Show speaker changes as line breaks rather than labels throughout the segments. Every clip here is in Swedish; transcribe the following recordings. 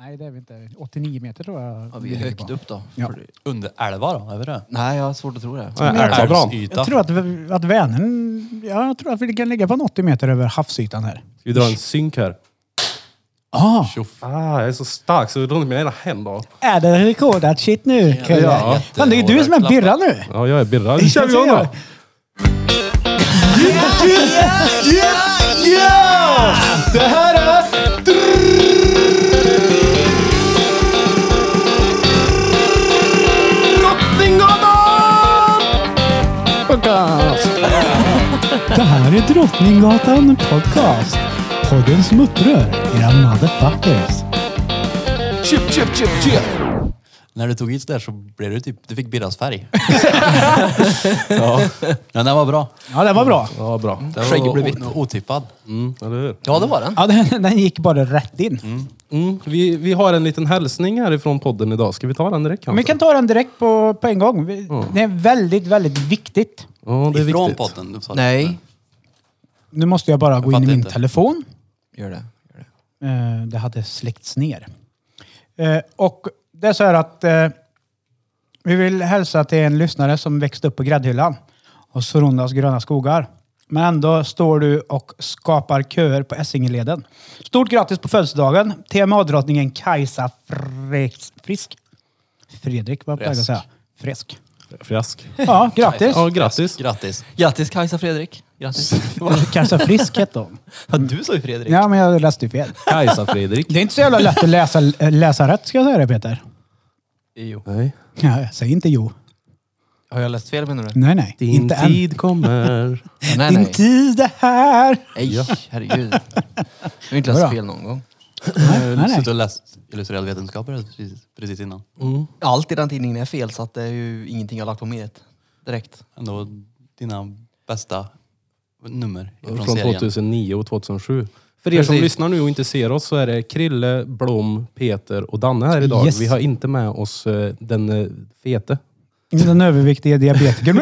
Nej, det är vi inte. 89 meter tror jag.
Ja, vi är
ligger
högt
på.
upp då.
Ja.
För-
Under älva då? Är vi det?
Nej, jag har svårt att tro det.
Nej, älva bra.
Älvsyta.
Jag tror att, vi- att Vänern, ja, jag tror att vi kan ligga på en 80 meter över havsytan här.
Ska vi dra en synk här?
Ah,
Tjoff.
Ah, jag är så stark så jag drar runt mina ena händer.
är det rekordat shit nu? Kalle?
ja.
Fan, det är ju du som är Birra nu.
Ja, jag är Birra. Nu kör vi igång då!
Det här är...
Det här är Drottninggatan Podcast. Podden som upprör era motherfuckers.
Chip, chip, chip, chip. När du tog hit det där så blev du typ... Du fick Birras färg. ja. Men den var bra.
Ja, det var bra.
Ja, bra.
Den var
Skägget blev
o- otippad.
Mm, eller hur?
Ja, det var den.
Ja, den, den gick bara rätt in.
Mm, vi, vi har en liten hälsning härifrån podden idag. Ska vi ta den direkt
Men
kanske?
vi kan ta den direkt på, på en gång. Vi- Det är väldigt, väldigt viktigt.
Ja, det är
Ifrån
viktigt.
podden. Du sa det.
Nej.
Nu måste jag bara gå in i
fattar
min
inte.
telefon.
Gör det. Gör det.
Eh, det hade släckts ner. Eh, och det är så här att eh, vi vill hälsa till en lyssnare som växte upp på gräddhyllan och Sorondas gröna skogar. Men ändå står du och skapar köer på Essingeleden. Stort grattis på födelsedagen, TMA-drottningen Kajsa Fres- Frisk. Fredrik, vad brukar jag
Fresk.
säga? Fresk.
Fiask.
Ja, grattis!
Ja, grattis.
Grattis.
Grattis Kajsa Fredrik. Grattis.
Kajsa Frisk hette hon.
Ja, du sa ju Fredrik.
Ja, men jag läste ju fel.
Kajsa Fredrik.
Det är inte så jävla lätt att läsa, läsa rätt, ska jag säga det Peter.
Jo.
Nej.
Ja, säg inte jo.
Har jag läst fel menar du?
Nej, nej.
Din
inte än.
tid kommer.
Nej,
Din tid är här.
Nej, herregud. Jag har inte läst
Vadå?
fel någon gång.
Nej,
Du
nej,
suttit
nej.
och läst illustrerad vetenskap precis, precis innan.
Allt i den tidningen är fel så att det är ju ingenting jag har lagt på minnet direkt.
Ändå dina bästa nummer från,
Från
serien.
2009 och 2007. För er som
Precis.
lyssnar nu och inte ser oss så är det Krille, Blom, Peter och Danne här idag.
Yes.
Vi har inte med oss eh, den eh, fete.
Den överviktiga diabetikern.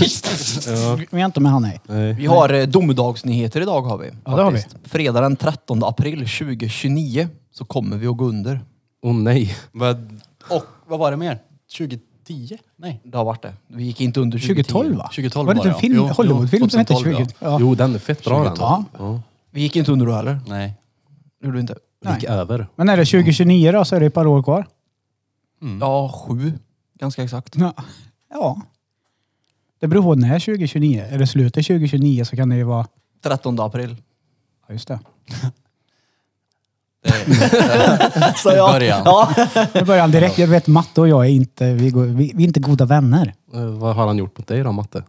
Vi är inte med han, nej.
Nej.
Vi har eh, domedagsnyheter idag har vi.
Ja, det har vi.
faktiskt. Fredag den 13 april 2029 så kommer vi att gå under.
Åh nej.
Vad- Och vad var det mer? 2010? Nej.
Det har varit det. Vi gick inte under
2012 va?
2012
var det inte en
var det,
film,
ja. Jo,
Hollywoodfilm som hette
2012,
20? Ja.
Jo, den är fett bra den.
Ja.
Ja.
Vi gick inte under då heller.
Nej.
Gjorde vi inte?
Vi Gick över.
Men är det 2029 då så är det ett par år kvar.
Ja, sju. Ganska exakt.
Ja. ja. Det beror på när 2029. Är det slutet 2029 så kan det ju vara...
13 april.
Ja, just det.
Det är,
Så
I början.
Ja.
Nu börjar han direkt. Jag vet Matte och jag är inte, vi går, vi, vi är inte goda vänner.
Eh, Vad har han gjort mot dig då, Matte?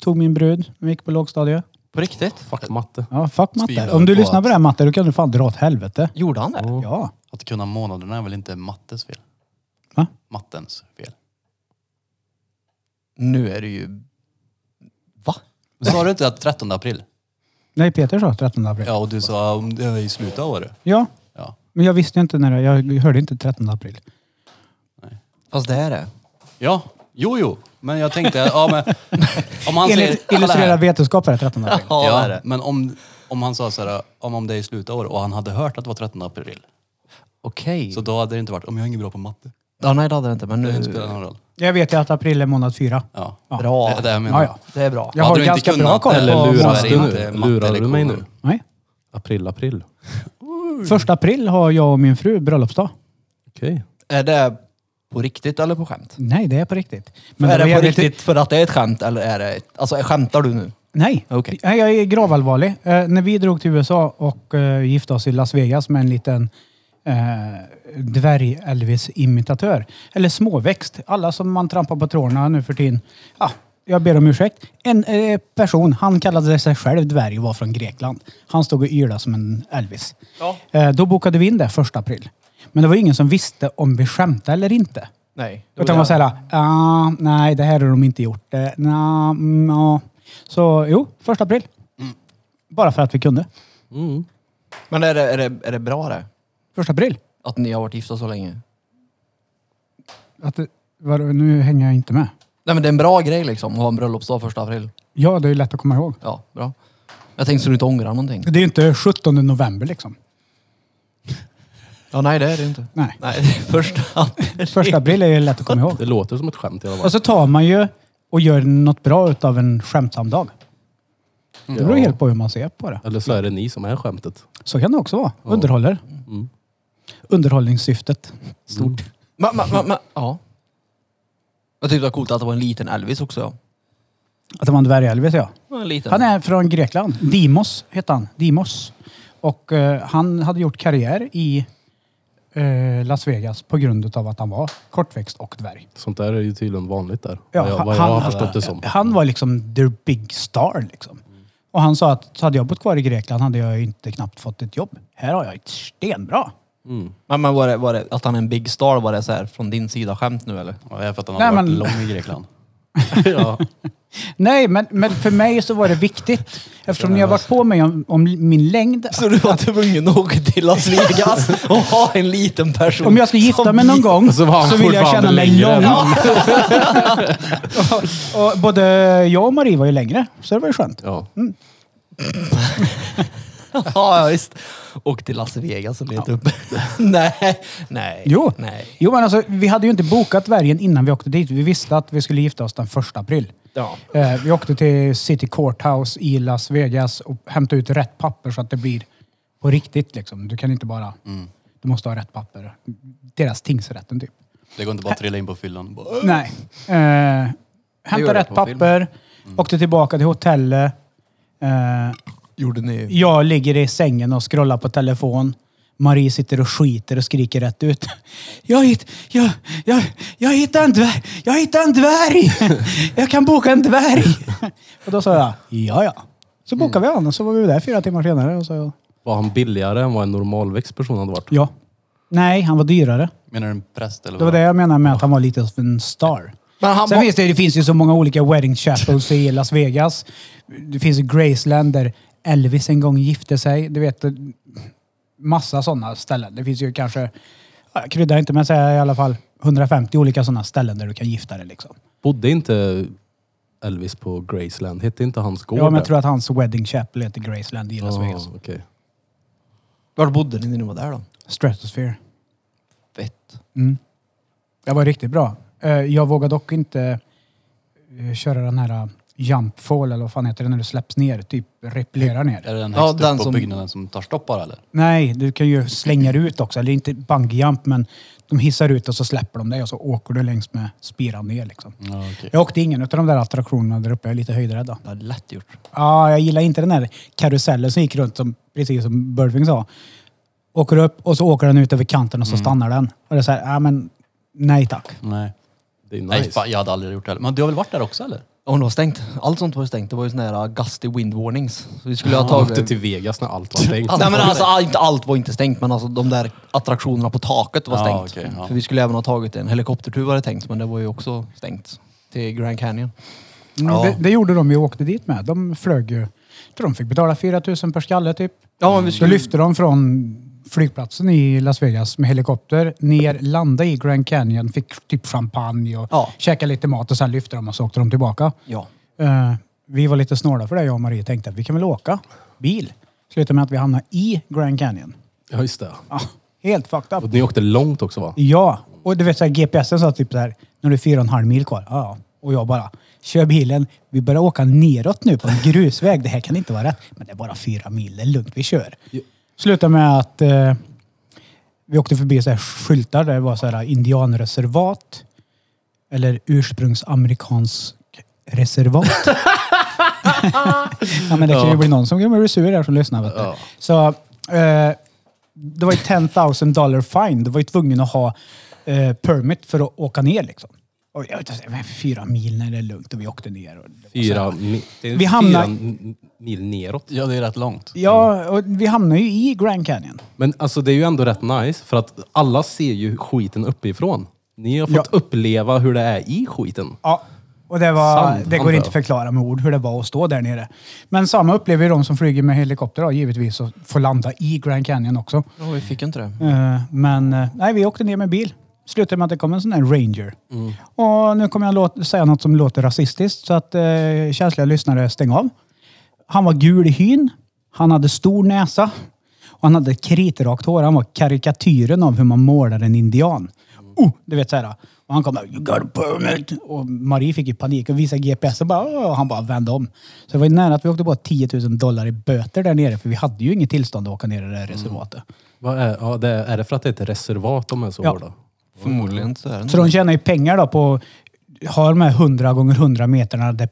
Tog min brud, vi gick på lågstadiet.
På riktigt?
Fuck Matte.
Ja, fuck Matte.
Tvivlar
Om du
på
lyssnar
att-
på det här Matte, då kan du fan dra åt helvete.
Gjorde han det?
Ja.
att kunna månaderna är väl inte mattes fel?
Va?
Mattens fel.
Nu är det ju... Va?
Men sa du inte att 13 april?
Nej, Peter sa 13 april. Ja.
Ja, och du sa om det var i slutet av året. Ja.
Men jag visste ju inte när det, jag hörde inte 13 april.
Fast det är det.
Ja, jo, jo. Men jag tänkte, ja men... Om han säger...
Enligt illustrerad vetenskap är det 13 april.
Ja, det är
Ja,
det.
men om, om han sa så här, om, om det är i slutet av året och han hade hört att det var 13 april.
Okej.
Så då hade det inte varit, om jag är inget bra på matte.
Ja, nej det hade det inte, men
Det
nu...
spelar någon roll.
Jag vet ju att april är månad fyra.
Ja.
Bra.
Det, det jag menar.
Ja, ja.
Det är bra.
Jag har
Hade du inte
ganska bra
kunnat
koll
eller
på
lurat
månader.
Lurar
månaden.
du
Det är
nu?
matte
Lurar du mig nu?
lektionen.
Nej.
April, april.
Första april har jag och min fru bröllopsdag.
Okej.
Är det på riktigt eller på skämt?
Nej, det är på riktigt.
är
var
det på
jävligt-
riktigt för att det är ett skämt eller är det... Alltså skämtar du nu?
Nej.
Okej.
Nej, Jag är gravallvarlig. Eh, när vi drog till USA och eh, gifte oss i Las Vegas med en liten eh, dvärg-Elvis-imitatör. Eller småväxt. Alla som man trampar på tårna nu för tiden. Ah, jag ber om ursäkt. En eh, person, han kallade sig själv dvärg och var från Grekland. Han stod och ylade som en Elvis. Eh, då bokade vi in det första april. Men det var ingen som visste om vi skämtade eller inte.
Nej.
Utan man säger ah, nej det här har de inte gjort. Eh, nah, mm, ja. Så jo, första april. Bara för att vi kunde.
Mm.
Men är det, är, det, är det bra det?
Första april.
Att ni har varit gifta så länge?
Att, det- vadå, nu hänger jag inte med.
Nej men det är en bra grej liksom, att ha en bröllopsdag första april.
Ja, det är ju lätt att komma ihåg.
Ja, bra. Jag tänkte så du inte ångrar någonting.
Det är ju inte 17 november liksom.
Ja, nej det är det inte.
Nej.
Nej, det är första
Första april är ju lätt att komma ihåg.
Det låter som ett skämt i alla fall.
Och så tar man ju och gör något bra utav en skämtsam dag. Det beror helt på hur man ser på det.
Eller så är det ni som är skämtet.
Så kan det också vara. Underhåller.
Mm.
Underhållningssyftet. Stort.
Mm. Ma, ma, ma, ma, ja. Jag tyckte det var coolt att det var en liten Elvis också.
Att det var en dvärg-Elvis, ja.
Ja, En liten.
Han är från Grekland. Dimos hette han. Dimos. Och eh, han hade gjort karriär i eh, Las Vegas på grund utav att han var kortväxt och dvärg.
Sånt där är ju tydligen vanligt där. vad jag, vad jag har förstått det som.
han var liksom the big star liksom. Och han sa att hade jag bott kvar i Grekland hade jag ju inte knappt fått ett jobb. Här har jag ett stenbra.
Mm.
Men, men var, det, var det att han är en big star, var det så här från din sida skämt nu eller?
Ja, det är för att han
Nej,
har varit
men-
lång i Grekland.
ja.
Nej, men, men för mig så var det viktigt. Eftersom ni har varit på mig om, om min längd.
Alltså,
Så du var tvungen att åka till Las Vegas och ha en liten person?
Om jag ska gifta
som
mig någon
gift-
gång
Så alltså, var han
så vill jag
fortfarande
känna mig
längre
lång.
än-
och, och både jag och Marie var ju längre, så det var ju skönt.
ja.
Ja, ja, visst. Åk till Las Vegas och leta upp. nej, nej.
Jo.
Nej.
Jo men alltså, vi hade ju inte bokat värgen innan vi åkte dit. Vi visste att vi skulle gifta oss den första april.
Ja.
Eh, vi åkte till City Courthouse i Las Vegas och hämtade ut rätt papper så att det blir på riktigt liksom. Du kan inte bara... Du måste ha rätt papper. Deras tingsrätten typ.
Det går inte bara att trilla in på fyllan. och bara,
Nej. Eh,
gjorde
hämtade
jag
rätt
på film. Mm.
papper, åkte tillbaka till hotellet. Eh,
Gjorde ni?
jag ligger i sängen och scrollar på telefon. Marie sitter och skiter och skriker rätt ut. Jag, hitt, jag, jag, jag hittar en dvärg! Jag hittar en dvärg! Jag kan boka en dvärg! Och då sa jag, ja ja. Så
Mm.
bokade vi han och så var vi där fyra timmar senare. Och så,
Var han billigare än vad en normalväxt person hade varit?
ja. Nej, han var dyrare.
Menar du en präst eller
Det var det jag menade med att han var lite av en star.
Men han
Sen
var-
finns det, det finns ju så många olika wedding chapels i Las Vegas. Det finns ju Graceland där Elvis en gång gifte sig. Du vet, eh, massa sådana ställen. Det finns ju kanske, jag kryddar inte men säger i alla fall 150 olika sådana ställen där du kan gifta dig liksom.
Bodde inte Elvis på Graceland? Hette inte hans gård
Ja, men jag
där?
tror att hans wedding chapel heter Graceland i Las
Ah,
Vegas.
okej.
Var bodde ni när ni var där då?
Stratosphere.
Fett.
Mm. Det var riktigt bra. Eh, Jag vågar dock inte eh, köra den här eh, jump fall eller vad fan heter det när du släpps ner, typ repellerar ner.
Är det den
Ja,
högst upp
den
på
som-
byggnaden som tar stopp bara eller?
Nej, du kan ju slänga dig ut också. Eller inte bungee jump men de hissar ut och så släpper de dig och så åker du längs med spiran ner liksom.
Ja, okej.
Jag åkte ingen av de där attraktionerna där uppe. Jag är lite höjdrädd. då.
Det var lätt gjort.
Ja, jag gillar inte den där karusellen som gick runt, som, precis som Burfing sa. Åker upp och så åker den ut över kanten och så stannar den. Och det är så här, ja men nej tack.
Nej.
Det är nice.
Nej, fan, jag hade aldrig gjort det heller. Men du har väl varit där också eller?
Om det var stängt. Allt sånt var ju stängt. Det var ju såna här gusty wind warnings. Så vi skulle ha
Han åkte
tagit...
till Vegas när allt var stängt.
Nej men alltså all- inte allt var inte stängt men alltså de där attraktionerna på taket var
Ja,
stängt.
Ah, okej, ja.
För vi skulle även ha tagit en helikoptertur var det tänkt men det var ju också stängt. Till Grand Canyon.
Mm,
Ja.
det, det gjorde de ju och åkte dit med. De flög ju. Jag tror de fick betala 4 000 per skalle typ.
Ja men vi
Då lyfte de från flygplatsen i Las Vegas med helikopter ner, landade i Grand Canyon, fick typ champagne och
Ja.
käkade lite mat och sen lyfte de och så åkte de tillbaka.
Ja.
Eh, vi var lite snåla för det jag och Marie tänkte att vi kan väl åka bil. Slutade med att vi hamnade i Grand Canyon.
Ja, just det.
Ah, helt fucked up.
Och ni åkte långt också va?
Ja, och du vet så här, GPSen sa typ så här, nu är det fyra och en halv mil kvar. Ja, ja. Och jag bara, kör bilen. Vi börjar åka neråt nu på en grusväg. Det här kan inte vara rätt. Men det är bara fyra mil, det är lugnt, vi kör.
Ja.
Slutar med att eh, vi åkte förbi så här skyltar där det var så här indianreservat. Eller ursprungsamerikansk reservat. ja men det kan ju bli någon som blir sur här som lyssnar. Vet du.
Ja.
Så eh, det var ju 10 000 dollar fine. Du var ju tvungen att ha eh, permit för att åka ner liksom. Och jag vet inte, men fyra mil när det är lugnt och vi åkte ner. Och det var så här-
Fyra, mi- Alltså, det är
Vi hamnar-
fyra n- mil neråt.
Ja, det är rätt långt.
Ja, och vi hamnade ju i Grand Canyon.
Men alltså det är ju ändå rätt nice för att alla ser ju skiten uppifrån. Ni har fått
Ja.
uppleva hur det är i skiten.
Ja, och det, var,
Sant,
det går
antar
inte
jag.
att förklara med ord hur det var att stå där nere. Men samma upplever ju de som flyger med helikopter då, givetvis och får landa i Grand Canyon också.
Ja, vi fick ju inte det.
Eh, Men eh, nej, vi åkte ner med bil. Slutade med att det kom en sån här Ranger. Och nu kommer jag låt, säga något som låter rasistiskt så att eh, känsliga lyssnare stäng av. Han var gul i hyn. Han hade stor näsa. Och Och han hade kritrakt hår. Han var karikatyren av hur man målar en indian. Oh, du vet så här. Och han kom där, you got a permit. Och Marie fick ju panik och visade GPS och bara, "Åh", och han bara vände om. Så det var ju nära att vi åkte på 10 000 dollar i böter där nere för vi hade ju inget tillstånd att åka ner i det här reservatet.
Vad är, ja, det är, är det för att det är ett reservat de är så
Ja.
hårda?
Förmodligen så är det
Så de tjänar ju pengar då på att ha de här 100 gånger 100 meterna där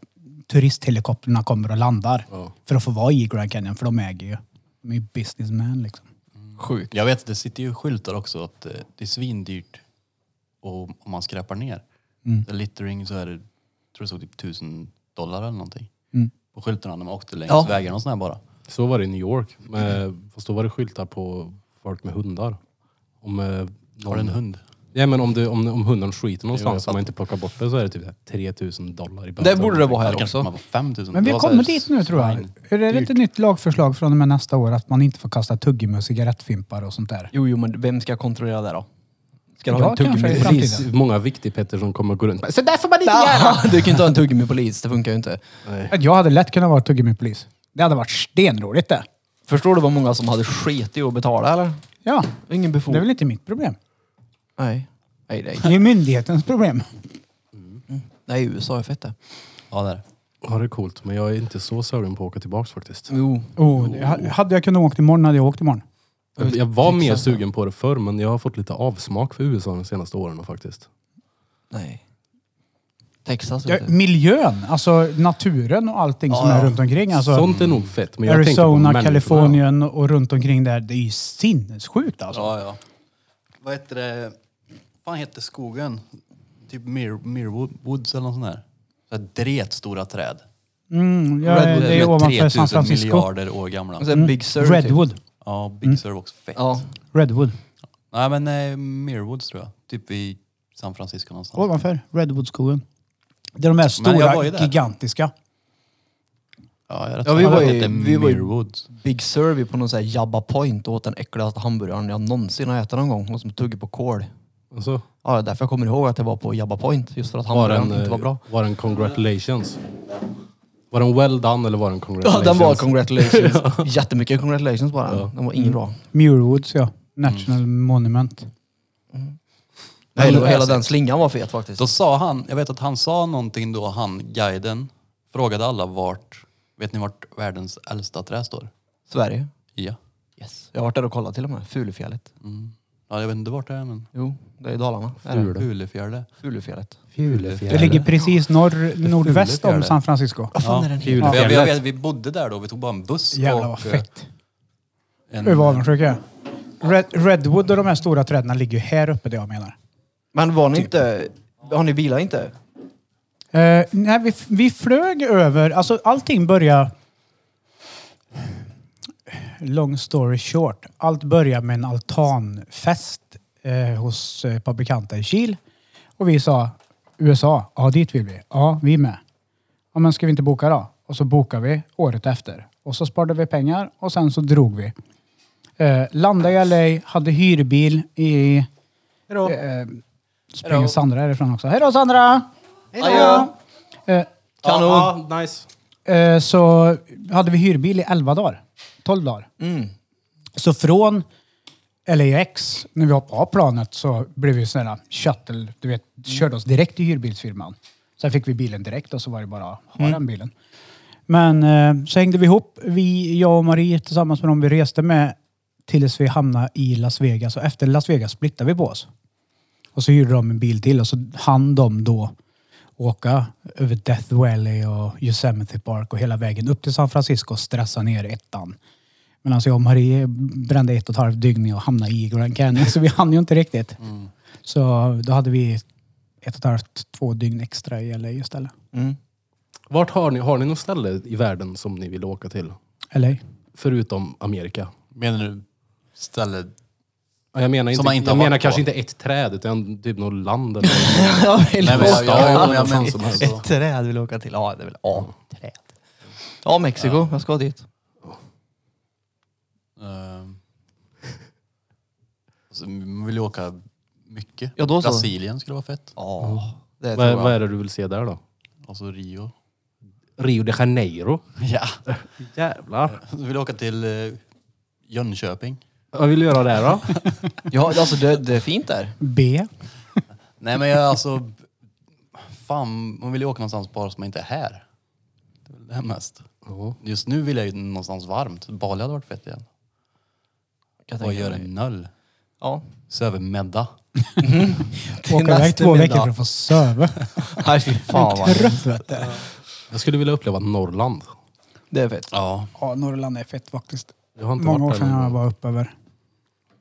turisthelikopterna kommer och landar.
Ja.
För att få vara i Grand Canyon, för de äger ju. De är ju businessmen liksom.
sjukt.
Jag vet, det sitter ju skyltar också att eh, det är svindyrt och, om man skräpar ner.
Mm.
Mm. Littering så är det, tror jag såg typ tusen dollar eller någonting.
Mm.
På skyltarna när man åkte längs
Ja.
vägarna och sådär bara.
Så var det i New York. Med, fast då var det skyltar på folk med hundar. Om, eh,
Har du en hund?
Ja, men om, du, om, om hunden skiter
Jo,
någonstans och
fattar.
man inte plockar bort det så är det typ 3000 dollar i
Det borde det vara
Eller
här
kanske man
också.
var 5000.
Men vi
Det var så här
kommer dit nu tror jag.
svin.
Är det inte nytt lagförslag från och med nästa år att man inte får kasta tuggummi och cigarettfimpar och sånt där?
Jo, jo, men vem ska kontrollera det då? Ska du
Ja,
ha en tuggummi?
kanske i
Det
framtiden.
finns många viktigpetter som kommer gå runt.
Så där får man inte göra! Du kan ju inte ha en tuggummi-polis, det funkar ju inte.
Att Jag hade lätt kunnat vara tuggummipolis. Det hade varit stenroligt det.
Förstår du vad många som hade skit i att betala eller?
Ja,
Ingen befog.
det är väl inte mitt problem.
Nej. Nej, nej.
Det är myndighetens problem.
Nej, USA är fett det.
Ja, där.
Ja, det är coolt. Men jag är inte så sugen på att åka tillbaks faktiskt.
Jo.
Oh, det- hade jag kunnat åkt imorgon hade jag åkt imorgon.
Jag, jag var mer
Texas, ja.
sugen på det förr, men jag har fått lite avsmak för USA de senaste åren faktiskt.
Nej. Texas.
Ja, mm.
vet du.
miljön, alltså naturen och allting som
Ja,
är
ja.
runt omkring. Alltså,
Sånt är nog fett, men jag tänker på
Arizona,
människorna.
Kalifornien och runt omkring där. Det är ju sinnessjukt alltså.
Ja, ja. Vad heter det? Vad heter skogen? Typ Mir Mirwood Woods eller något sånt där. Så här dretstora träd.
Mm, ja,
Redwood
det är ovanför San
3000
Francisco.
miljarder år gamla.
Och sen Big Sur. Typ.
Redwood.
Ja, Big Sur var också fett.
Ja.
Redwood.
Nej men eh, Mirwoods tror jag. Typ i San Francisco någonstans.
Ovanför Redwoodskogen. Det är de här
Men jag var
stora,
ju där.
gigantiska.
Ja, jag är rätt
Ja, vi
säker på
var
att
i-
det heter
vi var i-
Mirwoods.
Big Sur vi på någon sån här Jabba Point och åt den äckligaste hamburgaren jag någonsin har ätit någon gång. Någon som tuggar på kol.
Alltså,
Ja, det är därför jag kommer ihåg att det var på Jabba Point. Just för att
var den,
hamburgaren inte var bra.
eh, var den congratulations? Var den well done eller var den
Ja,
congratulations?
den var congratulations. Jättemycket congratulations bara.
Ja. Mm.
Den var ingen bra.
Muirwoods ja. National
Mm.
Monument.
Nej,
Men-
hela, hela den slingan var fet faktiskt.
Då sa han, jag vet att han sa någonting då, han guiden, frågade alla vart, vet ni vart världens äldsta träd står?
Sverige.
Ja.
Yes. Jag har varit där och kollat till och med. Fulufjället.
Mm. Ja, jag vet inte vart det är men.
Jo, det är i Dalarna. Är det?
Ful. Fjärde.
Fulefjärde.
Fulufjället.
Det ligger precis norr, nordväst om
fjärde.
San Francisco.
Vad fan
Ja,
är det nu?
Fjul.
Ja, vi,
Fjället.
jag vet, vi bodde där då, vi tog bara en buss.
Jävlar vad
och, eh,
fett.
En,
Hur var avundsjuk jag är. Red, Redwood och de här stora träden ligger ju här uppe det jag menar.
Men var ni
Typ.
inte... Har ni bilar inte?
Eh, nej, vi, vi flög över, alltså allting börjar... Long story short. Allt börjar med en altanfest eh, hos eh, ett par bekanta i Kil. Och vi sa USA, ja dit vill vi. Ja, vi med. Ja, men ska vi inte boka då? Och så bokade vi året efter. Och så sparade vi pengar och sen så drog vi. Eh, landade i LA, hade hyrbil i... Eh, springer Sandra härifrån också. Hej då Sandra! Hej
Adjö!
Eh,
Kanon.
Ja, ja, nice.
eh, så hade vi hyrbil i 11 dagar. 12 dagar.
Mm.
Så från LAX, när vi hoppade av planet, så blev vi sådana shuttle, du vet, körde oss direkt till hyrbilsfirman. Sen fick vi bilen direkt och så var det bara, ha den bilen. Men eh, så hängde vi ihop, vi, jag och Marie tillsammans med dem vi reste med, tills vi hamnade i Las Vegas. Och efter Las Vegas splittade vi på oss. Och så hyrde de en bil till och så hann de då åka över Death Valley och Yosemite Park och hela vägen upp till San Francisco och stressa ner ettan. Men alltså jag och Marie brände ett och ett halvt dygn i att hamna i Grand Canyon så vi hann ju inte riktigt.
Mm.
Så då hade vi ett och ett halvt, två dygn extra i LA istället.
Mm.
Vart har ni, har ni något ställe i världen som ni vill åka till?
LA?
Förutom Amerika?
Menar du ställe?
Ja, Jag menar, inte,
man inte har
jag menar
varit på.
kanske inte ett träd, utan typ något land eller
Jag vill
Nej, men
åka.
jag- jag- jag- jag-
fan
men-
som helst.
Ett träd vill jag åka till. Ja, det vill ja, träd. Ja, Mexiko. Jag ska dit.
Ehm. Alltså, man vill ju åka mycket.
Ja, då så.
Brasilien skulle vara fett.
Ja, det tror
Vad, vad är
jag.
det du vill se där då?
Och så Rio.
Rio de Janeiro.
Ja.
Jävlar.
Jag vill åka till eh, Jönköping.
Vad vill du göra där då?
Ja, alltså det, det är fint där.
B.
Nej men jag alltså... Fan, man vill ju åka någonstans bara som inte är här. Det är väl det mest.
Ja.
Just nu vill jag ju någonstans varmt. Bali hade varit fett igen.
Kan jag
Vad
tänka
gör
mig.
en nöll?
Ja.
Söver medda.
Till
Åka iväg
nästa
två
middag.
veckor för att få söva.
Nej fy fan vad hemskt.
Trött vet du.
Jag skulle vilja uppleva Norrland.
Det är fett.
Ja.
Ja, Norrland är fett faktiskt.
Jag har inte
Många år
varit där
sedan jag
någon gång.
var uppe över.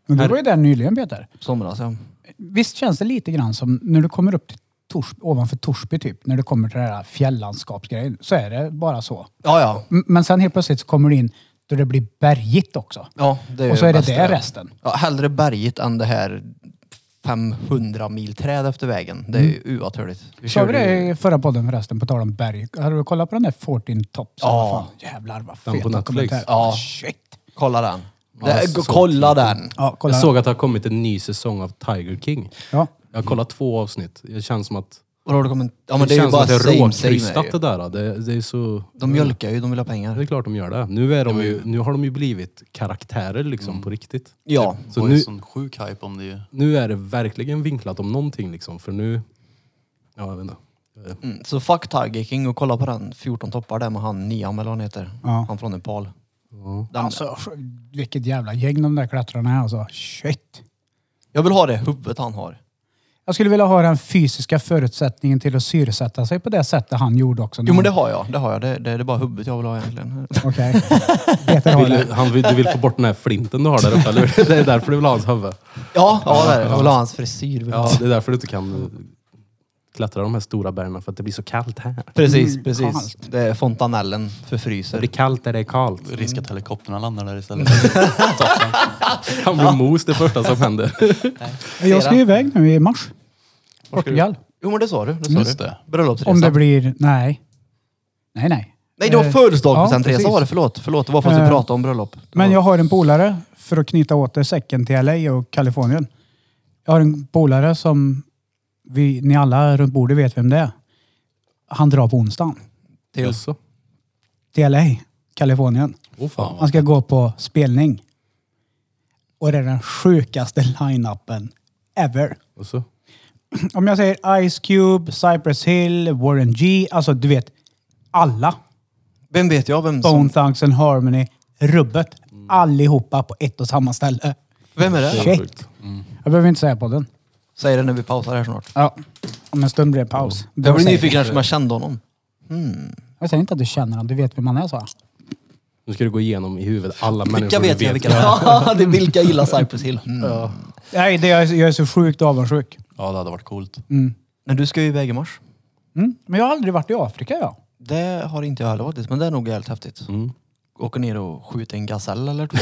Men du var ju där nyligen Peter.
Somras ja.
Visst känns det lite grann som när du kommer upp till Tors, ovanför Torsby typ, när du kommer till den här fjällandskapsgrejen, så är det bara så.
Ja ja.
M- Men sen helt plötsligt så kommer du in då det blir bergigt också.
ja det
Och så är det
bästa.
det resten.
Ja, hellre berget än det här 500 mil träd efter vägen. Det är ju oavturligt. Vi
Sa vi
körde ju-
det i förra podden förresten, på tal om berg? Har du kollat på den där 14 Tops?
Ja.
Fan, Jävlar vad
Den
fet
på Netflix.
dokumentär. Ah,
Ja.
Shit.
Kolla den.
Ja,
det,
så
kolla
tråkigt.
den.
Ja, kolla.
Jag såg att det har kommit en ny säsong av Tiger King.
Ja.
Jag har kollat två avsnitt. Det känns som att
Och då har det kommit... Ja men det, är ju
känns
bara
som att det
same same. är
råkrystat
det
det
ju.
där. då. Det, det är så...
De mjölkar ju, de vill ha
Det är
pengar.
klart de gör det. Nu, är de ju, nu har de ju blivit karaktärer liksom på riktigt.
Ja.
Så
det var ju
nu,
sån sjuk hype om det ju.
nu är det verkligen vinklat om någonting liksom. För nu... Ja, jag vet inte. Eh,
Mm. Så fuck Tiger King och kolla på den 14 toppar där med han Niam eller vad han heter.
Ja.
Han från Nepal.
Ja.
Den,
Alltså, vilket jävla gäng de där klättrarna är alltså. Shit.
Jag vill ha det huvudet han har.
Jag skulle vilja ha den fysiska förutsättningen till att syresätta sig på det sättet han gjorde också.
Jo men det har jag. Det har jag. Det, det, det är bara huvudet jag vill ha egentligen.
Okej. Peter har
Vill,
det.
du- han vill, du vill få bort den här flinten du har där uppe, eller hur? Det är därför du vill ha hans huvud.
Ja, ja det är det. Jag vill ha hans frisyr. vill jag ha.
Ja, det är därför du inte kan eh, klättra de här stora bergen, för att det blir så kallt här.
Precis,
Mm,
precis.
kallt.
Det är fontanellen för
Det
fryser.
blir kallt där det är kallt.
Risk att helikopterna landar där istället.
Han blir mos det första som händer.
Jag ska ju iväg nu i mars. Portugal.
Jo men det sa du. Det sa
Just
du.
det.
Bröllopsresa.
Om det blir... Nej. Nej, nej.
Nej det var
Eh,
födelsedagspresentresa
precis.
var det. Förlåt. Förlåt, det var för att vi
Eh,
pratade om bröllop. Det
Men
var-
jag har en polare, för att knyta åter säcken till LA och Kalifornien. Jag har en polare som vi, ni alla runt bordet vet vem det är. Han drar på onsdagen
Till.
Jaså?
till LA, Kalifornien.
Åh fan.
Han ska gå på spelning. Och det är den sjukaste line-upen ever.
Och så?
Om jag säger Ice Cube, Cypress Hill, Warren G. Alltså du vet, alla.
Vem vet jag vem som...
Bone Thugs and Harmony, rubbet. Allihopa på ett och samma ställe.
Vem är det?
Shit.
Mm.
Jag behöver inte säga på den.
Säg det när vi pausar här snart.
Ja. Om en stund blir det paus. Det
Jag
var
blir
säkert.
nyfiken eftersom jag kände honom.
Jag säger inte att du känner honom, du vet vem han är sa jag.
Nu ska du gå igenom i huvudet alla människor
Vilka
du
vet jag? Vilka, ja, det är vilka gillar Cypress Hill? Mm.
Nej, det, jag, är, jag är så sjukt avundsjuk.
Ja, det hade varit coolt.
Men du ska ju iväg i mars.
Mm. Men jag har aldrig varit i Afrika jag.
Det har inte jag heller varit men det är nog jävligt häftigt.
Mm.
Åka ner och skjuta en gasell eller två.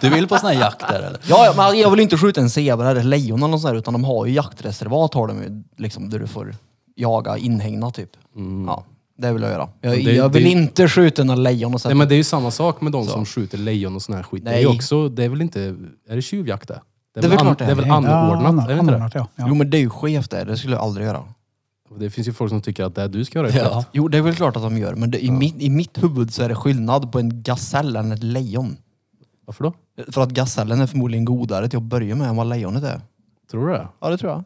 Du vill på sån här jakt där eller?
ja, ja, men alltså, jag vill inte skjuta en zebra eller lejon eller något sånt där, utan de har ju jaktreservat har de ju, liksom, där du får jaga inhägna typ. Ja, det vill jag göra. Jag,
Men det-
jag vill
det-
inte skjuta någon lejon och
Nej
sätta...
men det är ju samma sak med de
Så.
som skjuter lejon och sån här skit. Det är
Nej.
ju också, det är väl inte, är det tjuvjakt det?
Det är väl klart det
det är väl
Ja,
anordnat? Är det inte det?
anordnat, ja. Ja.
Jo men det är ju skevt det, det skulle jag aldrig göra.
Det finns ju folk som tycker att det du ska göra är ja.
Jo det är väl klart att de gör, men det, i, mitt, i mitt huvud så är det skillnad på en gasell än ett lejon.
Varför då?
För att gasellen är förmodligen godare till att börja med än vad lejonet är.
Tror du det?
Ja det tror jag.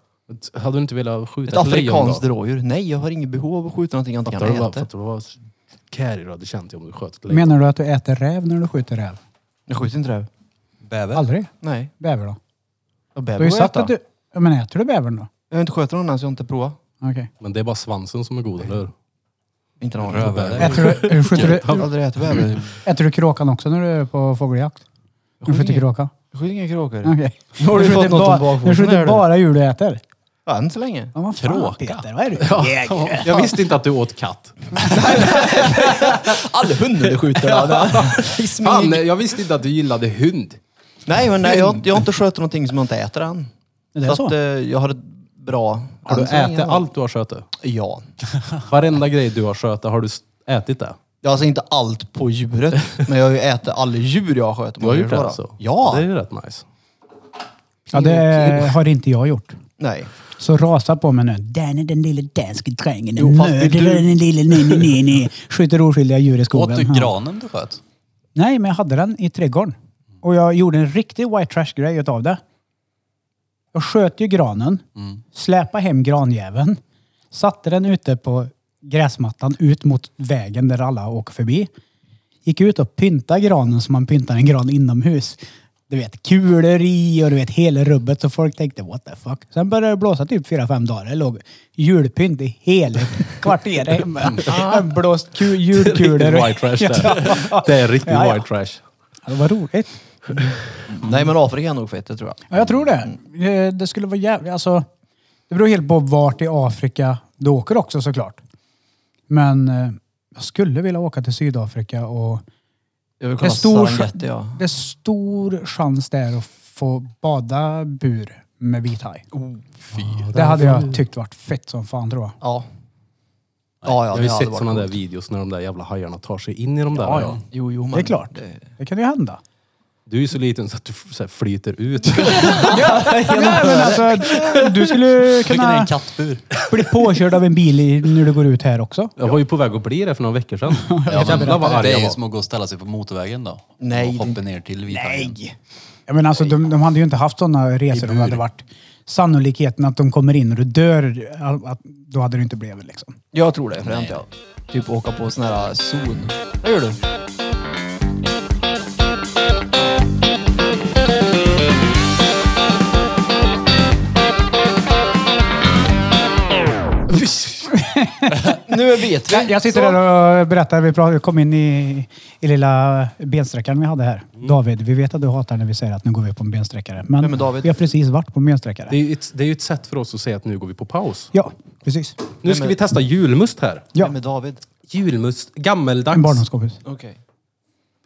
Hade du inte velat skjuta
Ett,
ett, lejon
afrikanskt
då?
rådjur. Nej, jag har inget behov av att skjuta någonting jag inte
Fattar
kan
du vad,
äta.
fattar du vad carry du hade känt om du sköt ett lejon?
Menar du att du äter räv när du skjuter räv?
Jag skjuter inte räv.
Bäver?
Aldrig?
Nej.
Bäver då?
Jag
Du har
behöver
ju
jag
sagt
äta.
att du... Ja, Men äter du bävern då?
Jag har inte skjutit någon än så jag har inte provat.
Okej.
Men det är bara svansen som är god, eller hur?
Inte någon
Rövare.
Äter du, eh, skjuter
Jag har
du,
aldrig ätit bäver.
äter du kråkan också när du är på fågeljakt? Du skjuter kråka?
Jag skjuter inga kråkor.
Okej.
Nu har du fått något om bakfoten.
Du
här,
skjuter
du.
bara djur du äter?
Ja, än så länge.
Ja, vad fan,
Kråka?
Peter, vad är du?
Jag visste inte att du åt katt.
Alla hundar du skjuter. ja. I smyg.
Fan, jag visste inte att du gillade hund.
Nej, men nej, jag, jag har inte skjutit någonting som jag inte äter än.
Det är
att,
så?
eh, jag har ett bra...
Har du
än så länge.
ätit allt du har skjutit?
Ja.
Varenda grej du har skjutit, har du s- ätit det?
Jag har alltså inte allt på djuret, men jag har ju ätit alla djur jag har skjutit. om
Du har
jag
gjort
gör
det
så då.
alltså?
Ja.
Det är ju rätt nice.
Ja, det har inte jag gjort.
Nej.
Så rasa på mig nu. Den är den lille danske drängen.
Jo,
Den
fast vill
mördar
du-
den lille nej, nej, nej, nej. Skjuter oskyldiga djur i skogen.
Åt du
Ja.
granen du sköt?
Nej, men jag hade den i trädgården. Och jag gjorde en riktig white trash-grej utav det. Jag sköt ju granen,
Mm.
släpade hem granjäveln, satte den ute på gräsmattan ut mot vägen där alla åker förbi. Gick ut och pyntade granen som man pyntar en gran inomhus. Du vet, kulor i och du vet hela rubbet. Så folk tänkte what the fuck. Sen började det blåsa typ fyra fem dagar. Det låg julpynt i hela kvarteret hemma. Det blåst ku- julkulor. och-
White trash där. Det är riktigt
Ja, ja.
white trash.
Ja, Det var roligt.
Nej men Afrika är nog fett, det tror jag.
Ja, jag tror det. Eh, Det skulle vara jävligt... Alltså, det beror helt på vart i Afrika du åker också såklart. Men eh, jag skulle vilja åka till Sydafrika och
Jag vill kolla
Det är stor-
Serengeti ja.
det är stor chans där att få bada bur med vit haj.
Oh,
Det hade jag tyckt varit fett som fan tror jag.
Ja. Ja, ja,
Jag har
det
ju
hade
sett
varit
sådana där
coolt.
videos när de där jävla hajarna tar sig in i de där.
Ja, ja.
Jo, jo, men
Det är klart.
det-
Det kan ju hända.
Du är ju så liten så att du f- så här flyter ut.
Nej, men alltså, du skulle
Vilken är
kunna
en kattbur?
bli påkörd av en bil i- när du går ut här också.
Jag var ju på väg att bli det för några veckor sedan. Jävlar vad arg
Det
jag
är ju
var.
som att gå och ställa sig på motorvägen då.
Nej,
Och hoppa
det-
ner till Vithagen.
Nej! Jag menar alltså, de, de hade ju inte haft sådana resor om det hade varit sannolikheten att de kommer in och du dör, all- att, då hade det inte blivit liksom.
Jag tror det är fränt ja. Typ åka på sån här zon. Vad gör du? nu vet vi.
Jag sitter
Så.
där och berättar, vi prat- kom in i, i lilla bensträckaren vi hade här. David, vi vet att du hatar när vi säger att nu går vi på en bensträckare. Men
Vem är David?
vi har precis varit på en bensträckare.
Det är ju ett, det är ju ett sätt för oss att säga att nu går vi på paus.
Ja, precis.
Nu ska vi testa julmust här.
Ja,
Vem är David?
Julmust,
en
gammeldags,
barndomskompis.
Okej.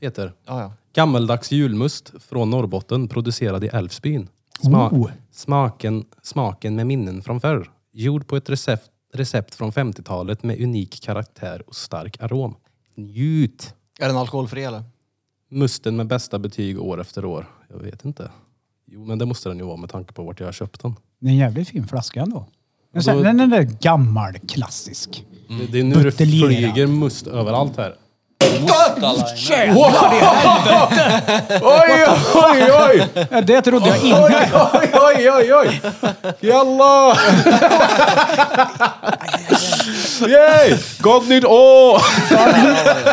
Peter.
Ja, ja.
Gammeldags julmust från Norrbotten producerad i Älvsbyn. Sma-
Oh.
smaken, smaken med minnen från förr. Gjord på ett recept, recept från 50-talet med unik karaktär och stark arom. Njut!
Är den alkoholfri eller?
Musten med bästa betyg år efter år. Jag vet inte. Jo, men det måste den ju vara med tanke på vart jag har köpt den.
Det är en jävligt fin flaska ändå. Men sen,
Då-
den är där gammal, klassisk.
Det, det är nu det
Buteljerad.
flyger must överallt här.
Oj, oj, oj! Det trodde jag inte.
Oj, oj, oj, oj! Jalla! Yay! God nytt år!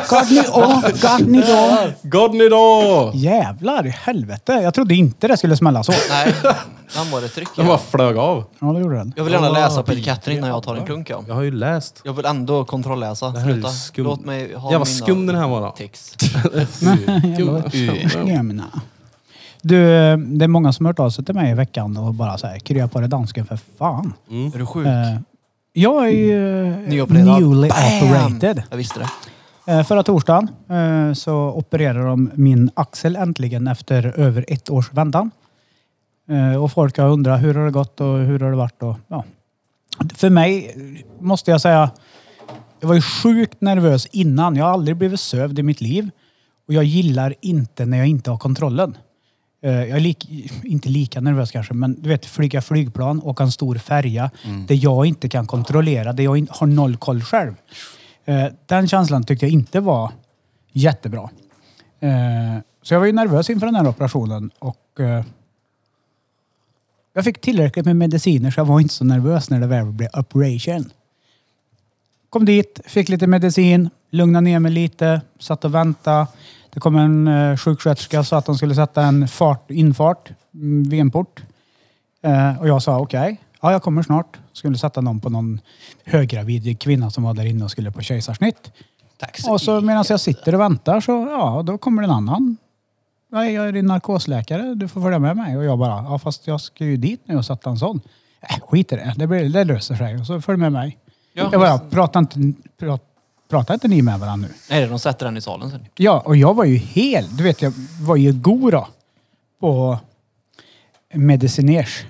Gott nytt år! Gott nytt år!
God nytt år!
Jävlar i helvete! Jag trodde inte det skulle smälla så.
Nej. Den var det tryck.
Den bara
Ja.
flög av.
Ja, det gjorde den.
Jag vill gärna läsa på etiketten innan jag tar en klunk ja.
Jag har ju läst.
Jag vill ändå kontrollläsa.
här är
Sluta.
skum.
Låt mig ha mina
Jävla skum den här var då. Mm.
Text.
Jämna. Du, det är många som har hört av sig till mig i veckan och bara så här, krya på dig dansken för fan.
Mm.
Är du sjuk?
Eh, Jag är ju eh,
Nyopererad.
newly
Bam!
operated.
Jag visste det.
Eh, Förra torsdagen eh, så opererade de min axel äntligen efter över ett års väntan. Eh, Och folk har undrat hur har det gått och hur har det varit och ja. För mig eh, måste jag säga, jag var ju sjukt nervös innan. Jag har aldrig blivit sövd i mitt liv. Och jag gillar inte när jag inte har kontrollen. Eh, Jag är lik, inte lika nervös kanske, men du vet flyga flygplan, åka en stor färja. Det jag inte kan kontrollera, det jag in, har noll koll själv. Eh, Den känslan tyckte jag inte var jättebra. Eh, Så jag var ju nervös inför den här operationen och eh, jag fick tillräckligt med mediciner så jag var inte så nervös när det väl blev operation. Kom dit, fick lite medicin, lugnade ner mig lite, satt och väntade. Det kom en eh, sjuksköterska och sa att de skulle sätta en fart, infart mm, vid en port. Eh, och jag sa okej, ja jag kommer snart. Skulle sätta någon på någon höggravid kvinna som var där inne och skulle på kejsarsnitt.
Tack
Och så medan jag sitter och väntar så, ja då kommer en annan. Nej, jag är din narkosläkare, du får följa med mig. Och jag bara, ja fast jag ska ju dit nu och sätta en sån. Äh, skit i det, det, blir, det löser sig. Och så följ med mig.
Ja.
Jag bara, pratar inte, pra- pratar inte ni med varandra nu?
Nej, de sätter den i salen sen.
Ja, och jag var ju hel. Du vet, jag var ju god då på mediciners.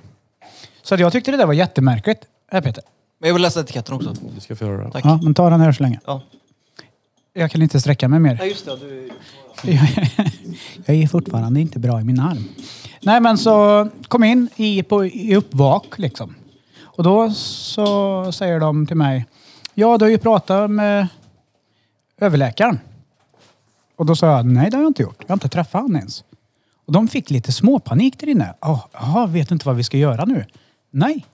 Så att jag tyckte det där var jättemärkligt. Här Peter.
Men jag vill läsa etiketten också.
Du ska få höra den.
Tack.
Ja, men ta den här så länge.
Ja.
Jag kan inte sträcka mig mer.
Nej, just det. Du...
Jag, jag är fortfarande inte bra i min arm. Nej men så kom in i, på, i uppvak liksom. Och då så säger de till mig. Ja du har ju pratat med överläkaren. Och då sa jag nej det har jag inte gjort. Jag har inte träffat han ens. Och de fick lite småpanik där inne. Ah, Jaha, vet inte vad vi ska göra nu? Nej,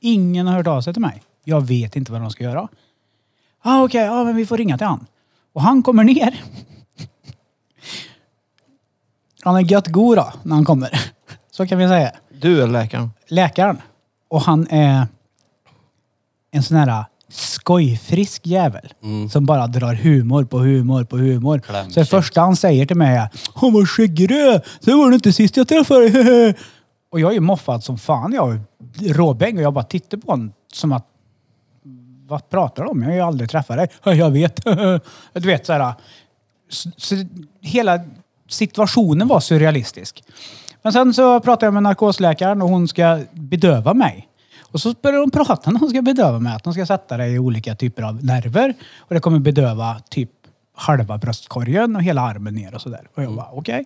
ingen har hört av sig till mig. Jag vet inte vad de ska göra. Ah, Okej, ja men vi får ringa till han. Och han kommer ner. Han är gött god då, när han kommer. Så kan vi säga
Du är läkaren.
läkaren. Och han är en sån här skojfrisk jävel. Som bara drar humor på humor på humor. Så det första han säger till mig är Åh vad skäggig du är! Så var det inte sist jag träffade dig! Och jag är ju moffad som fan. Jag är råbäng och jag bara tittar på honom som att vad pratar du om? Jag har ju aldrig träffat dig. "Ja, Jag vet. Du vet så här. Så, så hela situationen var surrealistisk. Men sen så pratade jag med narkosläkaren och hon ska bedöva mig. Och så börjar de prata när hon ska bedöva mig. Att de ska sätta dig i olika typer av nerver. Och det kommer bedöva typ halva bröstkorgen och hela armen ner och sådär. Och jag bara okej.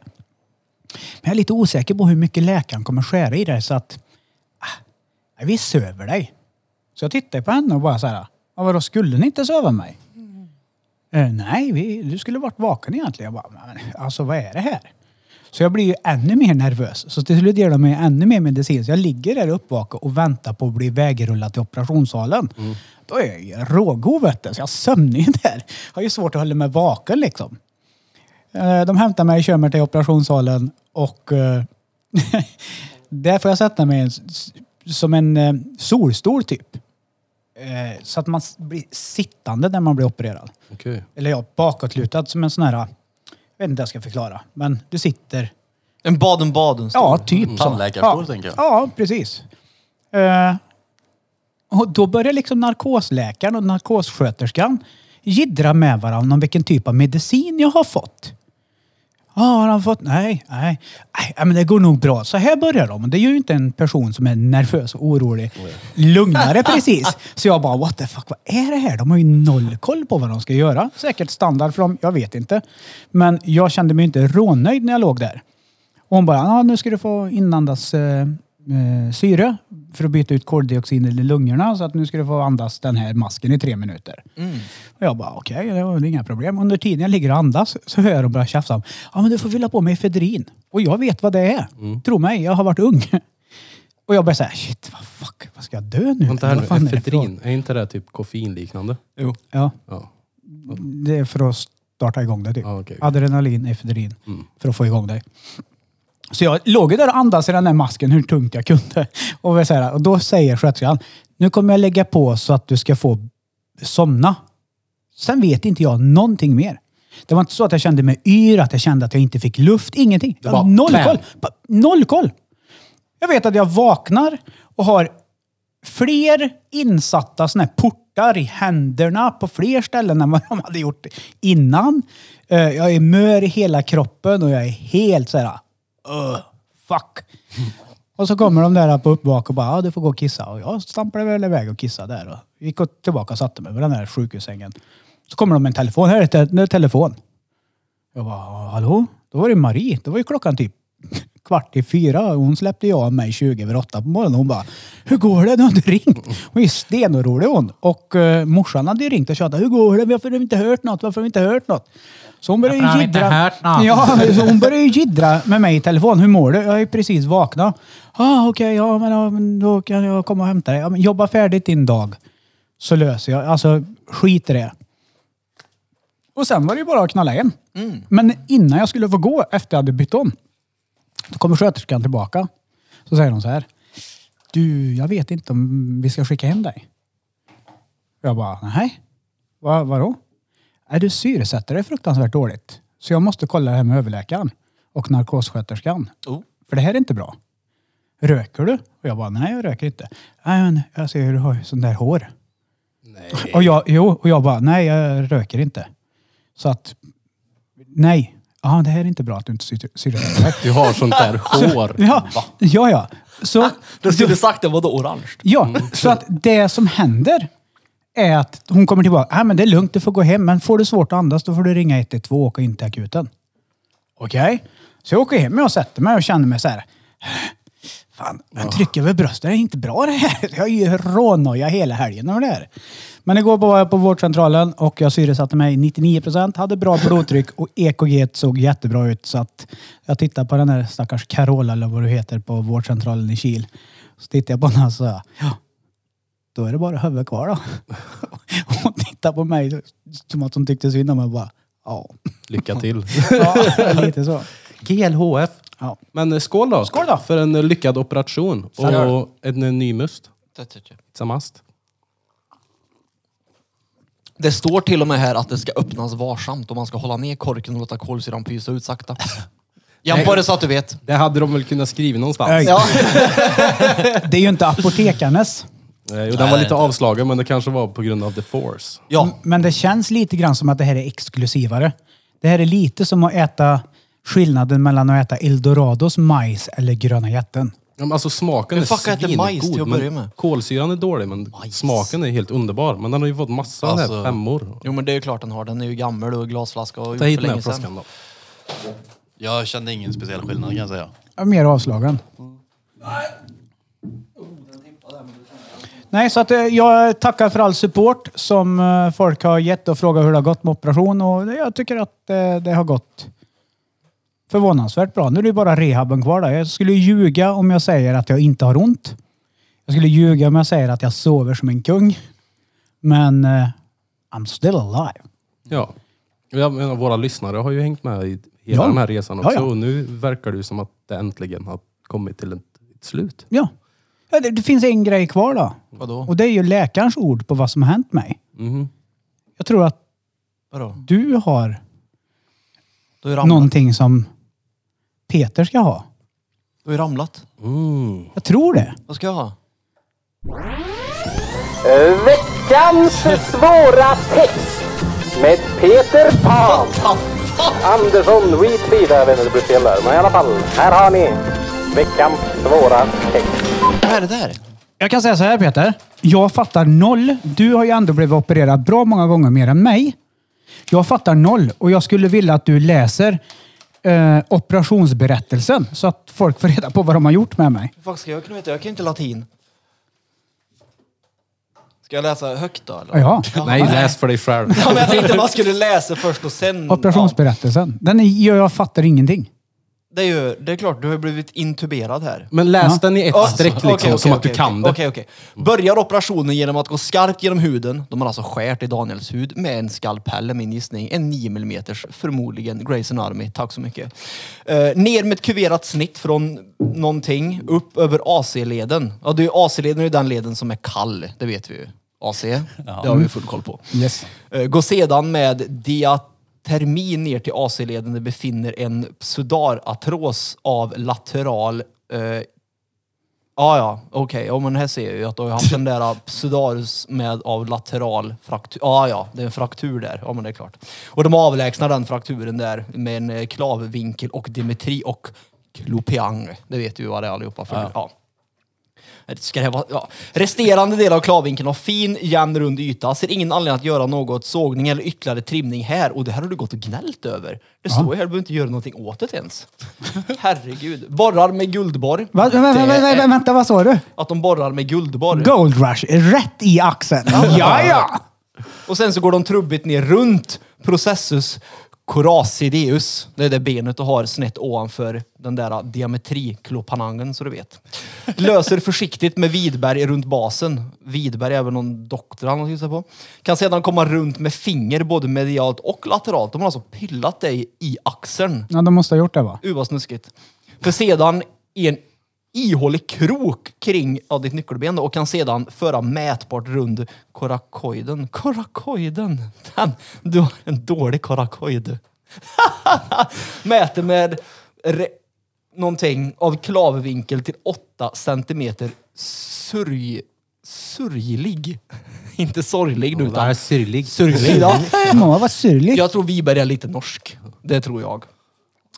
Men jag är lite osäker på hur mycket läkaren kommer skära i det så att... Ah, vi söver dig. Så jag tittade på henne och bara så här, "Ja, vadå skulle ni inte söva mig? "Eh, nej, vi, du skulle varit vaken egentligen. Jag bara, men alltså vad är det här? Så jag blir ju ännu mer nervös. Så till slut ger de mig ännu mer medicin. Så jag ligger där uppvaken och väntar på att bli vägrullad till operationssalen. Då är jag ju rågod vet du. Så jag sömnig där. Jag har ju svårt att hålla mig vaken liksom. Eh, De hämtar mig, kör mig till operationssalen och eh, där får jag sätta mig i en, s- s- som en eh, solstol typ. Eh, Så att man s- blir sittande när man blir opererad.
Okej.
Eller ja, bakåtlutad som en sån här... Jag vet inte hur jag ska förklara. Men du sitter...
En baden baden
Ja, typ. så.
Tandläkarstol,
ja.
tänker jag.
Ja, precis. Eh, och då börjar liksom narkosläkaren och narkossköterskan jiddra med varandra om vilken typ av medicin jag har fått. Ja, har han fått? Nej, nej. Nej, men det går nog bra. Så här börjar de. Och Det är ju inte en person som är nervös och orolig. Lugnare precis. Så jag bara, what the fuck, vad är det här? De har ju noll koll på vad de ska göra. Säkert standard för dem, jag vet inte. Men jag kände mig inte rånöjd när jag låg där. Och hon bara, ja nu ska du få inandas eh, eh, syre för att byta ut koldioxiden i lungorna. Så att nu ska du få andas den här masken i tre minuter.
Mm.
Och jag bara, okej, det var väl inga problem. Under tiden jag ligger och andas så hör jag dem börja tjafsa om, ja men du får fylla på med efedrin. Och jag vet vad det är.
Mm.
Tro mig, jag har varit ung. Och jag börjar säga, shit, vad fuck, vad ska jag dö nu?
Vänta här
Vad fan är
nu,
det för-
efedrin, är inte det typ koffeinliknande?
Jo. Ja,
Ja.
det är för att starta igång det typ.
Ja, okej.
Adrenalin, efedrin. För att få igång dig. Så jag låg ju där och andades i den där masken hur tungt jag kunde. Och, var så här, och då säger sköterskan, nu kommer jag lägga på så att du ska få somna. Sen vet inte jag någonting mer. Det var inte så att jag kände mig yr, att jag kände att jag inte fick luft, ingenting. Jag
var
hade noll
bam.
koll. Bara Noll koll. Jag vet att jag vaknar och har fler insatta såna här portar i händerna på fler ställen än vad de hade gjort innan. Eh, Jag är mör i hela kroppen och jag är helt så här, "Ugh, fuck. Och så kommer de där på uppvak och bara, ja, du får gå och kissa. Och jag stampade väl iväg och kissade där. Och gick och tillbaka och satte mig på den där sjukhussängen. Så kommer de med en telefon. Här är te- en telefon. Jag bara, hallå? Då var det Marie. Då var ju klockan typ kvart i fyra. Hon släppte jag av mig 20 över åtta på morgonen. Hon bara, hur går det? Du har inte ringt. Hon är ju stenorolig hon. Och eh, morsan hade ju ringt och tjatat, hur går det? Varför har vi inte hört något? Varför har vi inte hört något? Så hon började
Varför har
ju
vi inte
jiddra.
hört något?
Ja, Ja, så hon började ju jiddra med mig i telefon. Hur mår du? Jag är ju precis vaknat. Ah, Okej, ja, men, ja, men då kan jag komma och hämta dig. Ja, men jobba färdigt din dag. Så löser jag. Alltså, skit i det. Och sen var det ju bara att knalla hem. Men innan jag skulle få gå, efter jag hade bytt om, då kommer sköterskan tillbaka. Så säger hon så här. Du, jag vet inte om vi ska skicka hem dig. Jag bara, nej. Va, vadå? Är du syresätter dig fruktansvärt dåligt. Så jag måste kolla det här med överläkaren och narkossköterskan.
Oh.
För det här är inte bra. Röker du? Och jag bara, nej jag röker inte. Nej men jag ser hur du har sån där hår. Nej. Och jag, jo, och jag bara, nej jag röker inte. Så att, nej. Ja, det här är inte bra att du inte syre- syresätter dig.
Du har sånt där hår.
Ja, ja, ja. Så,
Äh, Du skulle sagt det var då orange. Mm.
ja, så att det som händer är att hon kommer tillbaka. Nej, men det är lugnt, du får gå hem. Men får du svårt att andas, då får du ringa 112 och åka in till akuten. Okej. Så jag åker hem och sätter mig och känner mig så här. Fan, jag trycker över bröstet. Det är inte bra det här. Jag är ju rånoja hela helgen över det här. Men igår var jag på vårdcentralen och jag syresatte mig 99 procent. Hade bra blodtryck och EKG såg jättebra ut. Så att jag tittade på den här stackars Carola eller vad du heter på vårdcentralen i Kil. Så tittade jag på henne och sa, ja, då är det bara huvudet kvar då. Hon tittade på mig som att hon tyckte synd om mig och bara, ja.
Lycka till.
ja lite så.
GLHF.
Ja.
Men eh, skål då.
Skål då.
För en eh, lyckad operation och en eh, ny must. Samast.
Det står till och med här att det ska öppnas varsamt och man ska hålla ner korken och låta kolsyran pysa ut sakta. Jag bara så att du vet.
Det hade de väl kunnat skriva någonstans.
Nej.
Ja.
Det är ju inte apotekarnes.
Eh, Jo, den var lite avslagen men det kanske var på grund av the force.
ja.
Men det känns lite grann som att det här är exklusivare. Det här är lite som att äta skillnaden mellan att äta Eldorados majs eller Gröna jätten.
Ja, men Alltså smaken
Hur
är
fuck äter majs till att
men
börja med?
Kolsyran är dålig men smaken är helt underbar. Men den har ju fått massa alltså,
Alltså-
femmor.
Jo men det är ju klart den har. Den är ju gammal och glasflaska och
Ta
gjort
hit
för
den här
länge sedan.
flaskan då.
Jag kände ingen speciell skillnad kan jag säga.
Alltså,
Ja, Mer avslagen. Nej, så att eh, jag tackar för all support som eh, folk har gett och frågat hur det har gått med operation och det- jag tycker att eh, det har gått förvånansvärt bra. Nu är det ju bara rehaben kvar där. Jag skulle ljuga om jag säger att jag inte har ont. Jag skulle ljuga om jag säger att jag sover som en kung. Men eh, I'm still alive.
Ja. Jag menar, våra lyssnare har ju hängt med i hela
Ja.
den här resan
Ja,
också.
ja.
Och nu verkar det ju som att det äntligen har kommit till ett, ett slut.
Ja. Ja, Det, det finns en grej kvar då.
Vadå?
Och det är ju läkarens ord på vad som har hänt mig.
Mhm.
Jag tror att
Vadå?
du har
Du har ju ramlat.
någonting som Peter ska ha.
Du har ju ramlat.
Mm.
Jag tror det.
Vad ska jag ha?
Veckans svåra text med Peter Pan. Andersson, Wheatfield, jag vet inte hur det blir fel där. Men i alla fall, här har ni veckans svåra text.
Vad är det där?
Jag kan säga så här Peter. Jag fattar noll. Du har ju ändå blivit opererad bra många gånger mer än mig. Jag fattar noll och jag skulle vilja att du läser eh, operationsberättelsen så att folk får reda på vad de har gjort med mig.
Hur fan ska jag kunna veta? Jag kan ju inte latin. Ska jag läsa högt då eller?
Ja,
Nej, läs för dig själv.
Ja, men jag tänkte man skulle läsa först och sen...
operationsberättelsen. Den är, jag, jag fattar ingenting.
Ja, det, är ju, det är klart, du har ju blivit intuberad här.
Men läs den i ett
Ja,
streck liksom,
okej, okej,
som att
okej,
du kan
okej, Okej,
det.
okej. Börjar operationen genom att gå skarpt genom huden. De har alltså skärt i Daniels hud med en skalpell, är min gissning. En 9 mm, förmodligen Grayson Army. Tack så mycket. Eh, ner med ett kuverat snitt från någonting, upp över AC-leden. Ja, det är ju AC-leden är ju den leden som är kall, det vet vi ju. AC, det har vi full koll på.
Mm.
Yes.
Eh, Gå sedan med diatermin ner till AC-leden där befinner en pseudaratros av lateral... Eh, ah, ja, okej. Ja, men här ser jag ju att du har haft den där pseudarus med av lateral fraktur. Ah, ja, det är en fraktur där. Ja, men det är klart. Och de avlägsnar den frakturen där med en eh, klavvinkel och dimetri och klopiang. Det vet vi ju vad det är allihopa. För. Ja. Ska det här vara, ja. Resterande del av klavvinkeln har fin, jämn, rund yta. Ser ingen anledning att göra något sågning eller ytterligare trimning här. Och det här har du gått och gnällt över. Det står ju här, du behöver inte göra någonting åt det ens. Herregud. Borrar med guldborr.
Va, va, va, va,
Det
va,
är-
vänta, vad sa du?
Att de borrar med guldborr.
Gold Rush, rätt i axeln. Ja, ja.
Och sen så går de trubbigt ner runt processus coracideus. Det är det benet du har snett ovanför den där diametriklopanangen så du vet. Löser försiktigt med vidberg runt basen. Vidberg är väl någon doktorand att gissa på. Kan sedan komma runt med finger både medialt och lateralt. De har alltså pillat dig i axeln.
Ja, de måste ha gjort det va?
Uh, vad snuskigt. För sedan i en ihålig krok kring ja, ditt nyckelben då, och kan sedan föra mätbart rund korakoiden. Korakoiden! Den, du har en dålig korakoid. Mäter med re, någonting av klavvinkel till 8 centimeter sörj, sörjlig. Inte sorglig nu
Det här är
utan
syrlig.
sörjlig. Ja.
Må vad syrligt.
Jag tror Wiberg är lite norsk. Det tror jag.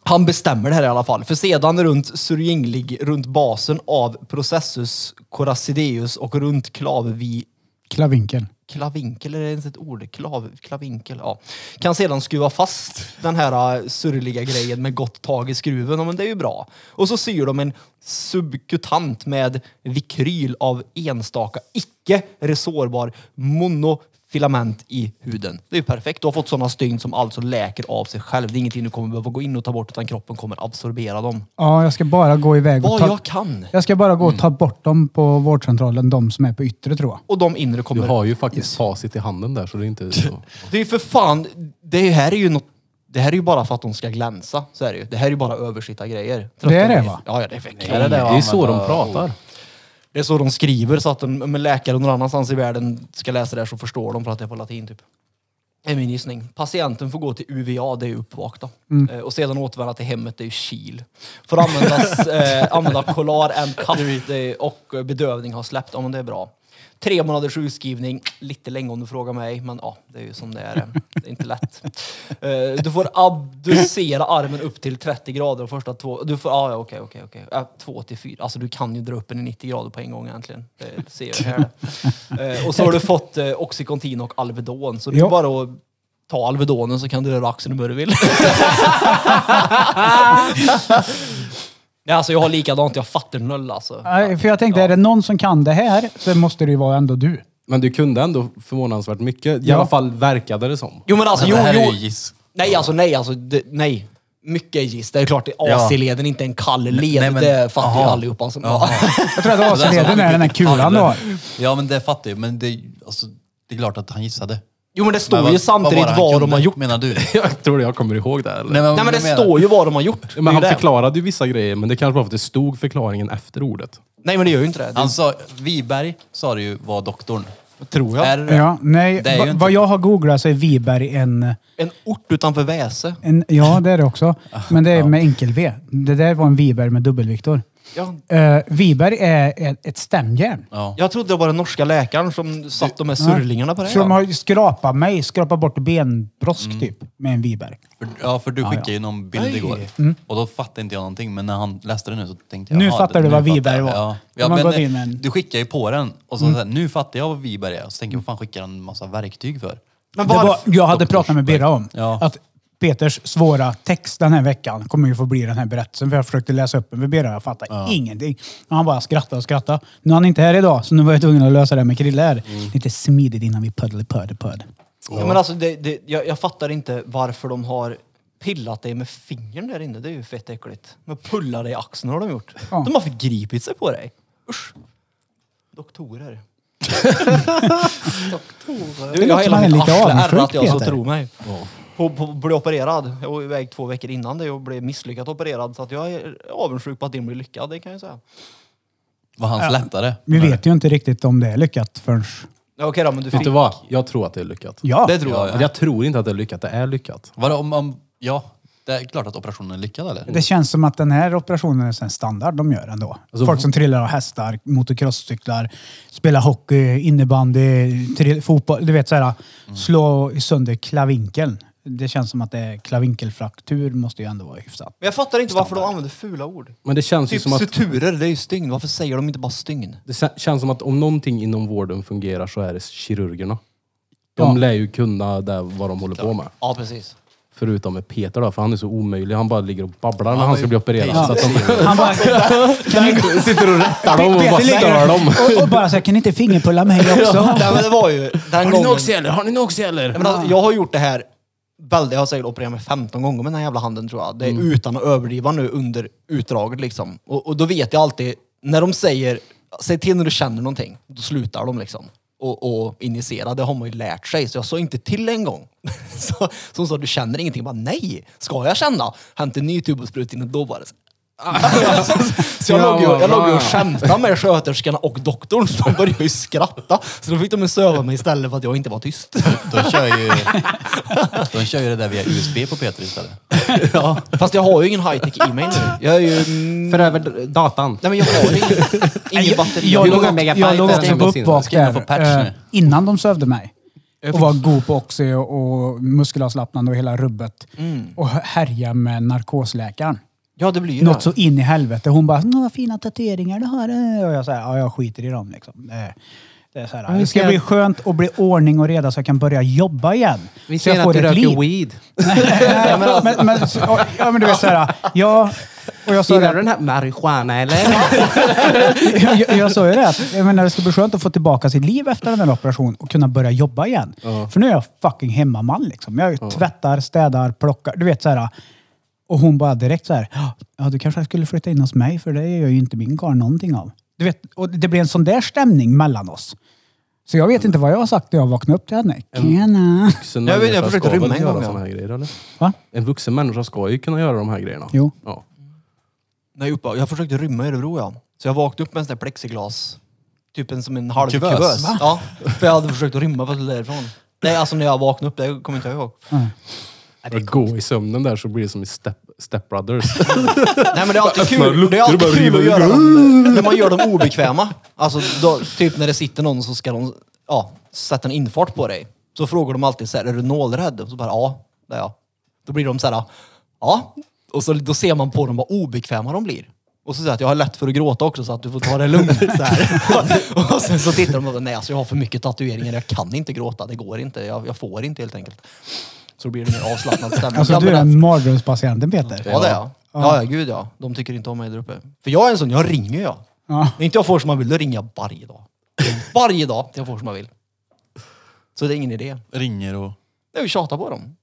Han bestämmer det här i alla fall. För sedan runt surjinglig, runt basen av processus coracideus och runt klavvi...
Klavinkeln.
Klavinkel, är det ens ett ord? Klav, klavinkel, ja. Kan sedan skruva fast den här eh, surliga grejen med gott tag i skruven. Ja, men det är ju bra. Och så syr de en subkutant med vikryl av enstaka, icke resårbar mono filament i huden. Det är ju perfekt. Du har fått sådana stygn som alltså läker av sig själv. Det är ingenting du kommer behöva gå in och ta bort utan kroppen kommer absorbera dem.
Ja, jag ska bara gå iväg och
Vad
ta...
jag kan!
Jag ska bara gå och ta bort dem på vårdcentralen, de som är på yttre tror jag.
Och de inre
Du
kommer...
har ju faktiskt facit i handen där så det är inte... Så.
Det är ju för fan, det är- här är ju något, det här är ju bara för att de ska glänsa. Så är det ju. Det här är ju bara översitta grejer.
Det är det, va?
Ja, ja, det är väl
Det är,
det, va?
så de pratar.
det är så de skriver så att en en läkare någon annanstans i världen ska läsa det här så förstår de för att det är på latin typ. Det är min gissning. Patienten får gå till UVA, det är uppvakta. Eh, och sedan återvända till hemmet, det är ju kyl. Får användas, eh, använda kolar, en katt eh, och eh, bedövning har släppt, ja men det är bra. Tre månaders sjukskrivning, lite länge om du frågar mig, men ja, det är ju som det är. eh. Det är inte lätt. Eh, du får abducera armen upp till 30 grader de första två... Du får, ah, ja, okej, okej, okej. Eh, Två till fyra. Alltså du kan ju dra upp den i 90 grader på en gång egentligen. Det ser jag här. Eh, och så har du fått eh, Oxycontin och Alvedon, så det är
Ja.
bara att ta Alvedonen så kan du röra axeln hur du vill. Nej, alltså jag har likadant, jag fattar noll alltså.
Nej, För jag tänkte, är det någon som kan det här så måste det ju vara ändå du.
Men du kunde ändå förvånansvärt mycket. I alla fall verkade det som.
Jo men alltså, jo,
det här är ju
jo.
giss.
Nej alltså nej, alltså det, nej. Mycket är giss. Det är klart, det är AC-leden, inte en kall led.
nej, men-
det fattar ju
aha.
allihopa. Som,
Jag tror att AC-leden är den här kulan du har.
Alltså, Ja, men det fattar jag. Men det, alltså, det är klart att han gissade.
Jo men det står
Men vad-
ju
var
samtidigt
det
vad,
han
de
kunde,
har gjort.
Menar du? Nej,
Jag tror jag kommer ihåg det. Eller?
Nej men
vad
det
menar-
står ju vad de har gjort. Det är
Men han
det.
förklarade ju vissa grejer, men det kanske var för att det stod förklaringen efter ordet.
Nej men det gör ju inte det. det
Han sa, Wiberg sa det ju var doktorn.
tror
Är det det?
Ja, nej,
Det är ju
va,
inte-
vad jag har googlat så är Viberg en,
En ort utanför Väse.
en... Ja, det är det också. Men det är med enkel-V. Det där var en Viberg med dubbelviktor.
Ja,
Uh, Viberg är ett, ett stämjärn.
Ja.
Jag trodde det var den norska läkaren som satt de här surlingarna på det.
Så de har ju skrapat mig, skrapat bort benbrosk typ med en Viberg.
För, ja, för
Ah,
du skickade ju någon bild
Nej.
igår. Och då fattade inte jag någonting, men när han läste det nu så tänkte jag...
Mm. Nu
"Jaha,
fattar
det-
du vad
fattar
Wiberg
jag."
var.
Ja.
Om man
Ja,
går in med
men,
en- Mm.
du skickade ju på den och så, så här, nu fattar jag vad Wiberg är. Och så tänker jag, vad fan skickar han en massa verktyg för?
Men
Det var,
varför-
jag hade pratat med Birra om
Ja.
att Peters svåra text den här veckan kommer ju få bli den här berättelsen. För jag försökte läsa upp den för Birra jag fattade ingenting. Men han bara skrattade och skrattade. Nu är han inte här idag, så nu var jag tvungen att lösa det här med Krille här.
Mm.
Lite smidigt innan vi puddle puddle puddle.
Ja, men alltså, det, det, jag, jag fattar inte varför de har pillat dig med fingern där inne. Det är ju fett äckligt. Men pulla dig i axeln har de gjort.
Ja.
De har förgripit sig på dig. Usch. Doktorer. Doktorer. Du, jag
låter
har
som
hela
han är
mitt
lite
arsle
avundsjuk,
ärrat jag, så
Peter.
tro mig. På, på, blev opererad. Jag var iväg två veckor innan det och blev misslyckat opererad. Så att jag är avundsjuk på att din blir lyckad, det kan jag säga.
Var han slättare?
Vi vet ju inte riktigt om det är lyckat förrän...
Ja, Okej då, men du
Vet
fick...
du vad? Jag tror att det är lyckat.
Ja!
Det tror jag.
Men Jag tror inte att det är lyckat. Det är lyckat.
Vadå, om, om, ja, det är klart att operationen är lyckad eller?
Det känns som att den här operationen är en standard de gör ändå.
Alltså-
Folk som trillar av hästar, motocrosscyklar, spelar hockey, innebandy, trill, fotboll. Du vet så här, slå sönder klavinkeln. Det känns som att det är klavinkelfraktur måste ju ändå vara hyfsat.
Men jag fattar inte varför de använder fula ord.
Men det känns ju
Typ
som att...
suturer, det är ju stygn. Varför säger de inte bara stygn?
Det kä- känns som att om någonting inom vården fungerar så är det kirurgerna. De lär ju kunna det, vad de håller på med.
Ja, precis.
Förutom med Peter då, för han är så omöjlig. Han bara ligger och babblar när han ska bli opererad. Så att de
Han bara, kan ni,
sitter och rättar dem och bara
Peter
stör
ligger
dem.
och, och bara så här, kan ni inte fingerpulla mig också?
Nej, men det var ju den gången. Nej,
eller? Har ni något eller?
men alltså, jag har gjort det här, väldigt, jag har säkert opererat mig 15 gånger med den här jävla handen tror jag. Det är utan att överdriva nu under utdraget liksom. Och, och då vet jag alltid, när de säger, säg till när du känner någonting, då slutar de liksom. Och, och injicera, det har man ju lärt sig. Så jag sa inte till en gång. Så, som sa, du känner ingenting. Jag bara, nej, ska jag känna? Hämta en ny tubospruta innan då bara. så- Så jag
Ja,
låg ju jag
vad
låg ju och
bra.
skämtade med sköterskorna och doktorn. så De började ju skratta. Så då fick de söva mig istället för att jag inte var tyst.
De kör ju, de kör ju det där via USB på Peter istället.
Ja. Fast jag har ju ingen high-tech i mig nu. Jag är ju... mm,
För över datan.
Nej men jag har ingen, ingen batteri.
Hur
Jag låg,
många megabyte
jag låg
är det
också
som
på
går in?
uppvak
Ska jag få
där
patch nu?
eh, innan de sövde mig.
Jag
Och
fick-
var god på oxy och, och muskelavslappnande och hela rubbet. Och härja med narkosläkaren.
Ja det blir ju
Något
det.
så in i helvete. Hon bara, "Nå, vad fina tatueringar du har. eh." Och jag säger, ja jag skiter i dem liksom. Det är- Det, är så här, det ska
ser-
bli skönt och bli ordning och reda så jag kan börja jobba igen. så jag får ett liv.
weed.
Nej, men, men, så- ja, men du vet såhär, ja, Och jag sa
Gillar
det,
du den här marijuana eller?
jag, jag- jag sa ju det, att jag menar, det ska bli skönt att få tillbaka sitt liv efter den här operationen och kunna börja jobba igen. För nu är jag fucking hemmaman liksom. Jag tvättar, städar, plockar, du vet så här. Och hon bara direkt så här, "Ah, ja du kanske skulle flytta in hos mig för det gör ju inte min karl någonting av. Du vet, och det blir en sån där stämning mellan oss. Så jag vet inte vad jag har sagt när jag vaknade upp till henne. Kena.
Vuxen
Jag vet, jag
människa
försökte
ska väl
rymma en
göra
gång, ja.
såna här grejer, eller?
Va?
En vuxen människa ska ju kunna göra de här grejerna.
Jo.
Ja.
Nej, uppe. Jag försökte rymma i Örebro ja. Så jag vaknade upp med en sån där plexiglas. Typ en som en halv
Kuvös,
kuvös.
va?
Ja, för jag hade försökt att rymma för att det därifrån. Nej, alltså när jag vaknade upp, det kommer inte jag ihåg.
Bara gå i sömnen där så blir det som i Step, step Brothers.
Nej men det är alltid
öppnar
kul,
luckor
det är
och bara
alltid kul
river
att
ut.
göra dem, när man gör dem obekväma. Alltså då, typ när det sitter någon så ska de ja, sätta en infart på dig. Så frågar de alltid så här, är du nålrädd? Och så bara, ja, det är jag. Då blir de så här, ja. Och så, då ser man på dem vad obekväma de blir. Och så säger jag att jag har lätt för att gråta också så att du får ta det lugnt. Så här. och sen så tittar de och bara, nej alltså jag har för mycket tatueringar, jag kan inte gråta, det går inte, jag, jag får inte helt enkelt. Så då blir det mer avslappnad stämning.
Alltså
Ja,
du
men
är
att-
en mardrömspatienten Peter.
Ja, det är jag. Ja, ja, gud ja. De tycker inte om mig där uppe. För jag är en sån, jag ringer jag.
Ja.
När inte jag får som jag vill, då ringer jag varje dag. Varje dag till jag får som jag vill. Så det är ingen idé.
Ringer och...
Jag vill tjata på dem.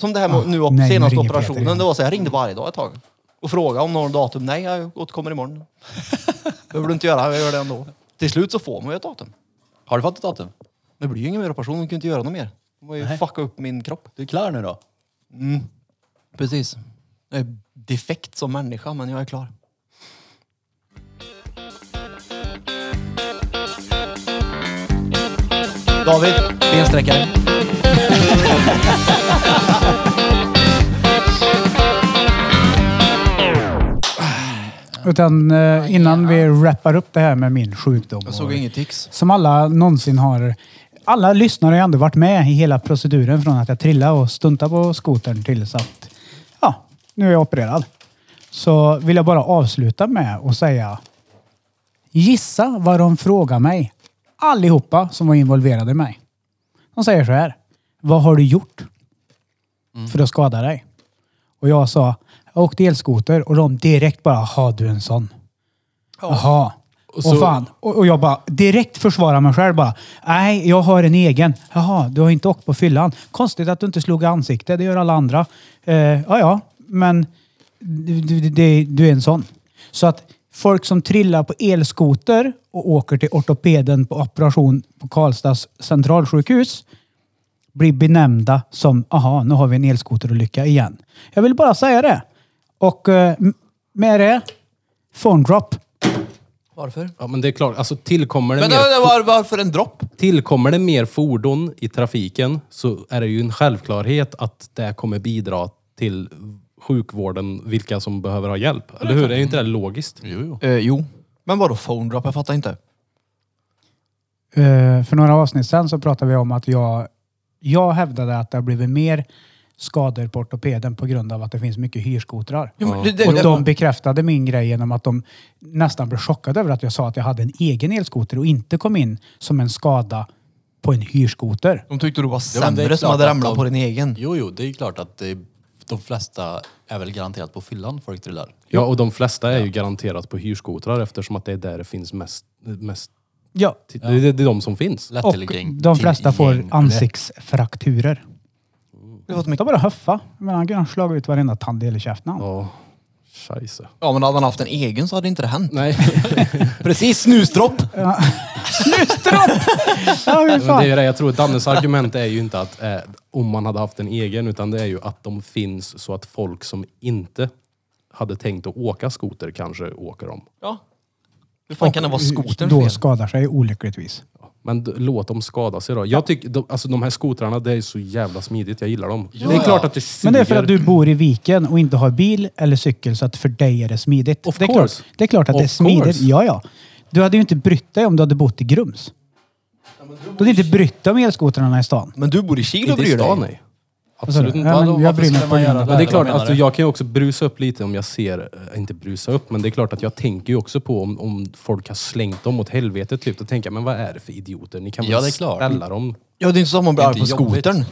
Som det här med nu
nej, nu
senaste
ringer Peter igen.
operationen. Det var så här, jag ringde varje dag ett tag. Och frågade om någon datum. Nej, jag återkommer imorgon. behöver du inte göra, jag gör det ändå. Till slut så får man ju ett datum.
Har du fått ett datum?
Det blir ju ingen mer operation, de kan ju inte göra något mer. De har ju fuckat upp min kropp. Mm.
Du är klar nu då?
Precis. Jag är defekt som människa, men jag är klar. David, bensträckare.
Utan eh, innan vi wrappar upp det här med min sjukdom.
Jag såg
och-
inget tics.
Som alla någonsin har... Alla lyssnare har ju ändå varit med i hela proceduren från att jag trillade och stuntade på skotern till så att... Ja, nu är jag opererad. Så vill jag bara avsluta med att säga... Gissa vad de frågar mig. Allihopa som var involverade i mig. De säger så här. Vad har du gjort för att skada dig? Och jag sa, jag åkte elskoter och de direkt bara, har du en sån? Jaha. Och,
så-
fan. Och, och jag bara direkt försvarar mig själv bara. Nej, jag har en egen. Jaha, du har inte åkt på fyllan. Konstigt att du inte slog i ansiktet. Det gör alla andra. Eh, ja, ja, men du, du, du, du är en sån. Så att folk som trillar på elskoter och åker till ortopeden på operation på Karlstads centralsjukhus blir benämnda som, aha, nu har vi en elskoterolycka igen. Jag vill bara säga det. Och eh, m- med det, phone drop.
Varför?
ja, men det är klart. Alltså, tillkommer, det
Men
mer,
det var, varför en dropp?
tillkommer det mer fordon i trafiken så är det ju en självklarhet att det kommer bidra till sjukvården, vilka som behöver ha hjälp. Eller hur? Det är ju inte det logiskt?
Jo, jo.
Eh, jo. Men vadå phone drop? Jag fattar inte.
Eh, för några avsnitt sedan så pratade vi om att jag, jag hävdade att det har blivit mer skador på ortopeden på grund av att det finns mycket hyrskotrar.
det, det,
Och
det-
de bekräftade min grej genom att de nästan blev chockade över att jag sa att jag hade en egen elskoter och inte kom in som en skada på en hyrskoter.
de tyckte du var
Ja, men det är
sämre som
klart
hade
att
ramlat
de-
på din egen.
Jo, jo, det är ju klart att det, de flesta är väl garanterat på fyllan folk trillar.
Ja, och de flesta är ju garanterat på hyrskotrar eftersom att det är där det finns mest... mest
Ja.
det, det, det är de som finns.
Och
Lätteligring.
de flesta får
Gäng.
ansiktsfrakturer.
Det var så
Ta
mycket-
bara höffa. Men han kunde ha slagit ut varenda tandel i käften. han.
Ja, scheisse.
Ja men hade han haft en egen så hade inte det hänt.
Nej,
Precis, snusdropp!
Ja, hur
men det är
fan.
ju det. Jag tror Dannes argument är ju inte att eh, om man hade haft en egen, utan det är ju att de finns så att folk som inte hade tänkt att åka skoter kanske åker dem.
Ja. Hur fan kan det vara skotern
Då
fel?
skadar sig olyckligtvis.
Men d- låt dem skada sig då. Jag tycker, de, alltså de här skotrarna, det är så jävla smidigt. Jag gillar dem. det är klart att det suger.
Men det är för att du bor i viken och inte har bil eller cykel så att för dig är det smidigt.
Of
det, är
course.
klart, det är klart att det är
Of
smidigt.
course.
Ja, ja. Du hade ju inte brytt dig om du hade bott i Grums. Du hade inte brytt dig om elskotrarna i stan.
Men du bor i Kil och
Inte i
bryr dig.
stan, nej. Absolut inte.
Ja,
då,
men jag
varför
bryr mig
skulle
på
man
grund
göra
av
Men det
det.
är klart,
menar
alltså,
du?
jag kan ju också brusa upp lite om jag ser, eh, inte brusa upp, men det är klart att jag tänker ju också på om, om folk har slängt dem åt helvete. Typ, då tänker jag, men vad är det för idioter? Ni kan väl
Ja, det är klart.
ställa dem?
Ja, det är inte så att man blir
Det är
arg på
inte jobbigt.
skotern.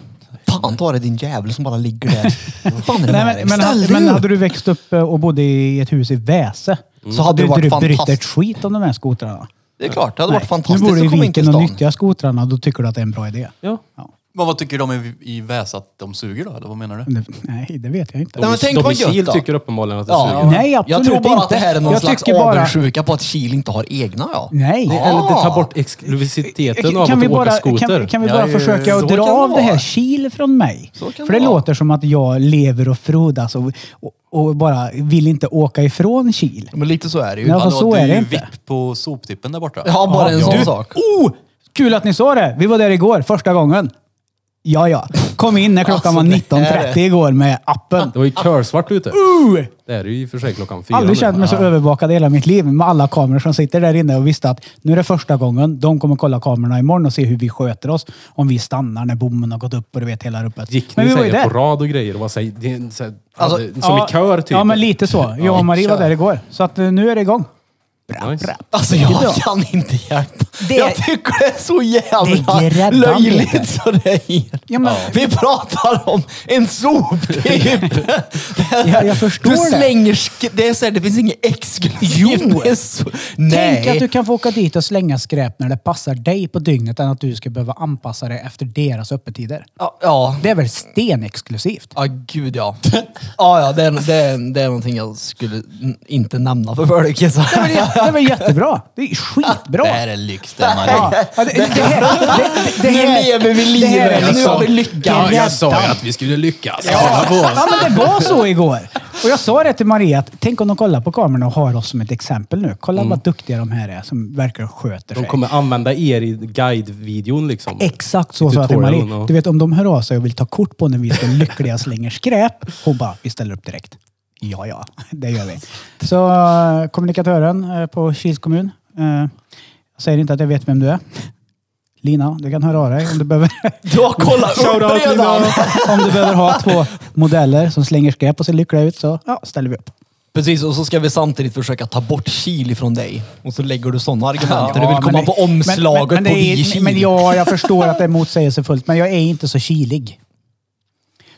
Fan ta det din jävel som bara ligger där. Fan är det
Nej,
med dig?
men, men,
Ställ
hade,
dig
men
upp!
hade du växt upp eh, och bodde i ett hus i Väse
Så hade det
inte
varit
du brytt ett
fantastiskt.
skit om de här skotrarna.
Det är klart, det hade varit
Nej.
fantastiskt
Nu bor du
att komma
i
in till
viken och
stan.
nyttjar skotrarna, då tycker du att det är en bra idé.
Ja.
Men vad tycker de i, i Väs att de suger då? Eller vad menar du?
Men det- Nej, det vet jag inte.
Nej, men tänk vad
Domicil
gött då.
tycker uppenbarligen att det
Ja.
suger.
Nej,
jag
absolut
tror bara att
inte.
det här är någon
Jag
slags
tycker bara-
avundsjuka på att Kil inte har egna ja.
Nej.
Det, eller det tar bort exklusiviteten av
Kan
att
vi,
åka
bara,
skoter.
kan, kan vi
Ja,
bara
ju-
försöka
så
att
kan
dra
det
av det
vara.
här kil från mig?
Så kan
För
det
det
vara.
låter som att jag lever och frodas och, och, och bara vill inte åka ifrån kil.
Men lite så är det ju.
Ja, fast
Hallå,
så
du
är
ju
det inte.
vipp på soptippen där borta.
Ja, bara en
Ja.
sån
Du-
sak.
Oh! Kul att ni sa det! Vi var där igår, första gången. Ja, ja. Kom in när klockan
Alltså, det
var
här är-
19.30 igår med appen.
Det var ju körsvart ute.
Uh!
Det är det ju i och för sig klockan fyra
Aldrig
nu.
känt mig så övervakad i hela mitt liv med alla kameror som sitter där inne och visste att nu är det första gången. De kommer kolla kamerorna imorgon och se hur vi sköter oss. Om vi stannar när bommen har gått upp och du vet hela ruppet.
Gick
Men
ni
vi var ju
säger
där.
på rad och grejer och vad säger... Det är en så här,
Alltså,
hade- som i kör typ.
Ja, men lite så. Jag och Marie var där igår. Så att eh, nu är det igång.
Nice.
Alltså
Det är bra.
jag kan inte hjälpa.
Det-
Jag tycker det är så jävla
Det är gräddan, Peter.
löjligt så det är. helt-
Ja, men-
Vi pratar om en soptipp.
Jag, jag förstår
Du
det.
slänger... sk- Det, är så här, det finns inget exklusivt.
Jo.
Det är så-
Tänk att du
Nej.
kan få åka dit och slänga skräp när det passar dig på dygnet än att du ska behöva anpassa dig efter deras öppettider.
Ja, Ja.
Det är väl stenexklusivt?
Ja, gud ja. Ja, ja, det är, det, är, det är någonting jag skulle n- inte nämna för folk. så.
Det är väl jä- det är väl jättebra? Det är skitbra!
Det här är lyx det
Ja,
Marie.
ja, det, det här, det, det, det
Nu
här,
lever vi
det här
livet.
är
Nu
liksom-
har vi lyckan.
Ja, jag sa ju
att vi skulle lyckas.
Ja, men det var så igår. Och jag sa det till Maria, att tänk om de kollar på kamerorna och har oss som ett exempel nu. Kolla vad duktiga de här är som verkligen sköter
Mm. De
sig.
kommer använda er i guide-videon liksom.
Exakt så sa jag till
Tutorialen,
Marie.
ja.
Du vet om de hör av sig och vill ta kort på när vi står lyckliga och slänger skräp. Hon bara, vi ställer upp direkt. Ja, ja, det gör vi. Så eh, kommunikatören eh, på Kils kommun. eh, Jag säger inte att jag vet vem du är. Lina, du kan höra av dig om du behöver.
Du har kollat upp
Shoutout,
redan.
Lina. Om du behöver ha två modeller som slänger skräp och ser lyckliga ut så ja, ställer vi upp.
Precis, och så ska vi samtidigt försöka ta bort Kil ifrån dig. Och så lägger du sådana argument. när du
Ja,
vill
men
komma
det-
på omslaget
men, men,
på
det är-
Vi Kil.
Men ja, jag förstår att det är motsägelsefullt, men jag är inte så kilig.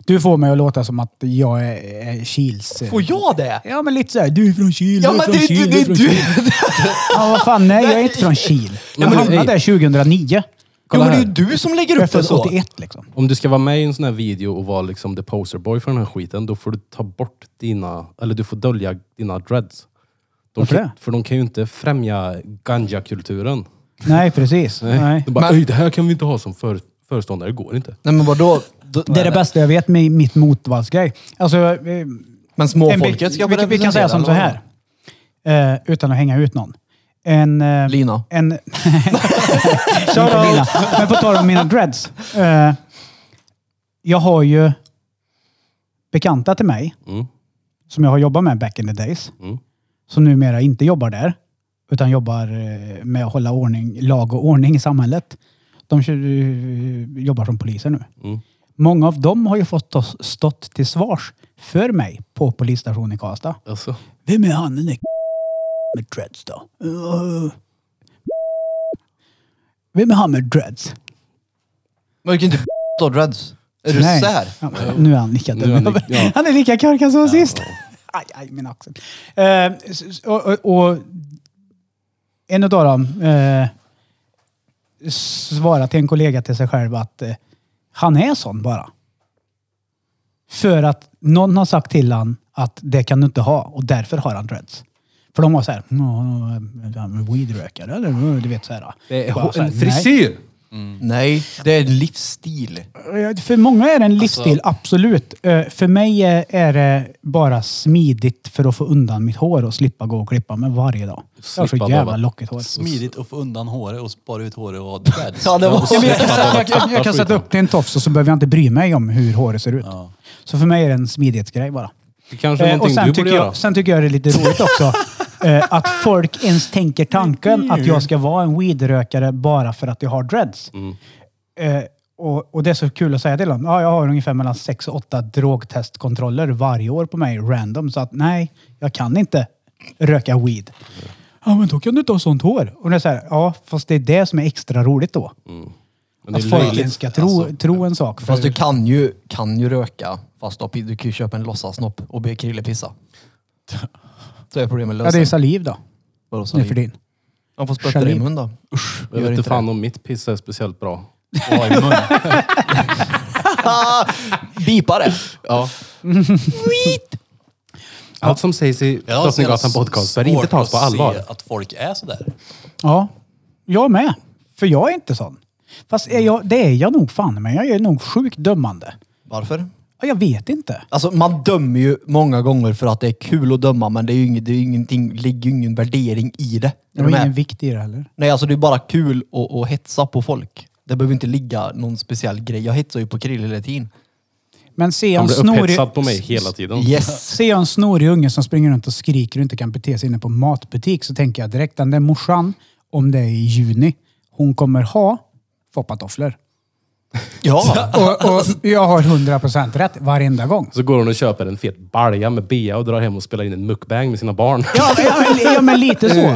Du får mig att låta som att jag är, är Kils... eh,
Får jag det?
Ja, men lite såhär, du är från Kil,
Ja,
du är
men
från
det, det,
Kil, du är
det,
från
du,
Kil. Ja, vad fan, nej, jag är inte från Kil. Jag
men-
hamnade där 2009.
jo,
Kolla
men det är ju
här.
du som lägger
Jag är
upp det
född
så.
81 liksom.
Om du ska vara med i en sån här video och vara liksom the posterboy för den här skiten, då får du ta bort dina, eller du får dölja dina dreads. De
Varför
kan,
det?
För de kan ju inte främja ganja-kulturen.
Nej, precis. Nej.
De bara,
Men-
"Oj, det här kan vi inte ha som för, föreståndare, det går inte.
Nej men vadå? Då-
Det är det bästa jag vet med mitt motvallsgrej. Alltså, eh,
Men
en bild-
småfolket ska
vi, vi kan
representera,
säga som så
eller
här. Eh, utan att hänga ut någon. En, eh,
Lina.
En, inte Lina. Men på tal om mina dreads. Eh, jag har ju bekanta till mig
Mm.
som jag har jobbat med back in the days.
Mm.
Som numera inte jobbar där. Utan jobbar eh, med att hålla ordning, lag och ordning i samhället. De kör, eh, jobbar som poliser nu.
Mm.
Många av dem har ju fått oss stått till svars för mig på polisstationen i Karlstad.
Alltså,
Vem är han den där med dreads då? Uh. Vem är han med dreads?
Men du kan inte ta dreads. Är du
Nej.
sär?
Ja, nu är han lika
Nu är han
dum.
lik- ja.
Han är lika korkad som sist. Aj, aj, min axel. Eh, s- s- och, och, och en av dem eh, svarar till en kollega till sig själv att eh, han är sån bara. För att någon har sagt till han att det kan du inte ha och därför har han dreads. För de var såhär, weedrökare eh, eller "Nå, du vet såhär.
det är
Bara så här,
en
nej.
frisyr!
Nej, det är en livsstil.
Eh, För många är det en livsstil, absolut. Eh, För mig eh, är det bara smidigt för att få undan mitt hår och slippa gå och klippa mig varje dag. Jag har så
Slippa
jävla
behöva-
lockigt hår.
Smidigt att få undan håret och spara ut håret och ha dreads.
Ja, det var...
Ja, men Jag kan, jag, kan, jag kan sätta upp det i en tofs och så behöver jag inte bry mig om hur håret ser ut. Så för mig är det en smidighetsgrej bara.
Det kanske är
Eh, och
Alltså, någonting
sen
du borde
tycker,
göra.
jag, sen tycker jag det är lite roligt också. eh, att folk ens tänker
Mm.
tanken att jag ska vara en weedrökare bara för att jag har dreads.
Mm.
Eh, och, och det är så kul att säga till dem. Ja, jag har ungefär mellan sex och åtta drogtestkontroller varje år på mig random. Så att nej, jag kan inte röka weed. Ja, men då kan du inte ha sånt hår. Och det är så här, ja, fast det är det som är extra roligt då.
Mm. Men
att
det är
folk
löjligt. Alltså,
ens ska tro, tro en sak.
Fast
för-
du kan ju, kan ju röka. Fast då, du kan ju köpa en låtsasnopp och be Krille pissa. Så är problemet
ja,
löst.
det är saliv då,
Vadå,
nu
saliv?
för din.
Man får spötta det i
Saliv.
mun då. Usch,
Jag
gör
vet inte
inte
fan
det.
om mitt piss är speciellt bra.
Vad i mun?
Bipa det!
Ja. Allt som sägs i
Jag har
Drottninggatan
så jävla
podcast bör
svårt
inte tas på
att se
allvar.
att folk är sådär.
Ja, jag med. För jag är inte sån. Fast är jag, det är jag nog fan men jag är nog sjukt dömande.
Varför?
Ja, Jag vet inte.
Alltså man dömer ju många gånger för att det är kul att döma men det, är ju inget, det är ju ingenting, ligger ju ingen värdering i det.
Det
Är du
var
med?
ingen vikt i det heller.
Nej, alltså det är bara kul att, att hetsa på folk. Det behöver inte ligga någon speciell grej. Jag hetsar ju på Krill hela tiden.
Men ser jag
Han
en
blir
snorig...
upphetsad på mig hela tiden.
Yes!
Ser jag en snorig unge som springer runt och skriker och inte kan bete sig inne på matbutik så tänker jag direkt den där morsan, om det är i juni, hon kommer ha foppatofflor.
Ja!
Och, och jag har 100% rätt varenda gång.
Så går hon och köper en fet balja med bea och drar hem och spelar in en mukbang med sina barn.
Ja, ja, men, ja, men lite så.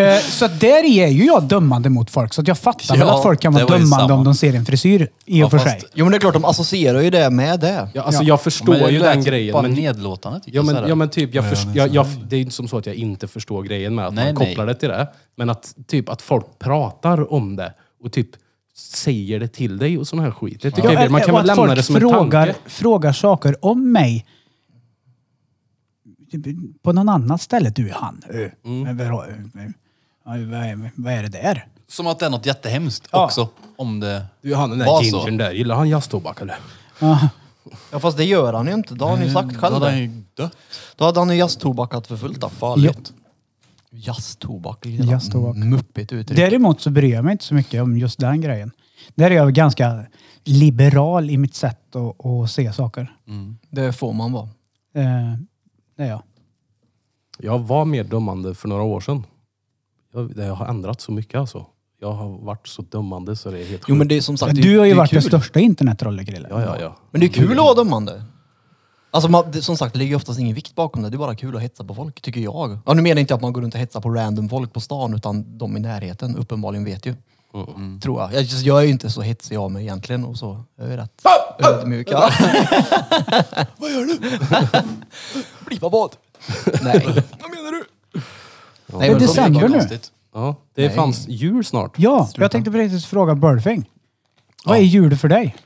Eh, Så att där är ju jag dömande mot folk. Så att jag fattar väl
Ja,
att folk kan vara
det var ju
dömande
samma.
om de ser en frisyr i och
Ja,
för
fast-
sig.
Jo men det är klart, de associerar ju det med det.
Ja, alltså jag förstår
Men det
ju
lät
den grejen.
typ Bara
Men,
nedlåtande tycker
ja,
jag.
men,
sådär.
ja men typ, jag
Ja,
först,
men
jag, jag, det är ju inte som så att jag inte förstår grejen med att
Nej,
man
nej.
kopplar det till det. Men att typ att folk pratar om det och typ säger det till dig och sån här skit. Det tycker
Ja,
jag är- Man kan
Eh, och
väl
att
lämna
folk
det som en
frågar,
tanke.
frågar saker om mig på någon annat ställe. Du, han. ö, men vadå, ö, ö, ja, Vad är, vad är det där?
Som att det är något jättehemskt
Ja.
också. Om det
Du, han den där
var
gingern
så.
där, gillar han jazztobak eller?
Ja fast det gör han ju inte. Det har han ju sagt
Mm, Då
själv.
hade han
det.
ju dött.
Då hade han ju jazztobakat för fullt då.
Farligt.
Jazztobak. lilla
Jazztobak.
Muppigt uttryck.
Däremot så bryr jag mig inte så mycket om just den grejen. Där är jag ganska liberal i mitt sätt att, att se saker.
Det får man vara.
Eh, det är jag.
Jag var mer dömande för några år sedan. Jag, det har ändrat så mycket alltså. Jag har varit så dömande så det är helt
Jo
sjukt.
men det är som sagt...
Men
det-
du har ju
det är
varit den
kul.
största internettrollet, Krille.
Ja, ja, ja.
Men det är kul att vara dömande. Alltså man, det, som sagt, det ligger oftast ingen vikt bakom det. Det är bara kul att hetsa på folk, tycker jag. Ja, nu menar jag inte att man går runt och hetsar på random folk på stan, utan de i närheten uppenbarligen vet ju.
Mm.
Tror jag. Jag, jag är ju inte så hetsig av mig egentligen och så. Jag är rätt ödmjuk. Ja.
Vad gör du?
Blippa vad? Nej. Vad menar du? Nej,
Men
men
det
så-
sänder- Gör nu.
ja. Det är fanns jul snart.
Ja, jag tänkte precis fråga Burfing. Vad är jul för dig?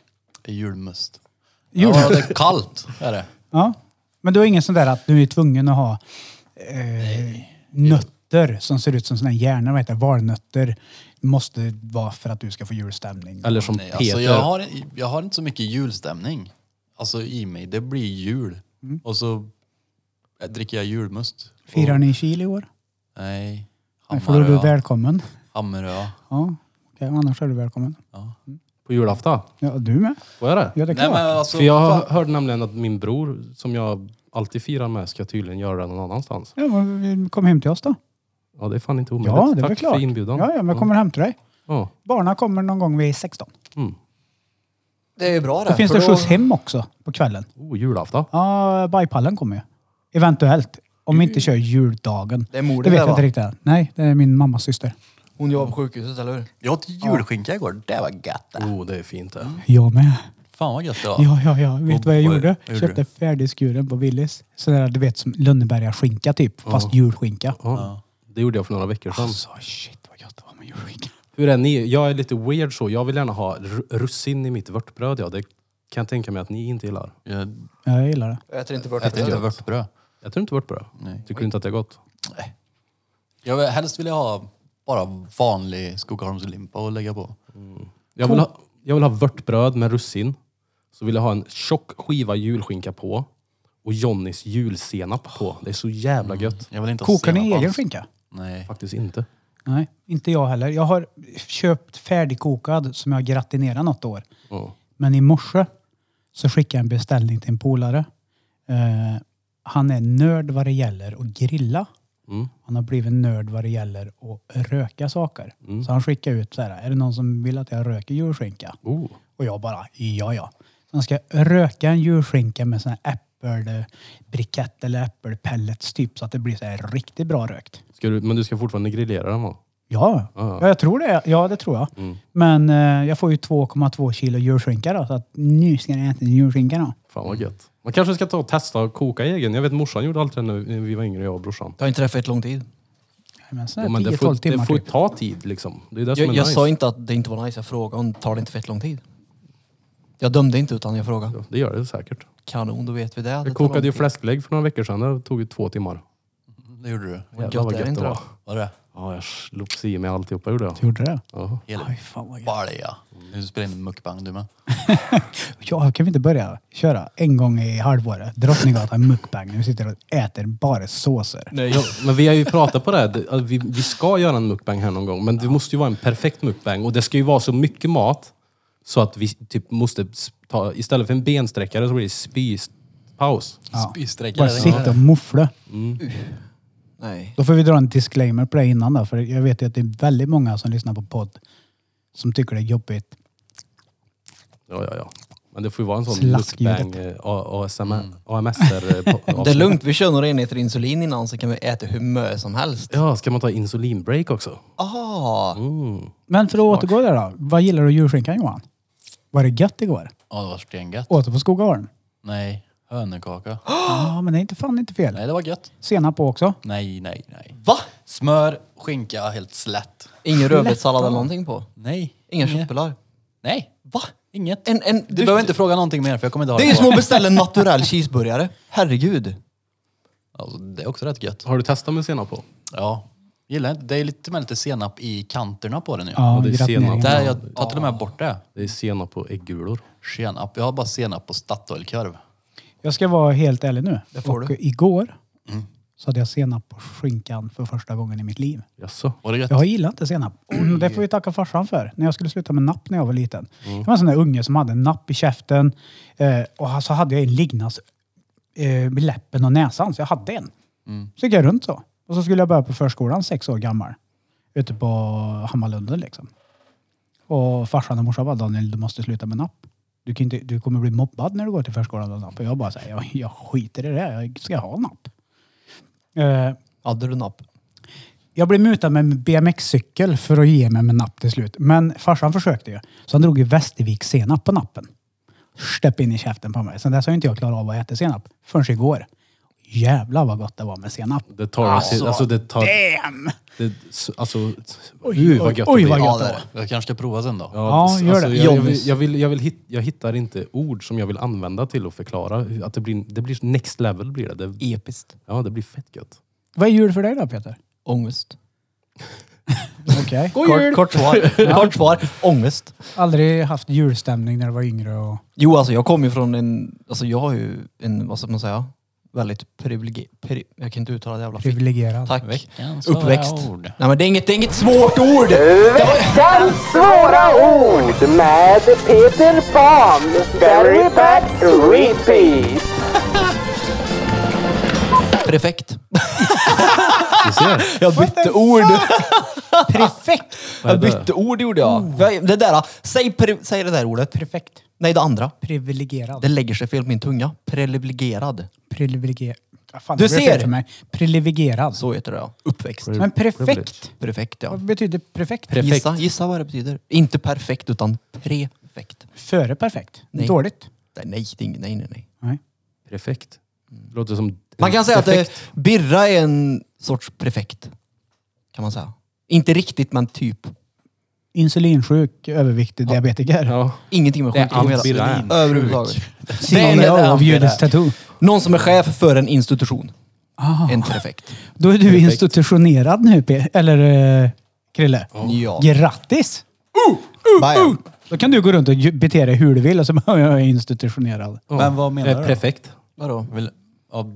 Det är julmust.
Jul.
Ja, det är kallt. Är det.
Ja. Men du har ingen sån där att du är tvungen att ha eh, nötter som ser ut som såna här hjärnor, vad heter det? valnötter. Måste vara för att du ska få julstämning.
Eller som
Nej,
Peter.
alltså, jag, har, jag har inte så mycket julstämning alltså, i mig. Det blir jul. Och så eh, dricker jag julmust.
Mm. Firar ni i Kil i år?
Nej.
Nej, för då är du
Hammarö.
välkommen.
Hammarö.
Ja, okej, annars är du välkommen.
På julafton.
Ja, du med?
Vad är det?
Ja, det är
Nej
klart.
men alltså,
För jag
fan,
hörde nämligen att min bror, som jag alltid firar med, ska tydligen göra det någon annanstans.
Ja, men kom hem till oss då.
Ja, det är fan inte omöjligt.
Ja, det är
Tack
väl klart.
för inbjudan.
Ja, ja, men jag kommer hem till dig.
Ja.
Barna kommer någon gång vid 16.
Det är ju bra det.
Då finns
för
det
då-
skjuts hem också på kvällen.
Oh, julafton.
Ja, bajpallen kommer ju. Eventuellt. Om vi inte kör juldagen.
Det är mor
Det
det
vet
där,
jag
va?
inte riktigt. än. Nej, det är min mammas syster.
Hon jobbar på sjukhuset, eller hur?
jag åt julskinka igår. Det var gött det.
Oh, det är fint det.
Jag med.
Fan vad gött det var.
Ja, ja, ja. Vet
Och
du vad jag
vad-
gjorde?
vad gjorde
Köpte färdigskuren på Willys. Sån där, du vet, som Lönneberga-skinka typ. Fast julskinka.
Ja. Det gjorde jag för några veckor sedan.
Alltså, shit vad gött det var med julskinka.
Hur är ni? Jag är lite weird så. Jag vill gärna ha r- russin i mitt vörtbröd. Ja. Det kan jag tänka mig att ni inte gillar.
Jag
Ja, jag gillar det.
Jag äter inte
äter inte
vörtbröd.
vörtbröd.
Jag tror inte vörtbröd. Nej. Tycker du inte att det är gott?
Nej. Jag vill, helst vill jag ha bara vanlig Skogaholmslimpa och lägga på.
Jag vill, ha, jag vill ha vörtbröd med russin. Så vill jag ha en tjock skiva julskinka på. Och Johnnys julsenap på. Det är så jävla
Mm.
gött.
Jag vill inte ha
Kokar ni
senap
egen
alls.
skinka?
Nej.
Faktiskt inte.
Nej, inte jag heller. Jag har köpt färdigkokad som jag gratinerat något år.
Ja.
Men i morse så skickade jag en beställning till en polare. Eh, han är nörd vad det gäller att grilla.
Mm.
Han har blivit nörd vad det gäller att röka saker.
Mm.
Så han skickar ut så här, är det någon som vill att jag röker djurskinka?
Oh.
Och jag bara, ja ja. Så han ska röka en djurskinka med sån här äppelbrikett eller äppelpellets typ så att det blir så här riktigt bra rökt.
Ska du, men du ska fortfarande grillera den va?
Ja,
Ja. Mm.
ja. jag tror det. Ja, det tror jag. Men eh, jag får ju 2,2 kilo djurskinka då, så att nu ska jag äta djurskinka då.
Fan vad
Mm.
gött. Man kanske ska ta och testa att koka egen. Jag vet morsan gjorde alltid det när vi var yngre, jag och brorsan.
Det har inte träffat lång tid.
Men
Ja,
sådär
men det
10-12
får,
timmar
det får
typ.
ta tid liksom. Det är det som
Jag,
är
jag
nice.
sa inte att det inte var nice, jag frågade om tar det inte fett lång tid. Jag dömde inte utan jag frågade.
Ja, Det gör det säkert.
Kanon, då vet vi det.
Jag kokade ju fläsklägg för några veckor sedan. Det tog ju två timmar.
Det gjorde du.
Jävlar vad
är det
gött det
inte
var.
då?
Var det?
Ja, jag slopsade i mig alltihopa gjorde jag.
Gjorde det?
Ja.
Hela
Aj, fan vad gött.
balja. Du spelar in mukbang du med.
Ja, kan vi inte börja köra en gång i halvåret? Drottninggatan mukbang. Nu sitter och äter bara såser.
Nej,
Ja, men vi har ju pratat på det, här, att vi, vi ska göra en mukbang här någon gång, men det måste ju vara en perfekt mukbang. Och det ska ju vara så mycket mat, så att vi typ måste s- ta, istället för en bensträckare så blir det spispaus.
Ja. Bara
Spysträckare.
sitta och muffla.
nej.
Då får vi dra en disclaimer på det innan då, för jag vet ju att det är väldigt många som lyssnar på podd som tycker det är jobbigt.
Ja, ja, ja. Men det får ju vara en sån
Slaskljudet.
mukbang, eh, A- ASMR, AMSR. eh, på-
Mm. Det är lugnt, vi kör några enheter insulin innan så kan vi äta hur mycket som helst.
Ja, Mm. ska man ta insulinbreak också?
Ah,
Men för att återgå där då. Vad gillar du djurskinkan Johan? Var det gött igår?
Ja, det var stengött.
Åter på Skogaholm?
Nej, hönökaka.
Ja, men det är inte fan inte fel.
Nej, det var gött.
Senap på också.
Nej, nej, nej.
va?
Smör, skinka, helt slätt.
Ingen rödbetssallad eller någonting på?
Nej.
Inga
Inget.
köttbullar?
Nej,
Va?
inget.
En, en,
Du, behöver inte fråga någonting mer för jag kommer inte ha
Det är ju
kvar.
som att beställa en naturell cheeseburgare. Herregud.
Alltså, det är också rätt gött.
Har du testat med senap på?
Ja. Gillar inte. Det är lite med lite senap i kanterna på den nu.
Ja,
det är
gratinering.
senap.
Där jag tar till och med bort det.
Det är senap på äggulor.
Senap. Jag har bara senap på statoilkorv.
Jag ska vara helt ärlig nu.
Det får
och
du. Mm.
igår så hade jag senap på skinkan för första gången i mitt liv.
Jaså?
Var det gött?
Jag gillar inte senap. Det får vi tacka farsan för. När jag skulle sluta med napp när jag var liten. Jag var en sån där unge som hade en napp i käften. Eh, och så hade jag en lignas eh, med läppen och näsan. Så jag hade en. Så gick jag runt så. Och så skulle jag börja på förskolan sex år gammal. Ute på Hammarlunden liksom. Och farsan och morsan bara, Daniel du måste sluta med napp. Du, kan inte, du kommer bli mobbad när du går till förskolan med napp. Och jag bara säger, jag, jag skiter i det. Jag ska ha napp. Eh,
Hade du napp?
jag blev mutad med en BMX-cykel för att ge mig med napp till slut. Men farsan försökte ju. Så han drog ju Västervik senap på nappen. Stepp in i käften på mig. Sen dess har inte jag klarat av att äta senap. Förrän igår. Jävlar vad gott det var med senap.
Det tar... Alltså, alltså det tar...
Damn!
Det, alltså... Oj, vad gött det
oj,
blir.
vad gött
Ja,
det
det
var.
är
Jag kanske ska prova sen då.
Ja,
s-
gör det.
Jag, jag, vill,
Jobbis.
jag, vill, jag, vill hit, jag hittar inte ord som jag vill använda till att förklara. hur- Att det, blir, det blir next level. Blir det. Det,
Episkt.
ja, det blir fett gött.
Vad är jul för dig då Peter?
Ångest.
Okej.
Kort, kort svar. kort svar. Ångest.
Aldrig haft julstämning när du var yngre och...
Jo, alltså jag kommer ju från en, alltså jag har ju en, vad ska man säga, väldigt privilegie, pri, jag kan inte uttala det jävla fint.
Privilegierad.
Tack.
Veckans svåra
Uppväxt.
ord.
Nej men det är inget, det är inget svårt ord!
Veckans svåra ord med Peter Pan. Very bad repeat.
Prefekt.
Du ser.
Jag bytte ord.
Perfekt! Oh.
Jag bytte ord gjorde jag. Jag- Det där, säg, pre, säg det där ordet. Perfekt. Nej, det andra.
Privilegierad.
Det lägger sig fel på min tunga. Privilegierad.
Privilegierad.
Du ser.
För mig. Privilegierad.
Så heter det ja. Uppväxt.
Men perfekt.
Privilege.
Prefekt ja.
Vad betyder perfekt?
Prefekt.
Gissa, gissa vad det betyder. Inte perfekt utan prefekt.
Före perfekt.
Nej.
Dåligt.
Nej, nej, det är ing- nej, nej, nej.
Nej.
Perfekt. Låter som...
Man kan säga
defekt.
att eh, Birra är en sorts prefekt. Kan man säga. Inte riktigt, men typ.
Insulinsjuk, överviktig diabetiker.
Ja.
Ingenting med
Det är
sjukdom att
allt Birra
göra.
är.
Överhuvudtaget. Det är en- det
Signal
är
av
allt Birra.
judiskt tattoo.
Någon som är chef för en institution.
Ah,
En prefekt.
då är du
Perfekt.
institutionerad nu, P- eller eh, Krille.
Ja.
Grattis!
Bayern.
Då kan du gå runt och ju- bete dig hur du vill och så bara, jag är institutionerad.
Ja.
Men vad menar
Eh,
du då?
Prefekt.
Vadå?
Vill, ja,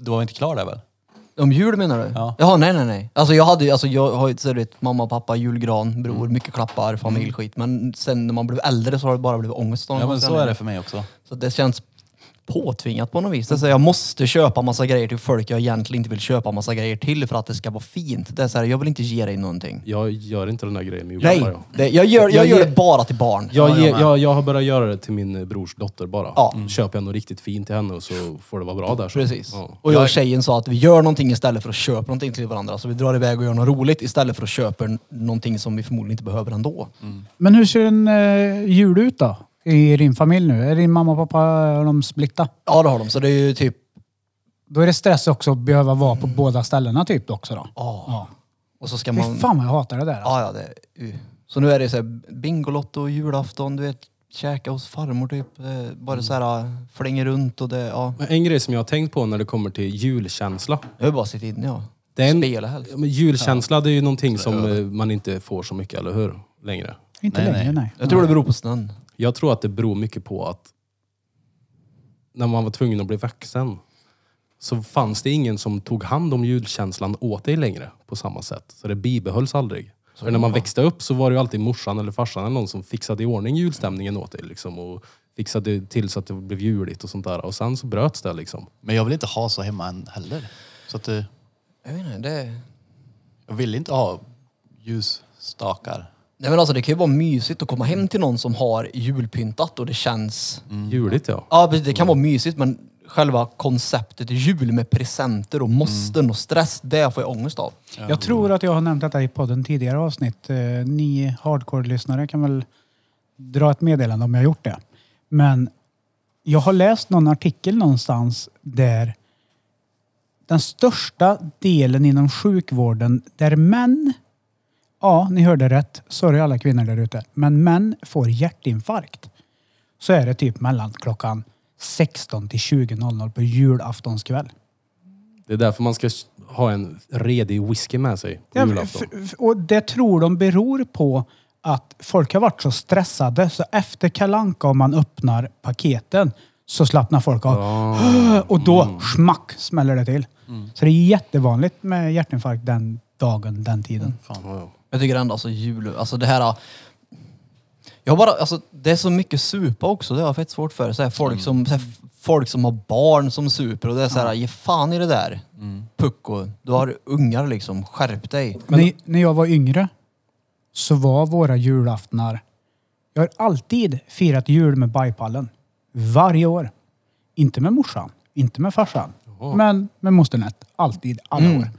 du var inte klar där väl?
Om jul menar du?
Ja.
Jaha, nej, nej, nej. Alltså jag hade ju- alltså jag har ju så du vet, mamma, pappa, julgran, bror, mycket klappar, familj, skit. Mm. Men sen när man blev äldre så har det bara blivit ångest. av
Ja,
någon
men så
anledning.
är det för mig också.
Så det känns påtvingat på något vis. Det är så här, jag måste köpa massa grejer till folk jag egentligen inte vill köpa massa grejer till för att det ska vara fint. Det är så här, jag vill inte ge dig någonting.
Jag gör inte den där grejen med
Nej,
julklappar. jag.
det, jag, gör, jag
Jag
gör
ger-
det bara till barn.
Jag, ger, jag, jag har börjat göra det till min eh, brors dotter bara.
Ja.
Köper jag något riktigt fint till henne och så får det vara bra där. Så.
Precis.
Ja.
Och jag och tjejen sa att vi gör någonting istället för att köpa någonting till varandra. Så vi drar iväg och gör något roligt istället för att köpa n- någonting som vi förmodligen inte behöver ändå.
Mm.
Men hur ser en eh, jul ut då? I din familj nu? Är din mamma och pappa, har de splitta?
Ja, det har de. Så det är ju typ...
Då är det stress också att behöva vara på båda ställena typ också då.
Ja. Och så ska
Fy
man...
fan vad jag hatar det där. alltså.
Ja, ja, det, uh. Så nu är det så här Bingolotto, julafton, du vet, käka hos farmor typ. Eh, Bara så här, eh, flänga runt och det, ja.
Men En grej som jag har tänkt på när det kommer till julkänsla.
Jag vill bara sitta inne ja.
Det är en-
Spela helst.
Ja, men Julkänsla det är ju någonting som eh, man inte får så mycket, eller hur? Längre.
Inte
Nej,
längre,
nej.
nej.
Jag tror det beror på snön.
Jag tror att det beror mycket på att när man var tvungen att bli vuxen så fanns det ingen som tog hand om julkänslan åt dig längre på samma sätt. Så det bibehölls aldrig. För när man växte upp så var det ju alltid morsan eller farsan eller någon som fixade i ordning julstämningen åt dig. Liksom, och fixade till så att det blev juligt och sånt där. Och sen så bröts det liksom.
Men jag vill inte ha så hemma än heller. Så att eh,
Jag vet inte, det...
jag vill inte ha ljusstakar.
Nej men alltså det kan ju vara mysigt att komma hem till någon som har julpyntat och det känns...
Mm. Juligt ja.
Ja precis, det kan vara mysigt men själva konceptet jul med presenter och måsten och stress, det får jag ångest av.
Jag tror att jag har nämnt detta i podden tidigare avsnitt. Eh, Ni hardcore-lyssnare kan väl dra ett meddelande om jag har gjort det. Men jag har läst någon artikel någonstans där den största delen inom sjukvården där män, ja ni hörde rätt, sorry alla kvinnor där ute, men män får hjärtinfarkt. Så är det typ mellan klockan 16 till 20.00 på julaftonskväll.
Det är därför man ska ha en redig whisky med sig på
Ja, men
julafton.
f- f- och det tror de beror på att folk har varit så stressade så efter Kalanka om man öppnar paketen så slappnar folk av. Och då smack smäller det till. Så det är jättevanligt med hjärtinfarkt den dagen, den tiden.
Jag tycker ändå alltså jul, alltså det här... Jag har bara, alltså det är så mycket supa också, det har jag fett svårt för. Så här, folk,
Mm.
som, så här, folk som har barn som super och det är så här, ge fan i det där.
Mm.
Pucko, du har ungar liksom, skärp dig.
när, när jag var yngre så var våra julaftnar... Jag har alltid firat jul med bajpallen. Varje år. Inte med morsan, inte med farsan. Men med mosternett. Alltid, alla år.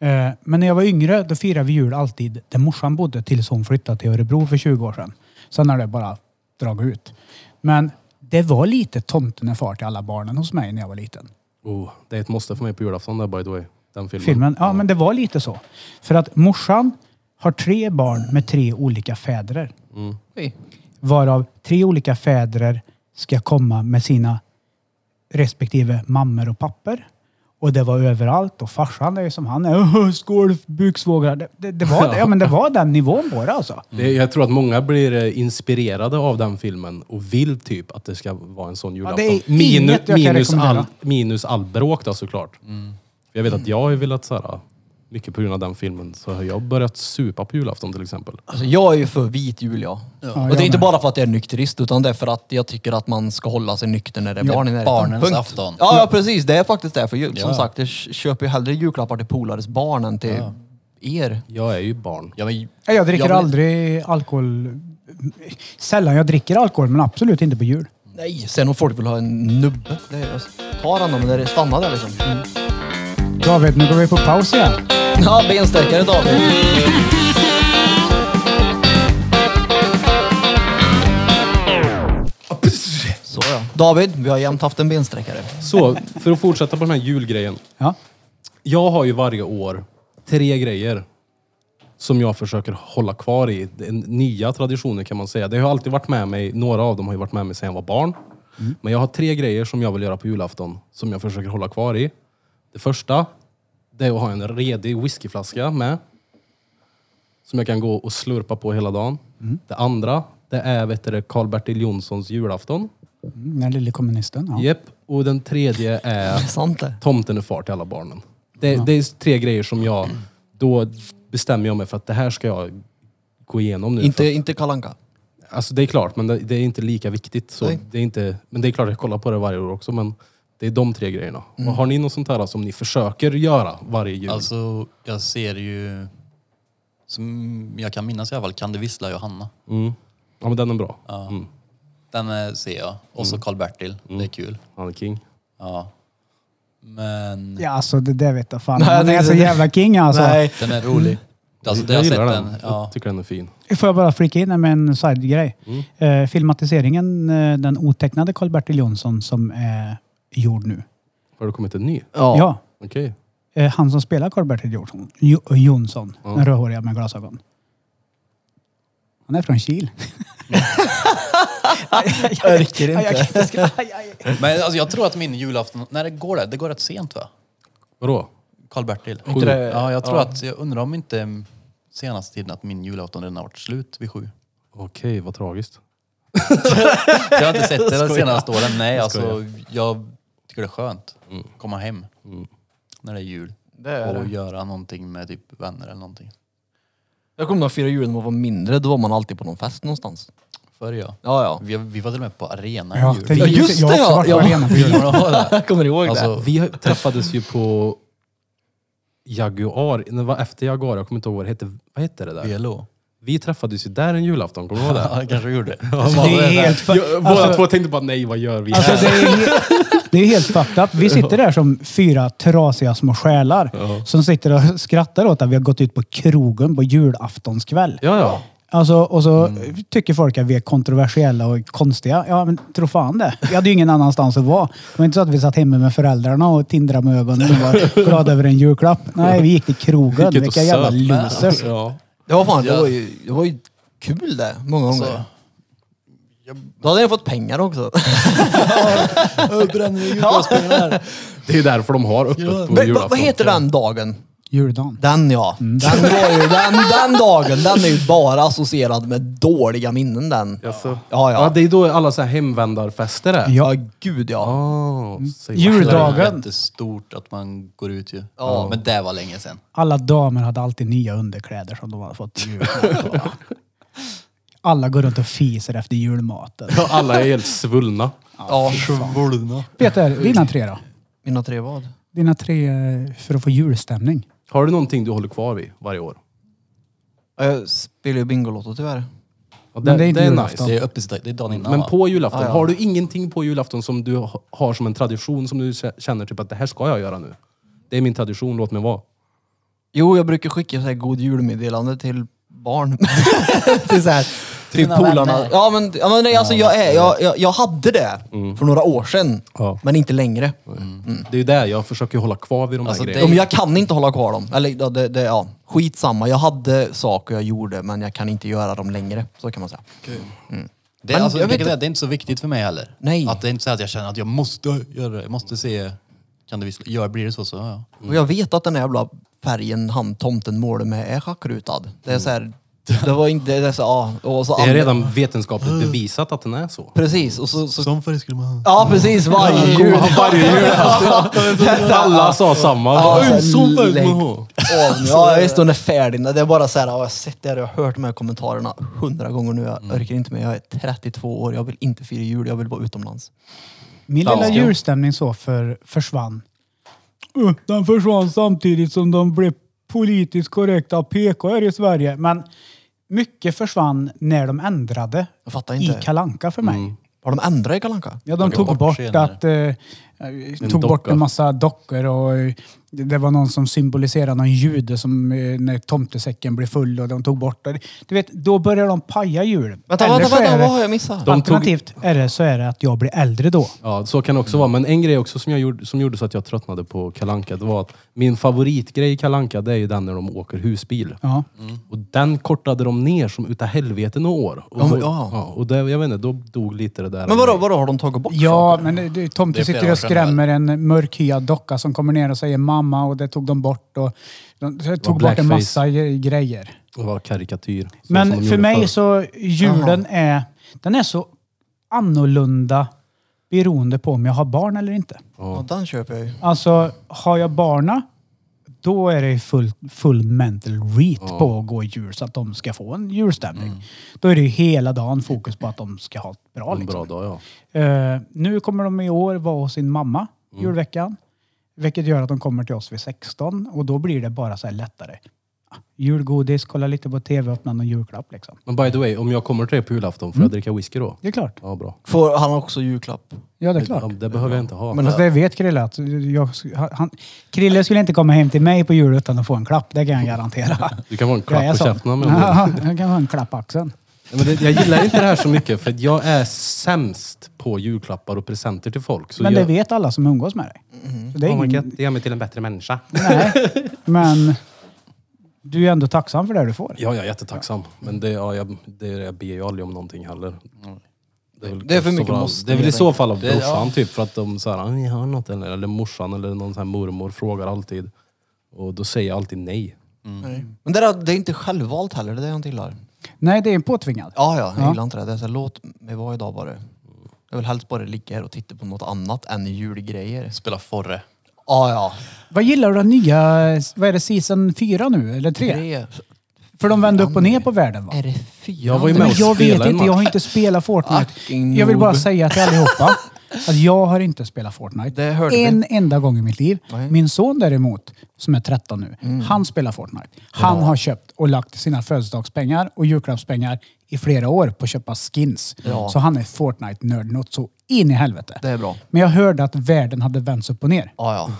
Eh, Men när jag var yngre då firade vi jul alltid där morsan bodde tills hon flyttade till Örebro för 20 år sedan. Sen har det bara dragit ut. Men det var lite tomten är far till alla barnen hos mig när jag var liten.
Oh, det är ett måste för mig på julafton där by the way. Den filmen.
filmen. Ja, men det var lite så. För att morsan har tre barn med tre olika fäder.
Oj.
Varav tre olika fäder ska komma med sina respektive mammor och papper. Och det var överallt och farsan är ju som han är. "Åh, Skål buksvågrar. Det, det, det, var, ja, men det var den nivån på det alltså.
Det, jag tror att många blir eh, inspirerade av den filmen och vill typ att det ska vara en sån julafton.
är
Minu-
inget jag kan
minus,
rekommendera.
all, minus all bråk då såklart. För Jag vet att jag har ju velat såhär, mycket på grund av den filmen, så har jag börjat supa på julafton till exempel.
Alltså jag är ju för vit jul ja. och
jag
det är inte
med.
bara för att jag är nykterist utan det är för att jag tycker att man ska hålla sig nykter när det är barn i närheten.
barnens
Punkt.
afton.
Ja, ja precis, det är faktiskt det. För ju- som sagt, jag köper ju hellre julklappar till polares barn än till er.
Jag är ju barn.
Ja, men,
Nej, Jag dricker
vill-
aldrig alkohol. Sällan jag dricker alkohol, men absolut inte på jul.
Nej, sen om folk vill ha en nubbe. Det är, jag alltså, tar han då, men det stannar där liksom.
David, nu går vi på paus igen.
Ja, bensträckare David. Så ja. David, vi har jämt haft en bensträckare.
Så, för att fortsätta på den här julgrejen.
Ja.
Jag har ju varje år tre grejer som jag försöker hålla kvar i. Det är Nya traditioner kan man säga. Det har alltid varit med mig, några av dem har ju varit med mig sedan jag var barn. Men jag har tre grejer som jag vill göra på julafton som jag försöker hålla kvar i. Det första, det är att ha en redig whiskyflaska med. Som jag kan gå och slurpa på hela dagen. Det andra, det är vet du, det, Karl-Bertil Jonssons julafton.
Mm, Den lille kommunisten. Ja.
Jep. Och den tredje är
Det är sant det.
tomten är far till alla barnen. Det, det är tre grejer som jag, då bestämmer jag mig för att det här ska jag gå igenom nu.
Inte,
för,
inte Kalanka.
Alltså det är klart, men det, det är inte lika viktigt. Så
Nej.
det är inte, men det är klart, jag kollar på det varje år också, men det är de tre grejerna.
Mm.
Och har ni något sånt här som ni försöker göra varje jul?
Alltså, jag ser ju... Som jag kan minnas i alla fall, Kan det vissla Johanna.
Mm. Ja, men den är bra.
Ja. Den eh, ser jag. Och så Karl-Bertil. Det är kul.
Han är king.
Ja. Men
Ja, alltså det där vet jag fan.
Nej,
Han
det-
är så
det-
jävla king alltså.
Nej.
den är rolig. Alltså, det har
jag
jag sett
gillar
den.
den.
Ja.
Jag tycker den är fin.
Får jag bara flika in här med en sidegrej? Eh, filmatiseringen, eh, den otecknade Karl-Bertil Jonsson som är gjord nu.
Har det kommit en ny?
Ja.
Ja,
Okej.
eh, han som spelar Karl-Bertil Jonsson, jo, Jonsson den rödhåriga med glasögon. Han är från Kil.
Örker
Jag kan
inte.
inte skriva. Aj, aj, aj.
Men alltså, jag tror att min julafton... När det går det? Det går rätt sent va?
Vadå?
Karl-Bertil.
Inte det-
Ja, jag tror att... Jag undrar om inte mm, senaste tiden att min julafton redan har varit slut vid sju.
Okej, vad tragiskt.
Jag har inte sett det de
Skojar.
senaste åren. Nej, alltså
skojar.
jag tycker det är skönt att komma hem när det är jul.
Det är
och
det.
göra någonting med typ vänner eller någonting.
Jag kommer ihåg att fira jul när man var mindre, då var man alltid på någon fest någonstans.
Förr ja.
Ja, ja.
Vi, vi var till och med på arena
Ja,
i jul.
tänk-
Ja, just
Jag har
det
också
ja!
varit på
ja.
arena på jul.
Jag kommer ihåg det.
Alltså,
Vi har- träffades ju på Jaguar, det var efter Jaguar, jag kommer inte ihåg vad det hette. Vad hette det där?
PLO.
Vi träffades ju där en julafton, kommer du ihåg det?
Ja, jag kanske gjorde det.
Alltså, det är helt fa-
Jag, båda
alltså-
två tänkte bara nej, vad gör vi
Alltså
här?
det är, he- det är helt fucked up. Vi sitter där som fyra trasiga små själar som sitter och skrattar åt att vi har gått ut på krogen på julaftonskväll.
Ja, ja.
Alltså, och så tycker folk att vi är kontroversiella och konstiga. Ja, men tro fan det. Vi hade ju ingen annanstans att vara. Det var inte så att vi satt hemma med föräldrarna och tindrade med ögonen och var glada över en julklapp. Nej, vi gick till krogen.
Gick ut och
Vilka jävla
söp med.
losers.
Ja.
Det var fan, det
Ja.
var ju, det var ju kul det, många gånger.
Så-
Då hade jag fått pengar också.
Bränner ju
Ja.
Det är ju därför de har öppet på
Men, vad,
julafton.
vad heter den dagen?
Juldagen.
Den ja. Den, var ju, den, den dagen, den är ju bara associerad med dåliga minnen den. Ja,
Jaså?
ja.
Ja, det är då alla så här hemvändarfester är.
Ja.
gud ja.
Ah, säg vad.
Jul-
Det är
Dagen.
jättestort att man går ut ju.
Ja.
Men det var länge sedan.
Alla damer hade alltid nya underkläder som de hade fått i julklapp. Ja. Alla går runt och fiser efter julmaten.
Ja, Alla är helt svullna.
ja.
Svullna.
Peter, dina tre då?
Mina tre vad?
Dina tre eh, för att få julstämning.
Har du någonting du håller kvar vid varje år?
Ja, Jag spelar ju Bingolotto tyvärr.
Ja,
Men det är inte julafton.
Det är öppet, det är dagen innan
Men
va?
på julafton,
Ja, ja.
har du ingenting på julafton som du ha- har som en tradition som du kä- känner typ att det här ska jag göra nu? Det är min tradition, låt mig vara.
Jo, jag brukar skicka så här god julmeddelande till barn. till så här, till
dina
polarna.
vänner.
Ja men, ja, men Mm. nej, alltså, jag, är, jag, jag, jag hade det för några år sedan,
Ja.
men inte längre. Mm.
Det är ju det, jag försöker hålla kvar vid de
Alltså,
här
det-
Ja,
grejerna.
men jag kan inte hålla kvar dem. Eller ja, det, det, ja, skitsamma. Jag hade saker jag gjorde, men jag kan inte göra dem längre. Så kan man säga.
Det är,
Men
alltså,
jag
jag
vet
kan säga, det är inte så viktigt för mig heller.
Nej.
Att det är inte så att jag känner att jag måste göra det. Jag måste se... Kan det vissla? Ja, blir det så så ja. ja.
Mm.
Och jag vet att den här jävla färgen han tomten målade med är schackrutad. Det är så här, det var inte... Det är så, ja, och så
Mm. Det är redan vetenskapligt bevisat att den är så.
Precis. Och så, så,
Som förr skulle man...
ja, precis. Varje jul.
Varje jul. Alla sa samma.
Ja, alltså-
Bara,
så här,
Alltså,
"Så fett,
lägg
maha."
av nu. Ja, just den är färdig. Det är bara så här, ja, jag har sett det här och jag har hört de här kommentarerna hundra gånger nu.
Mm.
Jag orkar inte mer. Jag är 32 år. Jag vill inte fira jul. Jag vill vara utomlands.
Min lilla julstämning så för, försvann. Uh, Den försvann samtidigt som de blev politiskt korrekta PKR i Sverige. Men mycket försvann när de ändrade
Jag fattar
i
inte. Mm.
Kalanka för mig.
Har de ändrat i Kalle Anka?
Ja, de
Tagit
tog
bort
bort,
scener.
att... Eh, eh, tog bort
docka.
en massa dockor och eh, det det var någon som symboliserade någon jude som, eh, när tomtesäcken blev full och de tog bort det. Du vet, då börjar de paja julen.
Vänta,
Eller så
vänta,
är
vänta.
det-
Vad har jag missat?
De tog-
Alternativt är det så är det att jag blir äldre då.
Ja, så kan det också vara. Men en grej också som, jag gjorde, som gjorde så att jag tröttnade på Kalanka det var att min favoritgrej i Kalanka det är ju den när de åker husbil.
Ja.
Mm.
Och den kortade de ner som utav helvete några år. Och,
Ja, men-
då-
ja.
och det, jag vet inte, då dog lite det där.
Men vadå, vadå har de tagit bort
Ja,
saker?
men det- det-
Det
tomten
är flera
sitter
år
och
sedan,
skrämmer en mörkhyad docka som kommer ner och säger mamma och det tog de bort. Och de de tog bort
blackface.
en massa ge- grejer.
Det var karikatyr. så som
Men
de
för
gjorde förr.
mig så, julen är, den är så annorlunda beroende på om jag har barn eller inte.
Ja, den köper jag ju.
Alltså, har jag barna, då är det ju full, full mental reat på att gå i djur så att de ska få en djurstämning. Då är det ju hela dagen fokus på att de ska ha ett bra
En
liksom.
bra dag, ja.
Eh, nu kommer de i år vara hos sin mamma
Mm.
julveckan. Vilket gör att de kommer till oss vid 16 och då blir det bara så här lättare. Ah, Julgodis, kolla lite på tv, öppna någon julklapp liksom.
Men by the way, om jag kommer till dig på julafton,
Mm.
får jag dricka whisky då?
Det är klart.
Ja, bra.
Får han också julklapp?
Ja, det är
Ja,
klart.
det behöver jag inte ha.
Men Fast det vet Krille att jag, han, Krille skulle inte komma hem till mig på jul utan att få en klapp. Det kan jag garantera.
du kan få en
Jag är
klapp på
sån.
käften om du vill.
Ja, jag kan ha en klapp på axeln.
Nej, Men det, jag gillar inte det här så mycket för att jag är sämst på julklappar och presenter till folk. Så
Men det
jag,
vet alla som umgås med dig. Så det är
oh my
ingen,
God, det gör mig till en bättre människa.
nej. Men du är ändå tacksam för det du får.
Ja, jag är jättetacksam. Men det, ja, jag, det, jag ber ju aldrig om någonting heller. Det är, väl
Det är för
kanske så
mycket
bra-
måste,
Det är väl i
helt
så
enkelt.
fall av
Det- ja.
brorsan typ. För att de så här, "Ah, ni har något eller, eller morsan eller någon sån här mormor frågar alltid. Och då säger jag alltid nej.
Men det, där, det är inte självvalt heller, det är det jag inte gillar.
Nej, det är en påtvingad.
Ja, ja, jag
Ja.
gillar inte det. det är så här, låt mig vara idag bara. Jag vill helst bara ligga här och titta på något annat än julgrejer.
Spela Forre.
Ja, ja.
Vad gillar du den nya, vad är det, season 4 nu? Eller 3?
Tre.
För de vände upp och ner på världen va?
Är det fyra?
Jag var ju
Men
med och
jag vet
spelade en
inte, jag har
match.
inte spelat Fortnite.
Fucking
Jag vill bara
noob.
säga till allihopa att jag har inte spelat Fortnite.
Det hörde vi.
en enda gång i mitt liv.
Nej. Mm.
Min son däremot, som är 13 nu, han spelar Fortnite. Han har köpt och lagt sina födelsedagspengar och julklappspengar i flera år på att köpa skins.
Ja.
Så han är Fortnite-nörd något så in i helvete.
Det är bra.
Men jag hörde att världen hade vänts upp och ner.
Ja, ja.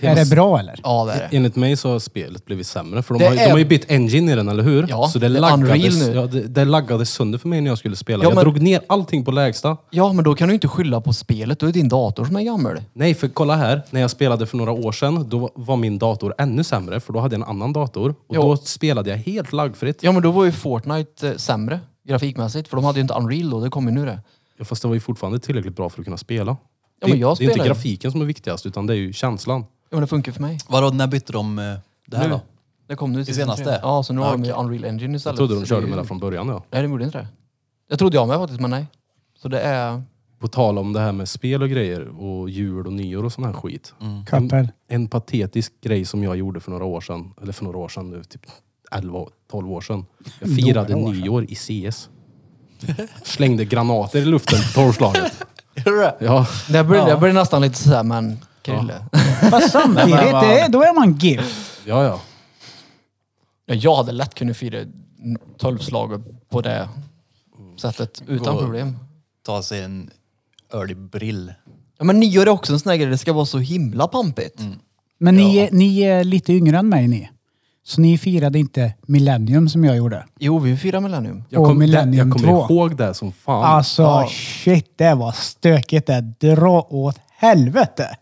Är det bra eller?
Ja, det är det.
Enligt mig så har spelet blivit sämre. För de,
Det
har, ju-
är-
de har ju bytt engine i den, eller hur?
Ja,
så det,
det är Unreal
laggades,
nu.
ja, det, det laggades sönder för mig när jag skulle spela.
Ja,
jag
men-
drog ner allting på lägsta.
Ja, men då kan du inte skylla på spelet. Då är det din dator som är gammal.
Nej, för kolla här. När jag spelade för några år sedan, då var min dator ännu sämre. För då hade jag en annan dator. Och
Ja.
då spelade jag helt laggfritt.
Ja, men då var ju Fortnite eh, sämre grafikmässigt. För de hade ju inte Unreal då. Det kommer ju nu det.
Ja, fast det var ju fortfarande tillräckligt bra för att kunna spela.
Ja, men jag
det, det är inte
spelar ju.
grafiken som är viktigast, utan det är ju känslan.
Ja, men det funkar för mig.
Vadå, när bytte de eh, det här
Nu.
då?
Det kom nu i season
senaste?
tre. Ja, så nu har
Ah,
de ju Unreal Engine istället.
Jag trodde
Så
de
Alltså, det
körde
är ju-
med det från början. Ja.
Nej, de gjorde inte det. Jag trodde jag med faktiskt, men nej. Så det är...
På tal om det här med spel och grejer och jul och nyår och sån här skit.
Mm.
Mm.
Kappel.
en patetisk grej som jag gjorde för några år sedan, eller för några år sedan nu, typ 11, 12 år sedan. Jag firade
Några år sedan.
nyår i CS. Slängde granater i luften på tolvslaget. Ja,
Det blir, det blir nästan lite sådär, men Krille. Ja.
Fast samtidigt, det, är- då är man gift.
ja, ja.
Jag hade lätt kunnat fira n- tolvslaget på det sättet utan
Gå-
problem.
Ta sig en öl i brill.
Ja, men nyår är också en sån här grej, det ska vara så himla pampigt.
Mm.
Men ni, är, ni är lite yngre än mig ni. Så ni firade inte millennium som jag gjorde.
Jo, vi firar millennium.
Jag,
Och
kom, det,
Millennium
jag kommer
2.
ihåg det som fan.
Alltså
Ja.
shit, det var stökigt det. Dra åt helvete.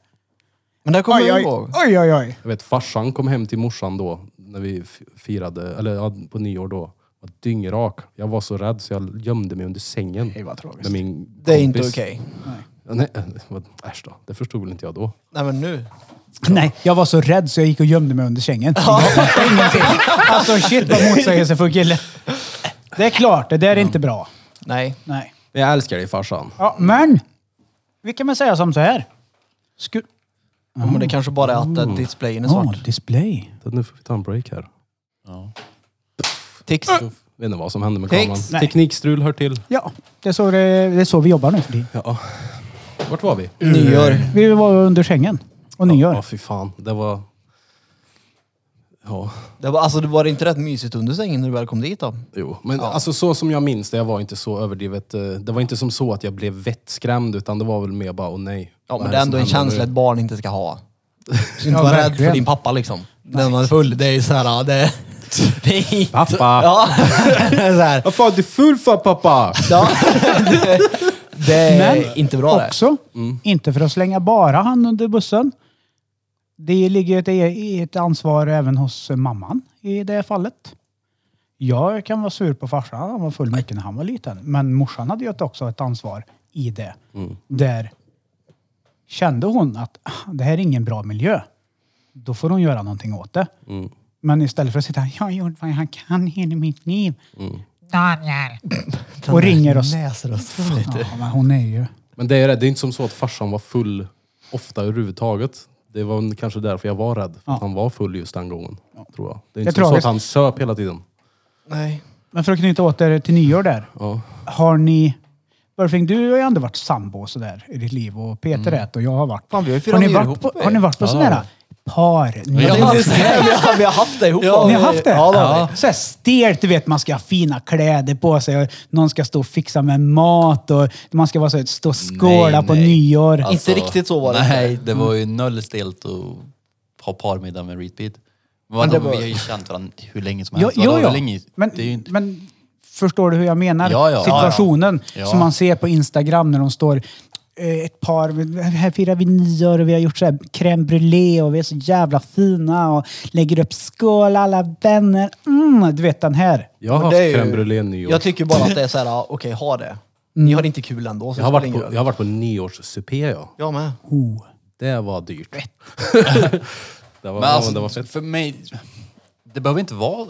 Men det kommer
Oj,
jag
oj,
ihåg.
oj, oj, oj.
Jag vet farsan kom hem till morsan då, när vi f- firade, eller ja, på nyår då. Var dyngrak. Jag var så rädd så jag gömde mig under sängen.
Det var tragiskt.
Med min
Det är inte
kompis.
okej.
Ja, Nej, äh, vad- äsch då. Det förstod väl inte jag då.
Nej men nu.
Nej, jag var så rädd så jag gick och gömde mig under sängen. Jag fattade ingenting. Alltså shit vad motsägelsefull kille. Det är klart, det där är inte bra.
Nej.
Nej.
Jag älskar dig farsan.
Ja, men, vi kan väl säga som så här. Sku-
Ja, men det kanske bara är att eh,
Mm.
displayen är
Ja,
svart.
Oh, display.
Nu får vi ta en break här.
Tix.
Jag vet inte vad som hände med
Tix.
kameran.
Nej.
Teknikstrul hör till.
Ja, det är så, det, det är så vi jobbar nu för tiden.
Ja. Vart var vi?
Nyår.
Vi var under sängen. Och nyår.
Ja, fy fan. Det var... Ja,
Det var, alltså det var inte rätt mysigt under sängen när du väl kom dit då?
jo. Men alltså så som jag minns det, jag var inte så överdrivet... eh, Det var inte som så att jag blev vettskrämd, utan det var väl mer bara, åh nej.
Ja,
Vad
men det är
som
ändå en
händer nu?
känsla ett barn inte ska ha. Du ska inte
Ja,
vara rädd
verkligen.
för din pappa liksom. När man är full, det är ju såhär... Det, det är,
Pappa!
ja, det är så här,
Vad fan, du är full för pappa!
ja, det, det är
Men
inte bra det.
också, inte för att slänga bara han under bussen. Det ligger ett, e- i ett ansvar även hos mamman i det fallet. Jag kan vara sur på farsan, han var full mycket när han var liten. Men morsan hade ju också ett ansvar i det. Där kände hon att "Ah, det här är ingen bra miljö. Då får hon göra någonting åt det. Men istället för att sitta jag har gjort vad jag kan hela mitt liv. Daniel. Och ringer oss.
Läser oss.
Ja, men hon är ju...
Men det är, det, det är inte som så att farsan var full ofta överhuvudtaget. Det var en- kanske därför jag var rädd. För att han var full just den gången. Tror jag. Det är
Det är
inte så att
tragiskt.
han söp hela tiden.
Nej.
Men för att knyta åter till nyår där.
Ja.
Har ni... Burfing, du har ju ändå varit sambo och sådär i ditt liv och Peter
Mm.
ät och jag har varit.
Fan, vi har ju firat
har, ni
nyår
varit
ihop,
på,
ey.
har ni varit på sån här par?
Vi har,
nyår?
haft, vi, har, vi har haft det ihop.
Ni har haft det?
Ja, det har vi.
Så här stelt, du vet, man ska ha fina kläder på sig och någon ska stå och fixa med mat och man ska vara så här, stå och skåla
Nej,
på
nej.
nyår.
Alltså,
Inte riktigt så var det
Nej, det var ju noll stelt att ha parmiddag med Repeat. Men vadå,
det var-
vi har ju känt varandra hur länge som
Jo,
helst.
jo,
Vadå,
jo.
hur länge?
Men,
det är ju inte...
men förstår du hur jag menar?
Ja, ja.
Situationen
Ja, ja.
som man ser på Instagram när de står eh, ett par, här firar vi nyår och vi har gjort så här crème brûlée och vi är så jävla fina och lägger upp skål alla vänner. Mm, du vet den här.
Jag har
Men
haft
det är ju-
crème brûlée nyår.
Jag
Jag,
tycker bara att det är så här, okej, ha det. Ni
Mm.
har inte kul ändå. Så
har
det spelar
varit
ingen
på,
roll.
jag har varit på nyårssupé ja.
Jag med.
Oh.
Det var dyrt. det, var,
Men
alltså-
alltså,
ja, men det var fett.
för mig... Det behöver inte vara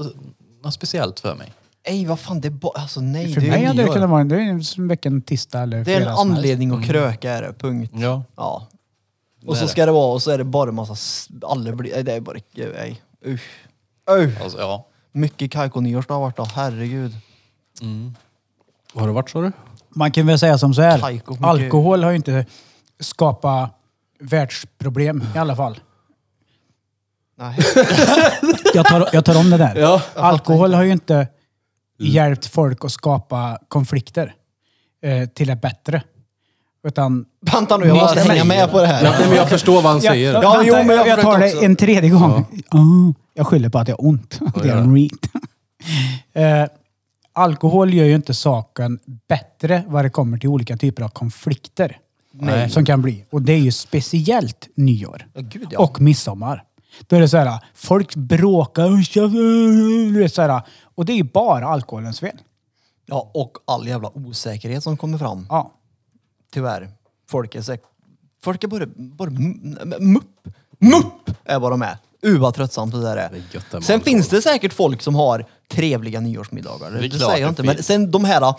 något speciellt för mig.
Ej, vad fan, det är bara... Alltså nej,
För
det
mig
är
hade det
ju
kunnat
nyår.
vara det är ju som veckan tisdag eller
Det är en
fredag som helst.
anledning att kröka är det, punkt.
Mm. Ja.
Ja.
Det
Och
är
så
det.
ska det vara, och så är det bara massa... s- Alla blir... Det är bara... Nej, usch. Usch.
Alltså, ja.
Mycket kajko-nyår det har varit då, herregud.
Har det varit så du?
Man kan väl säga som så här.
Taiko, mycket-
alkohol har ju inte skapat världsproblem i alla fall.
Nej.
Jag tar, jag tar om det där.
Ja.
Alkohol har ju inte hjälpt folk att skapa konflikter eh, till det bättre. Utan...
Vänta nu, jag måste
Nej,
hänga
men-
med på det här.
Nej, men jag förstår vad han
Ja,
säger.
Ja, jo, men jag
jag,
försökte
tar det
också.
en tredje gång. Ah, jag skyller på att jag har ont. det är
ja.
en reet. eh, alkohol gör ju inte saken bättre vad det kommer till olika typer av konflikter.
Nej.
Som kan bli. Och det är ju speciellt nyår.
Ja, gud, ja.
Och midsommar. Då är det så här, folk bråkar och tjafsar, du vet så här, och det är ju bara alkoholens fel.
Ja, och all jävla osäkerhet som kommer fram.
Ja.
Tyvärr. Folk är säkert... Folk är bara... bara m- m- mupp! Mupp! Är vad de är. Uh vad tröttsamt det där är.
är gött det med
sen
alkohol.
finns det säkert folk som har trevliga nyårsmiddagar. Det,
är klart
säger jag
det
inte. Men
finns.
sen de här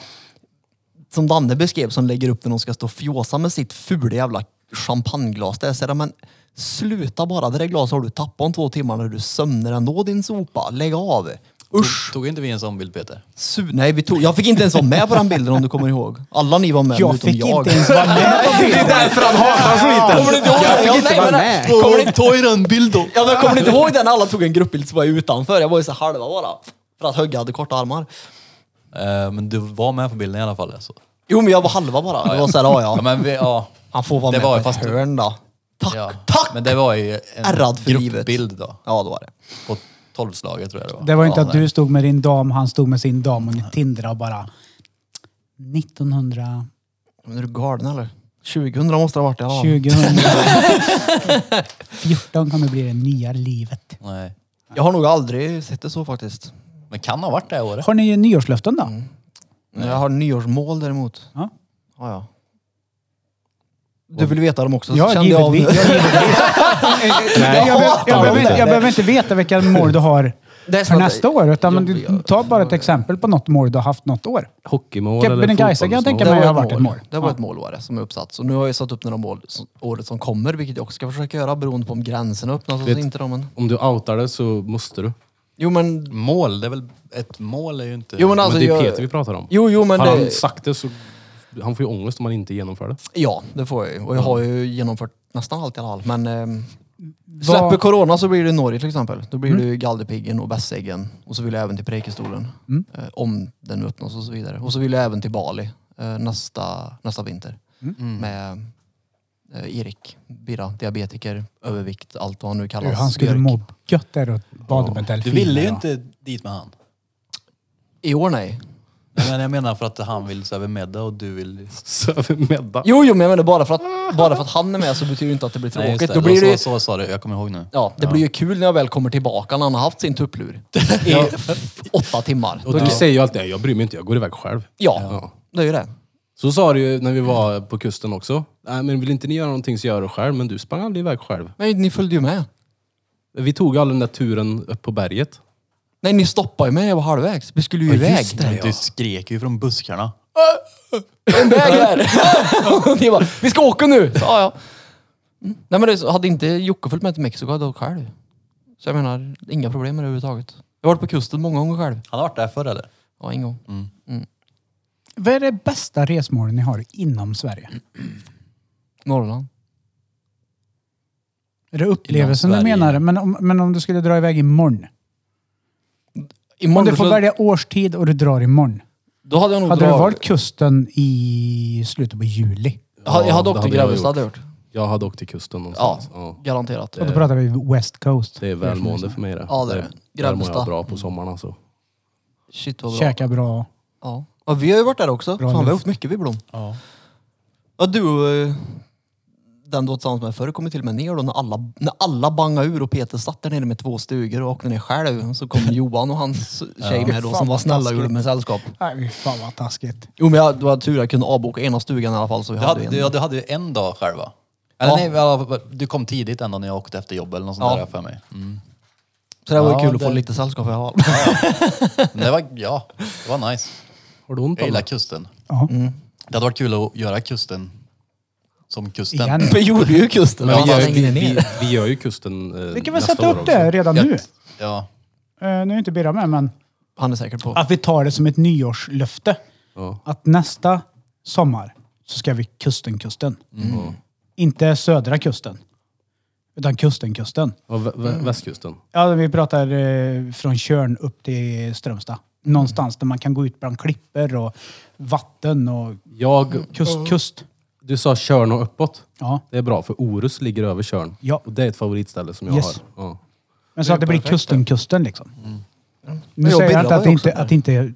som Danne beskrev som lägger upp när de ska stå och fjåsa med sitt fula jävla champagneglas. Där säger de, men sluta bara. Det där glaset har du tappat om två timmar när du sömnar ändå din sopa. Lägg av. Usch!
Tog inte vi en sån bild Peter?
Su- Nej, vi tog, jag fick inte ens vara med på den bilden om du kommer ihåg. Alla ni var med
Jag
utom
fick
jag.
inte ens vara med på
Det är därför han hatar skiten. Kommer du inte ihåg det? Jag fick inte vara med. Kommer ni,
Ta er en bild då!
ja, men kommer ni inte ihåg den alla tog en gruppbild så var jag utanför? Jag var ju så halva bara. För att Högge hade korta armar.
Eh, men du var med på bilden i alla fall. Alltså.
Jo, men jag var halva bara. Det var såhär, ja
Ja,
ja.
men vi, ja.
Han får vara
Det
med
var
på
ju
ett
fast-
hörn då. Tack,
ja.
tack!
Men det var ju en
Ärrad för livet.
gruppbild då.
Ja, det var det.
På tolvslaget tror jag det var.
Det var inte
ja,
att du stod med din dam, han stod med sin dam och ni tindrade och bara... 1900...
Men är du galen eller? 2000 måste det ha varit. Ja.
2014 kommer bli det nya livet.
Nej.
Jag har nog aldrig sett det så faktiskt.
Men kan ha varit det året.
Har ni nyårslöften då?
Jag har nyårsmål däremot.
Ja.
Ja, ja. Du vill veta dem också? så
Ja,
kände jag av-
givetvis. Ja, givetvis. Nej, jag, behöver- jag, behöver inte- jag behöver inte veta vilka mål du har
Det är
för
sant.
nästa år. Utan men du,
Jobbiga-
ta bara ett exempel på något mål du har haft något år.
Hockeymål
Kebnekaise
eller
kan jag tänka
fotbollsmål.
mig.
var
har
ett
varit ett mål.
Det var ett mål var det, som är uppsatt. Så nu har jag satt upp några mål som, året som kommer, vilket jag också ska försöka göra beroende på om gränserna öppnas och
Vet-
inte. Då, men...
Om du outar det så måste du.
Jo men...
Mål, det är väl... Ett mål är ju inte...
Jo men alltså...
men det är
jag-
Peter vi pratar om.
Jo, jo men...
har han
Det...
sagt det så... Han får ju ångest om han inte genomför det.
Ja, det får jag ju. Och jag har ju genomfört nästan allt i alla fall. Men ehm, släpper
Vad-
corona så blir det Norge till exempel. Då blir det ju Galdhöpiggen och Bässeggen. Och så vill jag även till Preikestolen. Eh, om den öppnas och så vidare. Och så vill jag även till Bali eh, nästa, nästa vinter.
Mm.
Med eh, Erik Bira, diabetiker, övervikt, allt vad han nu kallas.
Han skulle
Björk.
må gött där och bada med
Du
delfiner.
ville ju
och-
inte dit med han.
I år nej.
Nej, Men jag menar för att han vill söva middag och du vill...
Söver medda.
Jo, jo, men jag menar bara för att, bara för att han är med så betyder det inte att det blir
Nej,
tråkigt.
just det.
Då blir det ju
så, så sa du, jag kommer ihåg nu.
Ja, det blir ju kul när jag väl kommer tillbaka när han har haft sin tupplur i f- åtta timmar.
Och du säger ju alltid "Nej, jag bryr mig inte, jag går iväg själv.
Ja, det är ju det.
Så sa du ju när vi var på kusten också. Nej men vill inte ni göra någonting så gör det själv. Men du sprang aldrig iväg själv.
Nej, ni följde ju med.
Vi tog all den där turen upp på berget.
Nej, ni stoppade ju mig när jag var halvvägs. Vi skulle ju iväg.
Just det, Du skrek ju från buskarna.
En väg här! ni bara, vi ska åka nu! Så, ja, ja. Nej men det, är så- hade inte Jocke följt med till Mexiko hade jag åkt själv. Så jag menar, inga problem med det överhuvudtaget. Jag har varit på kusten många gånger själv.
Han har varit där förr eller?
Ja, en gång.
Vad är det bästa resmålet ni har inom Sverige?
Norrland.
Är det upplevelsen du
Sverige.
menar? Men om, men om du skulle dra iväg imorgon? Om
Imorgon,
du får
så-
välja årstid och du drar imorgon.
Då hade jag nog
Hade du
drag-
varit kusten i slutet på juli?
Jag hade- jag hade
Ja,
åkt
det
till
hade jag
Grebbestad,
gjort.
hade jag gjort.
Jag hade åkt till kusten
Ja,
någonstans. Ja.
garanterat.
Och då pratar vi West Coast.
Det är välmående för mig det.
Ja, det är det.
Där mår
Grebbestad.
jag bra på sommaren alltså.
Shit vad bra.
Käka bra.
Ja. ja, vi har ju varit där också.
Bra
Fan, vi har
luft.
åkt mycket vid Blom.
Ja.
Ja, du, eh, den du var tillsammans med förr kommer till och med ner då när alla, när alla bangade ur och Peter satt där nere med två stugor och åkte ner själv. Så kom Johan och hans tjej med då
Fan,
som var
vad
snälla och
taskigt.
gjorde med sällskap.
Nej, fy fan vad taskigt.
Jo men jag, det var tur jag kunde avboka ena stugan i alla fall så vi
Du
hade
hade,
en.
du, du hade ju en dag själv va? Eller
Ja.
nej, ja, du kom tidigt ändå när jag åkte efter jobb eller något sånt
Ja.
där för mig. Mm.
Så det var ju
Ja,
kul att få
det-
lite sällskap i alla fall.
Men det var, ja, det var nice.
Har du ont
Jag
Anna?
gillar kusten. Mm.
Ja.
Det hade varit kul att göra kusten som kusten.
Igen.
Vi gjorde ju kusten.
Men vi,
Ja,
gör,
längre
vi,
ner.
vi, vi gör ju kusten eh,
Vi kan väl
nästa
sätta
år
upp
också.
det redan nu.
Jag- Ja.
Eh, nu är inte Birra med, men
Han är säker på.
att vi tar det som ett nyårslöfte.
Ja.
Att nästa sommar så ska vi kusten, kusten.
Ja.
Inte södra kusten. Utan kusten, kusten.
Ja, vä-
Mm.
vä- västkusten.
Ja, vi pratar eh, från Tjörn upp till Strömstad. Någonstans där man kan gå ut bland klippor och vatten och
Jag,
kust, kust.
du sa Körn och uppåt.
Mm. Ja.
Det är bra för Orust ligger över Körn.
Ja.
Och det är ett favoritställe som jag
Yes.
har. Ja.
Men så att det blir kusten, kusten liksom. Nu
jag
säger jag
bildar
inte att,
mig
inte
också
att inte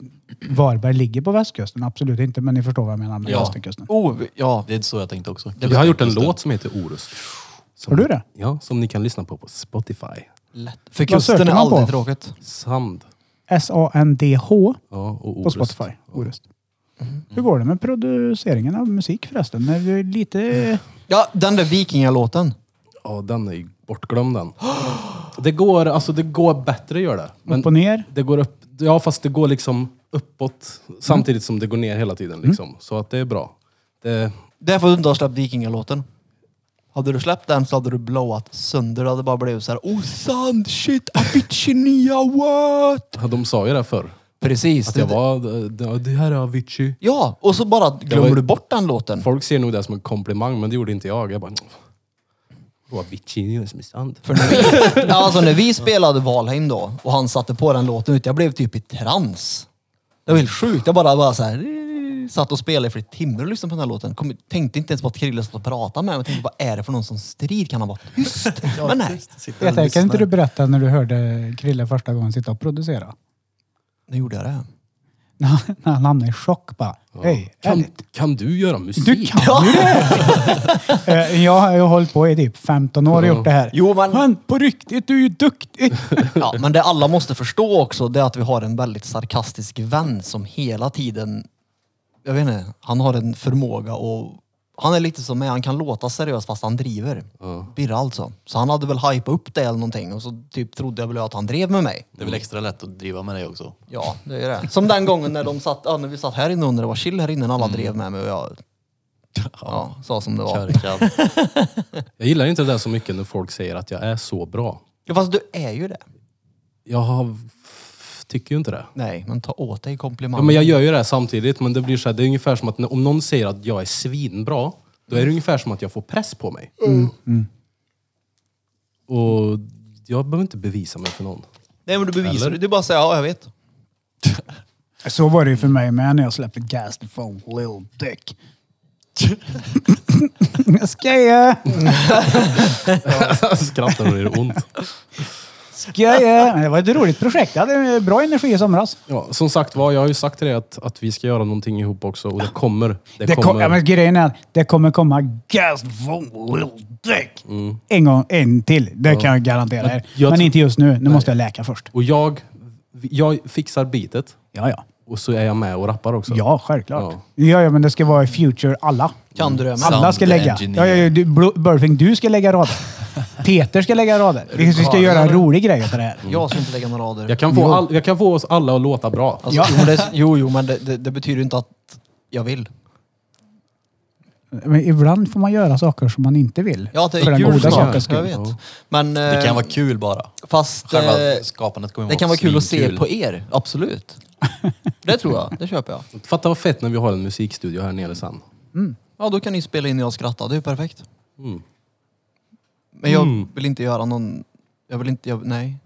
Varberg ligger på västkusten, absolut inte. Men ni förstår vad jag menar med
Ja.
kusten, kusten.
Oh, vi- ja.
Det är så jag tänkte också.
Vi har gjort en låt som heter Orust. Som,
Har du det?
Ja, som ni kan lyssna på på Spotify.
Lätt. För
söker
kusten är
man på?
aldrig tråkigt.
Sand.
S-A-N-D-H
Ja, och
på
Orust.
Spotify. Orust.
Mm.
Hur går det med produceringen av musik förresten? Är det lite...
Ja, den där vikingalåten.
Ja, den är ju bortglömd den. Det går, alltså det går bättre gör det. Men
Upp och ner?
det går upp, ja fast det går liksom uppåt
Mm.
samtidigt som det går ner hela tiden liksom. Så att det är bra. Det,
Det är för att du inte har släppt vikingalåten. Hade du släppt den så hade du blowat sönder. Det hade bara blivit såhär Oh sand, shit, Avicii nya what?
ja, de sa ju det förr.
Precis.
Att
det-
jag var, det, det här är Avicii.
Ja, och så bara glömmer
var-
du bort den låten.
Folk ser nog det som en komplimang men det gjorde inte jag. Jag bara... "Åh, Avicii är som i sand.
För när vi, Ja, alltså när vi spelade Valheim då och han satte på den låten ut, jag blev typ i trans. Det var helt sjukt. Jag bara, bara så här, eh, satt och spelade i flera timmar och lyssnade på den här låten. Kom, tänkte inte ens på att Krille satt och pratade med mig. Jag tänkte, vad är det för någon som strir? Kan han vara tyst? Men nej.
Sitter
Peter,
och
kan inte
lyssnar.
du berätta när du hörde Krille första gången sitta och producera?
Nu gjorde jag det.
När han- när han hamnade i chock bara. Hej,
Kan,
ärligt.
kan du göra musik?
Du kan ju det! Eh, jag har ju hållit på i typ 15 år och gjort det här.
Jo, men-
Men på riktigt, du är ju duktig!
Ja, men det alla måste förstå också det är att vi har en väldigt sarkastisk vän som hela tiden, jag vet inte, han har en förmåga och han är lite som mig, han kan låta seriös fast han driver. Birra alltså. Så han hade väl hypat upp det eller någonting och så typ trodde jag väl att han drev med mig.
Det är väl extra lätt att driva med dig också.
Ja, det är det. Som den gången när, de satt, ja, när vi satt här inne och när det var chill här inne, när alla drev med mig och jag Mm. ja, sa som det var.
Körkad.
Jag gillar inte det där så mycket när folk säger att jag är så bra.
Ja, fast du är ju det.
Jag har, tycker ju inte det.
Nej, men ta åt dig
Ja,
komplimangen.
men jag gör ju det här samtidigt, men det blir så här, det är ungefär som att när- om någon säger att jag är svinbra, då är det ungefär som att jag får press på mig.
Mm.
Mm. Och jag behöver inte bevisa mig för någon.
Nej, men du bevisar det. Du bara säger ja, jag vet.
Så var det ju för mig med när jag släppte Gas the Phone Lil Dick. Jag skojar!
Skrattar och det gör ont.
Skojar! Men Det var ett roligt projekt. Jag hade bra energi i somras.
Ja, som sagt var, jag har ju sagt till dig att, att vi ska göra någonting ihop också och det kommer. Det,
Det kom,
kommer.
ja, men grejen är att det kommer komma Gas the Phone Lil Dick. En gång, en till. Det kan jag garantera er.
jag
Men
tror-
inte just nu. Nu måste jag läka först.
Och jag, jag fixar bitet
Ja, ja.
och så är jag med och rappar också.
Ja, självklart. Ja, ja, men det ska vara i future alla.
Kan du det med?
Alla ska
Sound
lägga. Ja,
engineer.
ja, ja, du, Bro- Burfing, du ska lägga rader. Peter ska lägga rader. Vi vi ska
galen,
göra en
eller?
rolig grej utav det här.
Jag ska inte lägga några rader.
Jag kan, få all, jag kan få oss alla att låta bra.
Alltså, jo, men det, jo, jo, men det, det, det betyder ju inte att jag vill.
Men ibland får man göra saker som man inte vill.
Ja, det
för
är
den
kul
goda
snart.
sakens
Jag
skull.
vet. Men eh,
Det kan vara kul bara.
fast eh,
Själva skapandet kommer
det kan vara kul att se
svinkul.
på er. Absolut. Det tror jag. Det köper jag.
Fatta vad fett när vi har en musikstudio här nere sen.
Ja, då kan ni spela in när jag skrattar. Det är ju perfekt. Men jag vill inte göra någon... Jag vill inte... Jag, nej.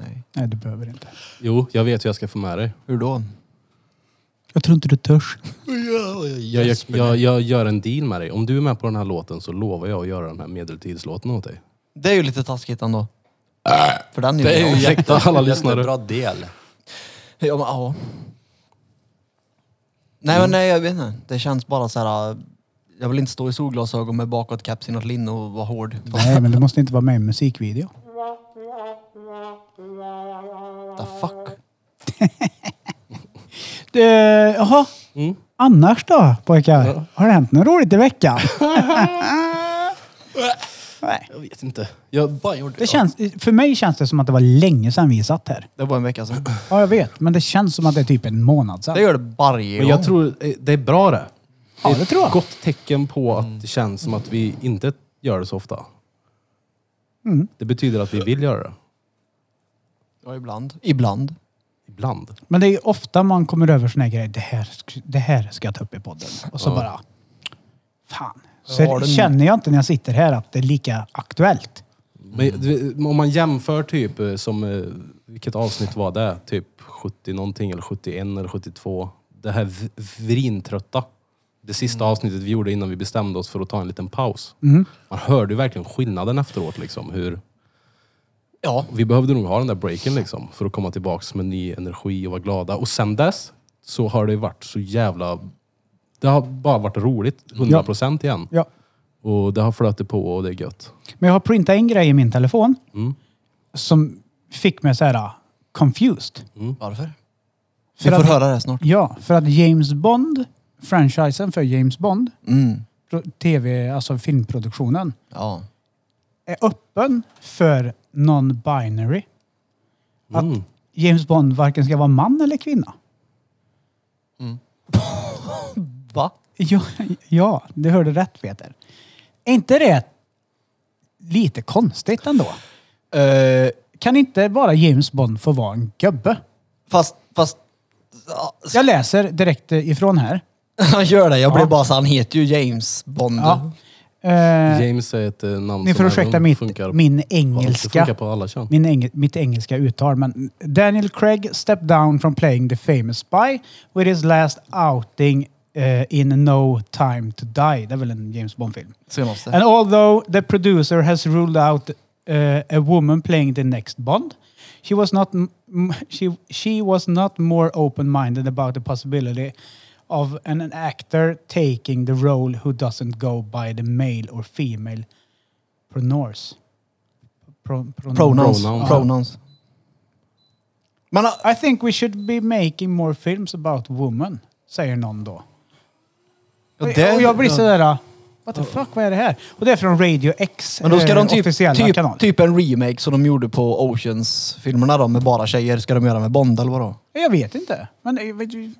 Nej.
Nej, du behöver inte.
Jo, jag vet hur jag ska få med dig.
Hur då?
Jag tror inte du törs.
Jag, jag, jag, jag gör en deal med dig. Om du är med på den här låten så lovar jag att göra den här medeltidslåten åt dig.
Det är ju lite taskigt ändå. För den är
Det är
ju...
ju ursäkta alla
Bra
lyssnare.
del.
Ja, men, ja. Nej, men nej, jag vet inte. Det känns bara så här... äh, Jag vill inte stå i solglasögon med bakåtkeps i något linne och vara hård.
Nej, men du måste inte vara med i en musikvideo.
The fuck?
Det, jaha.
Mm.
Annars då pojkar? Har det hänt något roligt i veckan? Nej.
Jag vet inte. Jag,
Fan gjorde
Det känns, för mig känns det som att det var länge sedan vi satt här.
Det var en vecka sedan.
Ja, jag vet. Men det känns som att det är typ en månad sedan.
Det gör det varje
men
gång.
jag tror eh, det är bra det.
Ja, det tror jag. Mm.
Ett gott tecken på att det känns som att vi inte gör det så ofta.
Mm.
Det betyder att vi vill göra det.
Ja, ibland. Ibland.
Ibland.
Men det är ju ofta man kommer över såna här grejer. Det här, sk- det här ska jag ta upp i podden. Och så bara... Fan. Så
Ja, den-
känner jag inte när jag sitter här att det är lika aktuellt.
Men du- om man jämför typ eh, som, eh, vilket avsnitt var det? Typ 70 någonting eller 71 eller 72. Det här v- vrintrötta. Det sista avsnittet vi gjorde innan vi bestämde oss för att ta en liten paus. Man hörde ju verkligen skillnaden efteråt liksom. Hur,
Ja.
vi behövde nog ha den där breaken liksom. För att komma tillbaks med ny energi och vara glada. Och sen dess så har det varit så jävla... Det har bara varit roligt. 100% igen.
Ja.
Och det har flötit på och det är gött.
Men jag har printat en grej i min telefon
Mm.
som fick mig så här ah, confused.
Varför?
För
Vi Mm. får
att-
höra det snart.
Ja, för att James Bond, franchisen för James Bond,
Mm.
pro- tv, alltså filmproduktionen,
Ja.
är öppen för non-binary. Att
Mm.
James Bond varken ska vara man eller kvinna.
Va?
Ja, ja du hörde rätt Peter. Är inte det lite konstigt ändå?
Eh.
Kan inte bara James Bond få vara en gubbe?
fast, fast... ja, s-
Jag läser direkt eh, ifrån här.
Han gör det. Jag
Ja.
blev bara så han heter ju James Bond.
Ja. Eh,
James är ett eh, namn
Ni får
som
ursäkta
även
mitt,
Mm. funkar
min
på, Det funkar
engelska.
på alla kön.
Min eng, mitt engelska uttal, men Daniel Craig stepped down from playing the famous spy with his last outing eh, in No Time To Die. Det är väl en James Bond-film?
Senaste.
And although the producer has ruled out uh, a woman playing the next Bond, she was not m- m- she she was not more open-minded about the possibility of an, an actor taking the role who doesn't go by the male or female pronouns. Pro, pronoun-
Pronouns.
Pronoun.
Pronouns. Pronouns. Men äh,
I think we should be making more films about women, säger någon då.
Ja, det-
och jag blir sådär, what the fuck, vad är det här? Och det är från Radio X
Men då ska
eh,
de typ,
officiella
typ,
kanal.
typ en remake som de gjorde på Oceans-filmerna då med bara tjejer. Ska de göra med Bond eller vadå?
Jag vet inte. Men eh, vet du-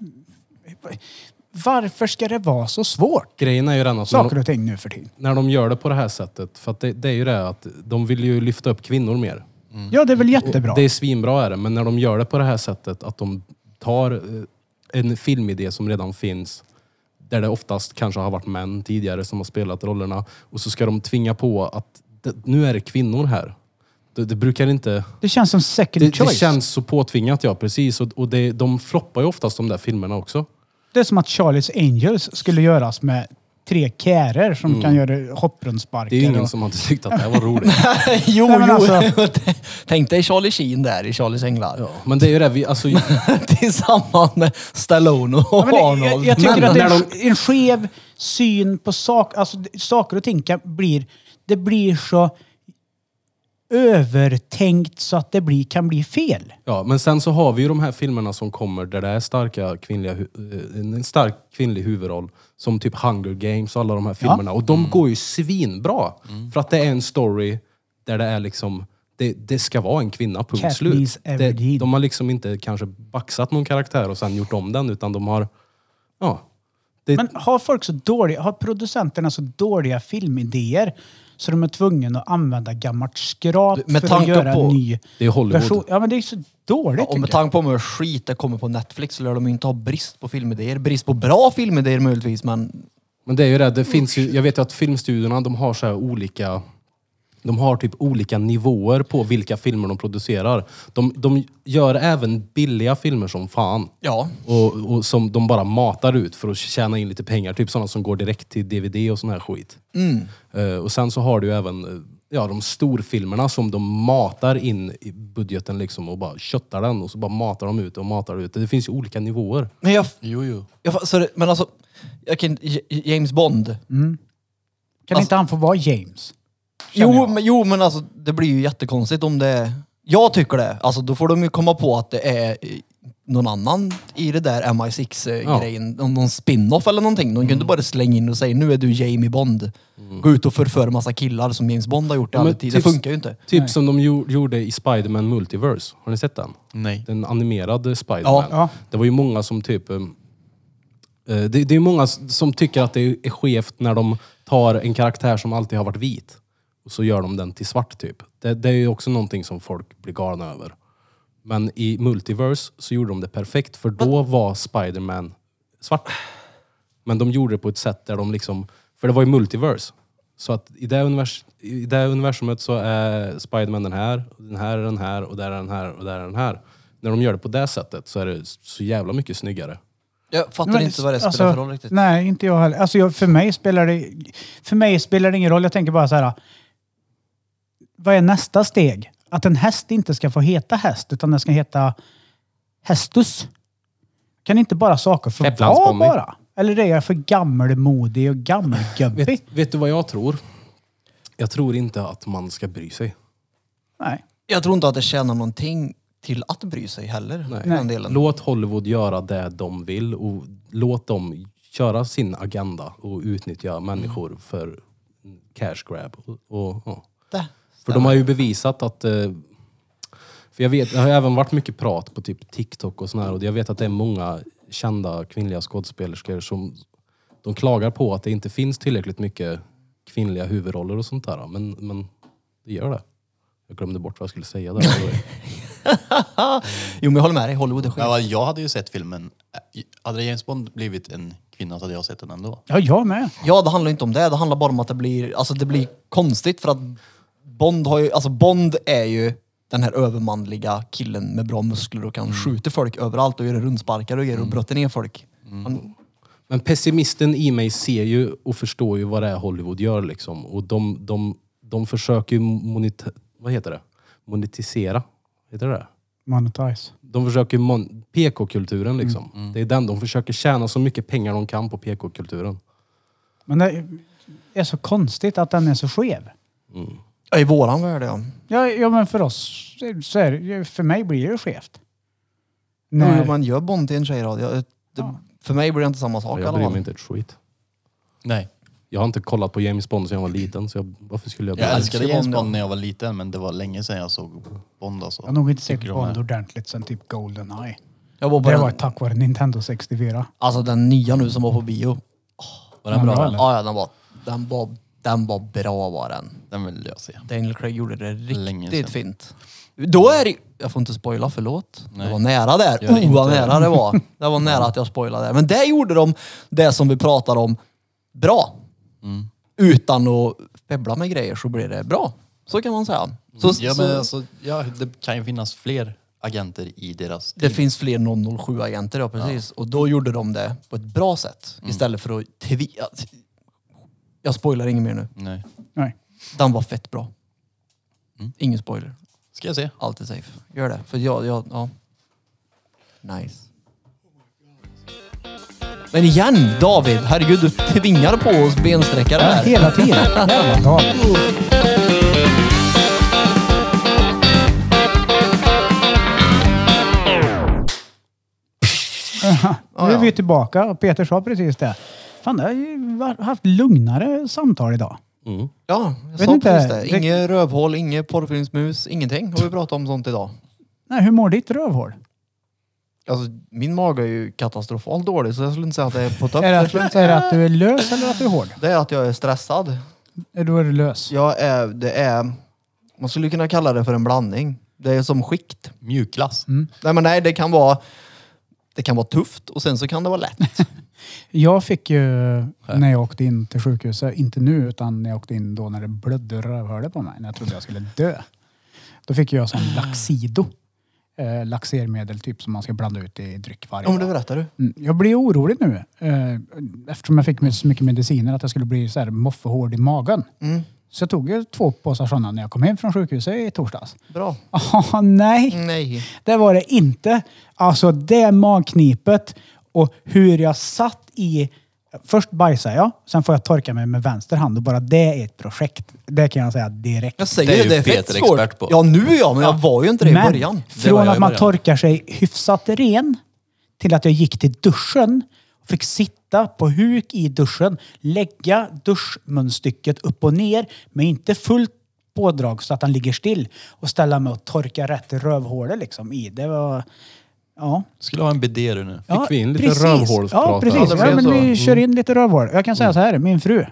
varför ska det vara så svårt?
Grejen är ju den att när
Saker
de,
och ting nu för tiden.
när de gör det på det här sättet, för att det, det är ju det att de vill ju lyfta upp kvinnor mer.
Ja, det är väl jättebra.
Mm. Det är svinbra är det, men när de gör det på det här sättet att de tar eh, en filmidé som redan finns, där det oftast kanske har varit män tidigare som har spelat rollerna, och så ska de tvinga på att det, nu är det kvinnor här. Det, det brukar inte...
Det känns som second
Det, det
choice. Det,
känns så påtvingat, ja precis. Och, och det, de floppar ju oftast de där filmerna också.
är som att Charlie's Angels skulle göras med tre kärer som kan göra hopprundsparker.
Mm. Det är ju ingen
och-
som hade tyckt att det här var roligt.
jo,
Nej, men
jo.
alltså-
Tänk dig Charlie Sheen där i Charlies Änglar.
Ja, men det är ju det, vi, alltså,
Tillsammans med Stallone och
Ja, men det, jag,
Arnold.
jag tycker
Men
att det är
när
en, en skev syn på sak, alltså, det- saker och ting. Kan, blir, det blir så övertänkt så att det blir, kan bli fel.
ja, men sen så har vi ju de här filmerna som kommer där det är starka kvinnliga, hu- eh, en stark kvinnlig huvudroll. Som typ Hunger Games och alla de här filmerna. Och de går ju svinbra. För att det är en story där det är liksom, det, det ska vara en kvinna, punkt
Katniss
slut. Det,
Everdeen.
de har liksom inte kanske baxat någon karaktär och sen gjort om den, utan de har, ja, Det,
Men har folk så dåliga, har producenterna så dåliga filmidéer så de är tvungna att använda gammalt skrap
Med
för att
tanke
göra
på-
en ny
det är Hollywood.
version? Ja men det är så dåligt
Och med
tycker jag.
tanke på hur mycket skit det kommer på Netflix så lär de ju inte ha brist på filmidéer. Brist på bra filmidéer möjligtvis, men
Men det är ju det, det finns ju, jag vet ju att filmstudiorna de har så här olika, de har typ olika nivåer på vilka filmer de producerar. De, de gör även billiga filmer som fan.
ja.
Och, och som de bara matar ut för att tjäna in lite pengar. Typ sådana som går direkt till DVD och sån här skit. Eh, och sen så har du ju även eh, ja, de storfilmerna som de matar in i budgeten liksom och bara köttar den och så bara matar de ut och matar ut. Det finns ju olika nivåer.
Men jag,
Jo, jo.
jag fa- så det, men alltså, jag kan, J- James Bond.
Kan inte han få vara James?
Jo men, jo, men alltså det blir ju jättekonstigt om det är... Jag tycker det. Alltså då får de ju komma på att det är eh, någon annan i det där MI6-grejen. Någon spin-off eller någonting. De kunde inte bara slänga in och säga nu är du Jamie Bond. Gå ut och förföra massa killar som James Bond har gjort i
Ja, men
all tid. Det
typ-
funkar ju inte.
Typ som de gjo- gjorde i Spider-Man Multiverse. Har ni sett den?
Nej.
Den animerade Spider-Man.
Ja,
ja.
Det var ju många som typ... eh, eh, Det, det är många s- som tycker att det är skevt när de tar en karaktär som alltid har varit vit och så gör de den till svart typ. Det, det är ju också någonting som folk blir galna över. Men i Multiverse så gjorde de det perfekt för då var Spider-Man svart. Men de gjorde det på ett sätt där de liksom... För det var ju multiverse. Så att i det, univers, i det universumet så är Spiderman den här, och den här är den här, och där är den här, och där är den här. När de gör det på det sättet så är det så jävla mycket snyggare.
Jag fattar
Men
inte vad det spelar
alltså,
för roll riktigt.
Nej, inte jag heller. Alltså, jag, för, mig spelar det, för mig spelar det ingen roll. Jag tänker bara så här. Vad är nästa steg? Att en häst inte ska få heta häst, utan den ska heta hästus. Kan inte bara saker få vara
Shetlandsponny.
bara? Eller är jag för gammelmodig och gammelgubbig?
Vet, vet du vad jag tror? Jag tror inte att man ska bry sig.
Nej.
Jag tror inte att det tjänar någonting till att bry sig heller. Nej. Den delen.
Låt Hollywood göra det de vill och låt dem köra sin agenda och utnyttja människor för cash grab. Och, och, ja.
Det.
För de har ju bevisat att... eh, För jag vet, det har ju även varit mycket prat på typ TikTok och sådär och jag vet att det är många kända kvinnliga skådespelerskor som de klagar på att det inte finns tillräckligt mycket kvinnliga huvudroller och sånt där. Men, men det gör det. Jag glömde bort vad jag skulle säga där.
Jo men jag håller med dig, Hollywood är skit.
Ja, jag hade ju sett filmen. Hade James Bond blivit en kvinna så hade jag sett den ändå.
Ja, jag med.
Ja, det handlar inte om det. Det handlar bara om att det blir, alltså det blir konstigt för att Bond har ju, alltså Bond är ju den här övermanliga killen med bra muskler och kan
Mm.
skjuta folk överallt och göra rundsparkar och grejer och brotta ner folk.
Mm.
Han,
Men pessimisten i mig ser ju och förstår ju vad det är Hollywood gör liksom. Och de, de, de försöker ju moneta- vad heter det? monetisera. Heter det det?
Monetize.
De försöker mon- PK-kulturen liksom. Det är den. De försöker tjäna så mycket pengar de kan på PK-kulturen.
Men det är så konstigt att den är så skev.
ja, I våran värld ja.
Ja, ja men för oss, så är det, för mig blir det ju skevt.
Jo,
När-
Jo, man gör Bond till en tjejradio. Jag- Det,
Ja.
för mig blir det inte samma sak i
Jag
alla
bryr mig
fall.
inte ett skit.
Nej.
Jag har inte kollat på James Bond sedan jag var liten, så jag, varför skulle jag...
Jag
bry mig?
älskade James
Bond, ja.
Bond när jag var liten men det var länge sedan jag såg Bond
Jag har
alltså.
nog inte sett
Tycker de
Bond
är.
ordentligt sen typ Goldeneye.
Jag var på
Det var
den,
tack vare Nintendo 64.
alltså den nya nu som var på bio.
Var
den
den
bra,
bra?
eller?
Ja, ja, den var, den var, den var bra var den.
Den vill jag se.
Daniel Craig gjorde det
Länge
riktigt
sedan.
fint. Då är det... Jag får inte spoila, förlåt. Det
Nej.
var nära där.
Gör
Oh,
inte
vad
det.
nära det var. Det var nära att jag spoilade. Men där gjorde de det som vi pratar om bra.
Mm.
Utan att febbla med grejer så blir det bra. Så kan man säga. Så,
Ja,
så,
men alltså, ja, det kan ju finnas fler agenter i deras
det
team.
finns fler 007-agenter, ja precis. Och då gjorde de det på ett bra sätt.
Mm.
Istället för att... Tvi- jag spoilar inget mer nu.
Nej.
Nej.
Den var fett bra.
Mm.
Ingen spoiler.
Ska jag se?
Alltid safe. Gör det. För jag, jag ja. Nice. Men igen David, herregud du tvingar på oss bensträckare här.
Hela tiden. Jävla dag. Nu är vi tillbaka och Peter sa precis det. Fan, det har ju varit- haft lugnare samtal idag.
Ja, jag
Vet
sa
inte,
precis
det-
det. Inget rövhål, inget porrfilmsmus, ingenting har vi pratat om sånt idag.
Nej, hur mår ditt rövhål?
Alltså, min mage är ju katastrofalt dålig så jag skulle inte säga att det är på topp.
Är det, att, är det att du är lös eller att du är hård?
Det är att jag är stressad.
Då är du lös.
Jag är, det är, man skulle kunna kalla det för en blandning. Det är som skikt.
Mjukglass.
Nej men nej, det kan vara, det kan vara tufft och sen så kan det vara lätt.
Jag fick ju när jag åkte in till sjukhuset, inte nu utan när jag åkte in då när det blödde rövhålet på mig, när jag trodde jag skulle dö. Då fick jag sån Laxido. Eh, laxermedel typ som man ska blanda ut i dryck varje
Om
dag.
det berättar du.
Mm, Jag blir orolig nu eh, eftersom jag fick med så mycket mediciner att jag skulle bli så här moffehård i magen. Så jag tog ju två påsar sådana när jag kom hem från sjukhuset i torsdags.
Bra.
Åh nej!
Nej.
Det var det inte. Alltså det magknipet och hur jag satt i... Först bajsar jag, sen får jag torka mig med vänster hand och bara det är ett projekt. Det kan jag säga direkt.
Jag säger
Det är
det,
ju
det är fett
Peter
svårt.
expert på.
Ja nu ja, men jag var ju inte det i
Men
början.
var
från
jag
att
i
man
början.
torkar sig hyfsat ren till att jag gick till duschen och fick sitta på huk i duschen, lägga duschmunstycket upp och ner men inte fullt pådrag så att han ligger still och ställa mig och torka rätt i rövhålet liksom i. Det var... Ja.
Skulle ha en bidé du nu.
Ja,
vi in lite Mm.
precis.
rövhålsprat
Ja,
här?
precis.
Ja, det
Ja,
blev
men
så.
vi kör in lite rövhål. Jag kan säga så här, min fru.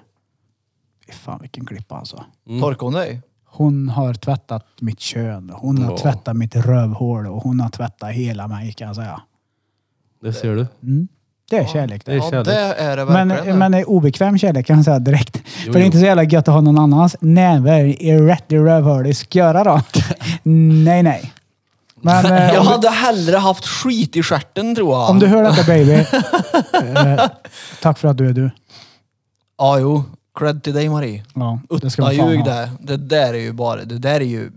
Fy Fan vilken klippa alltså.
Mm.
Torkade hon dig?
Hon har tvättat mitt kön, hon har
Ja.
tvättat mitt rövhål och hon har tvättat hela mig kan jag säga.
Det ser du.
Det är kärlek
Det är
det.
Ja
kärlek.
det är det
Men,
verkligen.
men det är obekväm kärlek kan jag säga direkt. För det är
jo.
inte så jävla gött att ha någon annans näver i rätt i rövhålet. Ska jag göra då? nej, nej. Men eh,
jag
om,
hade hellre haft skit i stjärten tror jag.
om du hör detta baby. eh, tack för att du är du.
Ja jo, cred till dig Marie.
Ja, det ska
Utta
vi fan
ljug
ha.
där. Det där är ju bara, det där är ju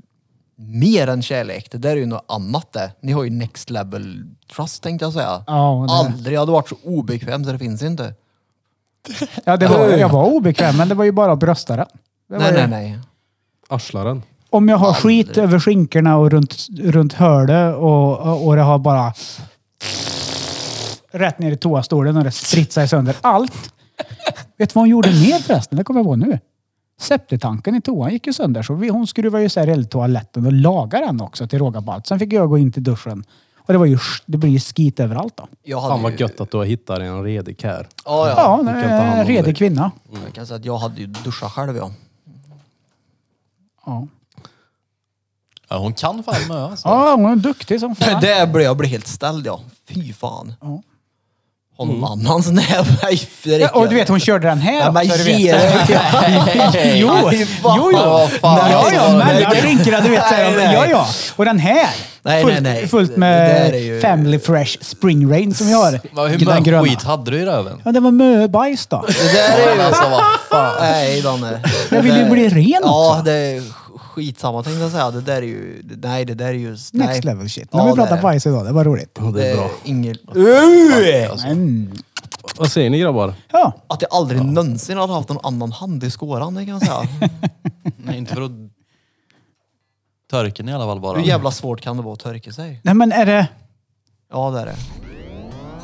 mer än kärlek. Det där är ju något annat det. Ni har ju next level trust tänkte jag säga.
Ja, det-
Aldrig, jag hade varit så obekväm så det finns inte.
Ja, det var, jag var obekväm, men det var ju bara att brösta den. Det var
Nej,
ju-
nej, nej.
Arslaren.
Om jag har skit över skinkorna och runt, runt hörde och, och, och det har bara rätt ner i toastolen och det spritsar sönder allt. Vet du vad hon gjorde mer förresten? Det kommer jag på nu. Septetanken i toan gick ju sönder så vi, hon skruvade ju isär hela toaletten och lagade den också till råga på allt. Sen fick jag gå in till duschen. Och det, var ju, det blir ju skit överallt då.
Jag hade
Fan vad
ju,
gött att du har hittat en redig här.
Ja, ja.
Ja,
du kan ta hand
en
om dig.
redig kvinna.
Mm.
Jag kan säga att jag hade ju duschat själv ja.
Ja,
Ja, hon kan fan med alltså.
ja hon är duktig som fan.
Där blev jag blev helt ställd ja. Fy fan.
Ja. Mm.
Har någon annans näve? Nej, det
Ja,
räcker.
och du vet, hon körde den här
Nej, men
också. Du vet.
ge dig.
Jo,
Nej, fan,
jo, jo.
vad fan.
Nej, ja, ja,
Nej,
mellan skinkorna, du vet. så här,
Nej, nej.
Ja, ja. Och den här.
Nej,
fullt,
nej, nej.
fullt
Det
med
där är ju-
Family Fresh Spring Rain som vi har.
Vad-
Den
Hur mycket
gröna.
skit hade du i röven?
Ja, det var möbajs då.
Det där är ju...
Alltså vad fan.
Nej, Danne.
Jag vill ju
där-
bli ren
Ja,
också.
det är sk- skitsamma tänkte jag säga. Det där är ju... det- Nej, det där är ju... Nej.
Next level shit. När vi
det
pratar
är-
bajs idag, det Uh! var roligt.
Det alltså. är inget...
Mm.
Vad säger ni grabbar?
Ja,
Att jag aldrig någonsin har haft någon annan hand i skåran, det kan jag säga.
Nej, inte för att törken i alla fall bara.
Hur jävla svårt kan det vara att törka sig?
nej men är det...
Ja, det är det.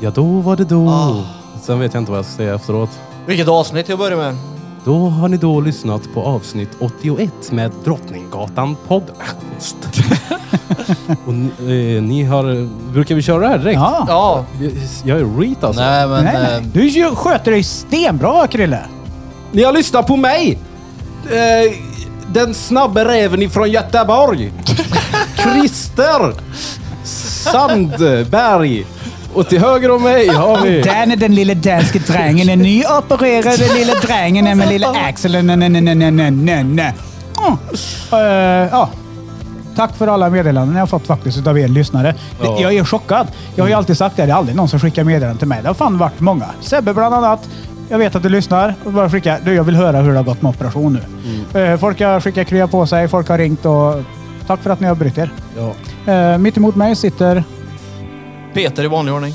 Ja, då var det då. Sen vet jag inte vad jag ska säga efteråt.
Vilket avsnitt jag börjar med.
Då har ni då lyssnat på avsnitt 81 med Drottninggatan podcast. Och ni, eh, ni har... Brukar vi köra det här direkt?
Ja.
Ja.
Jag är reet alltså.
Nej men... eh,
Nej,
eh,
nej. Du ju- sköter dig stenbra, Krille.
Ni har lyssnat på mig! Eh, den snabbe räven ifrån Göteborg. Christer Sandberg. Och till höger om mig har vi...
Dan är den lille danske drängen, den nyopererade lille drängen med lilla Axel. Nej, nej, nej, nej, nej, nej, nej. Mm. Eh, ja. Tack för alla meddelanden jag har fått faktiskt utav er lyssnare. Det-
Ja.
Jag är chockad. Jag har ju alltid sagt det, det är aldrig någon som skickar meddelanden till mig. Det har fan varit många. Sebbe bland annat. Jag vet att du lyssnar. Och Bara skicka. Du, jag vill höra hur det har gått med operation nu. Eh, folk har skickat krya på sig, folk har ringt och tack för att ni har brytt er.
Ja.
Uh, mitt emot mig sitter...
Peter i vanlig ordning.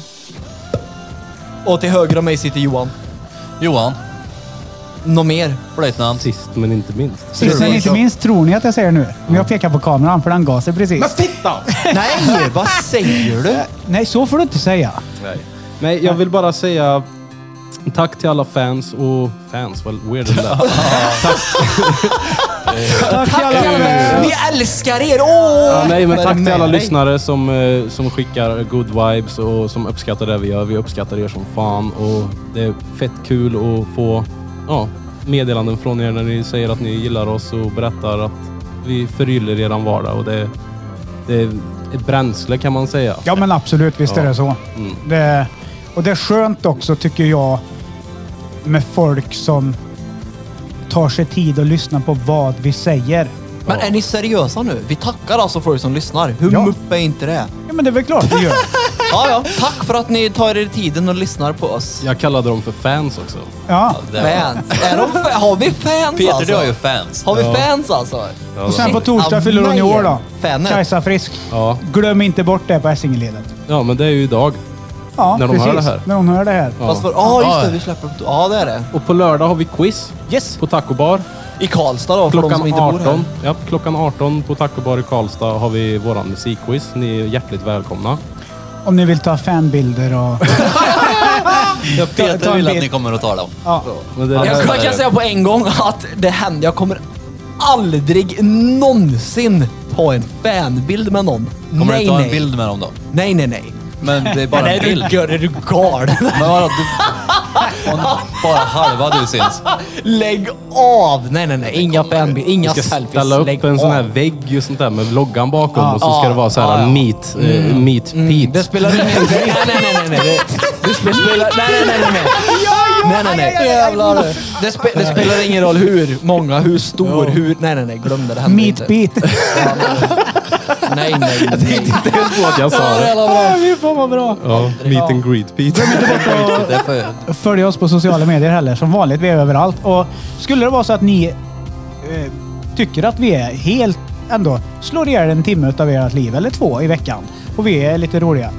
Och till höger om mig sitter Johan.
Johan,
Något mer?
flöjtnant.
Sist men inte minst.
Sist men inte minst tror ni att jag säger nu. Men jag pekar på kameran för den gav sig precis.
fitta!
Nej, vad säger du?
Nej, så får du inte säga.
Nej. Nej, jag vill bara säga tack till alla fans och... Fans? Vad weird det lät. tack.
Tack till alla lyssnare.
Vi älskar er! Åh!
Ja, nej, men
Vad är
tack
det
till
med
alla
dig?
lyssnare som, eh, som skickar good vibes och som uppskattar det vi gör. Vi uppskattar er som fan och det är fett kul att få ja, meddelanden från er när ni säger att ni gillar oss och berättar att vi förgyller eran vardag och det, det är ett bränsle kan man säga.
Ja, men absolut. Visst är det så.
Mm.
Det, och det är skönt också, tycker jag, med folk som tar sig tid att lyssna på vad vi säger.
Men är ni seriösa nu? Vi tackar alltså folk som lyssnar. Hur
Ja.
mupp är inte det?
Ja, men det är väl klart vi gör.
Ja, ja. Tack för att ni tar er tiden och lyssnar på oss.
Jag kallade dem för fans också.
Ja.
Det var-
Fans. Är de fa- har vi fans
Peter,
alltså?
du har ju fans.
Har vi
Ja.
fans alltså?
Och sen
Shit,
på torsdag fyller hon i år då.
Fanet.
Kajsa Frisk.
Ja,
Glöm inte bort det på Essingeleden.
ja men det är ju idag.
Ja,
När de hör
precis.
det här.
När hon hör det här.
Ja.
Fast för, ah, just det,
Ja.
vi släpper upp... Ja, det är det.
Och på lördag har vi quiz
Yes.
på Taco Bar.
I Karlstad då, för de som
Klockan
inte bor här.
18, ja, klockan 18 på Taco Bar i Karlstad har vi våran musikquiz. Ni är hjärtligt välkomna.
Om ni vill ta fanbilder och...
Jag Peter
ta en
vill att
bild.
ni kommer att tala om.
Ja.
Men det,
Jag,
Ja,
jag kan säga på en gång att det händer. Jag kommer aldrig någonsin ta en fanbild med någon.
Kommer
nej,
du ta
nej.
en bild med dem då?
Nej, nej, nej.
Men det är bara
Nej,
en
du,
bild.
gör- är du galen?
Men vadå, du... Om bara halva du syns.
Lägg av! Nej, nej, nej. Inga fanbilder, inga
ska
selfies.
ställa upp
Lägg
en sån här
av.
vägg och sånt där med loggan bakom och så ska
Ja.
det vara så här
Ja, ja.
meet, eh, meet Pete.
Det spelar ingen roll. Nej, nej, nej, nej, nej. Det, det spelar... Nej, nej, nej, nej, nej. Nej, nej, nej. Jävlar. Det, spe, det spelar ingen roll hur många, hur stor, hur... Nej, nej, nej. Glöm det. Det händer inte.
Meet beat.
Nej, nej, nej.
det är så att jag sa det.
Fy fan vad bra.
Ja, meet and greet Pete.
Det är för...
Följ oss på sociala medier heller. Som vanligt, vi är överallt. Och skulle det vara så att ni eh, tycker att vi är helt ändå slår ihjäl en timme av ert liv, eller två i veckan, och vi är lite roliga.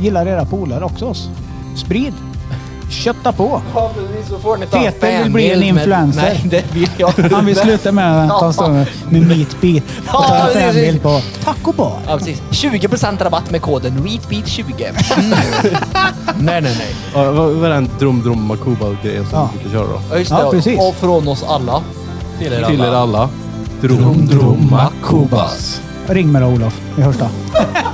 Gillar era polare också oss? Sprid! Kötta på! Peter vill bli en
Fanbild med-
influencer.
Nej, det vill jag
Han vill
inte.
sluta med att ta stånd med meatbeat och ta en fanbild på taco bar.
Ja, precis. 20% rabatt med koden REATBEAT20. Mm. nej, nej, nej.
Ja, Vad vad är den drum drum makuba grejen som
Ja.
vi brukar köra då?
Ja, just
Ja,
det.
precis.
Och från oss alla.
Till er
Till er
alla.
alla. Drum drum makubas.
Ring mig då Olof, vi hörs då.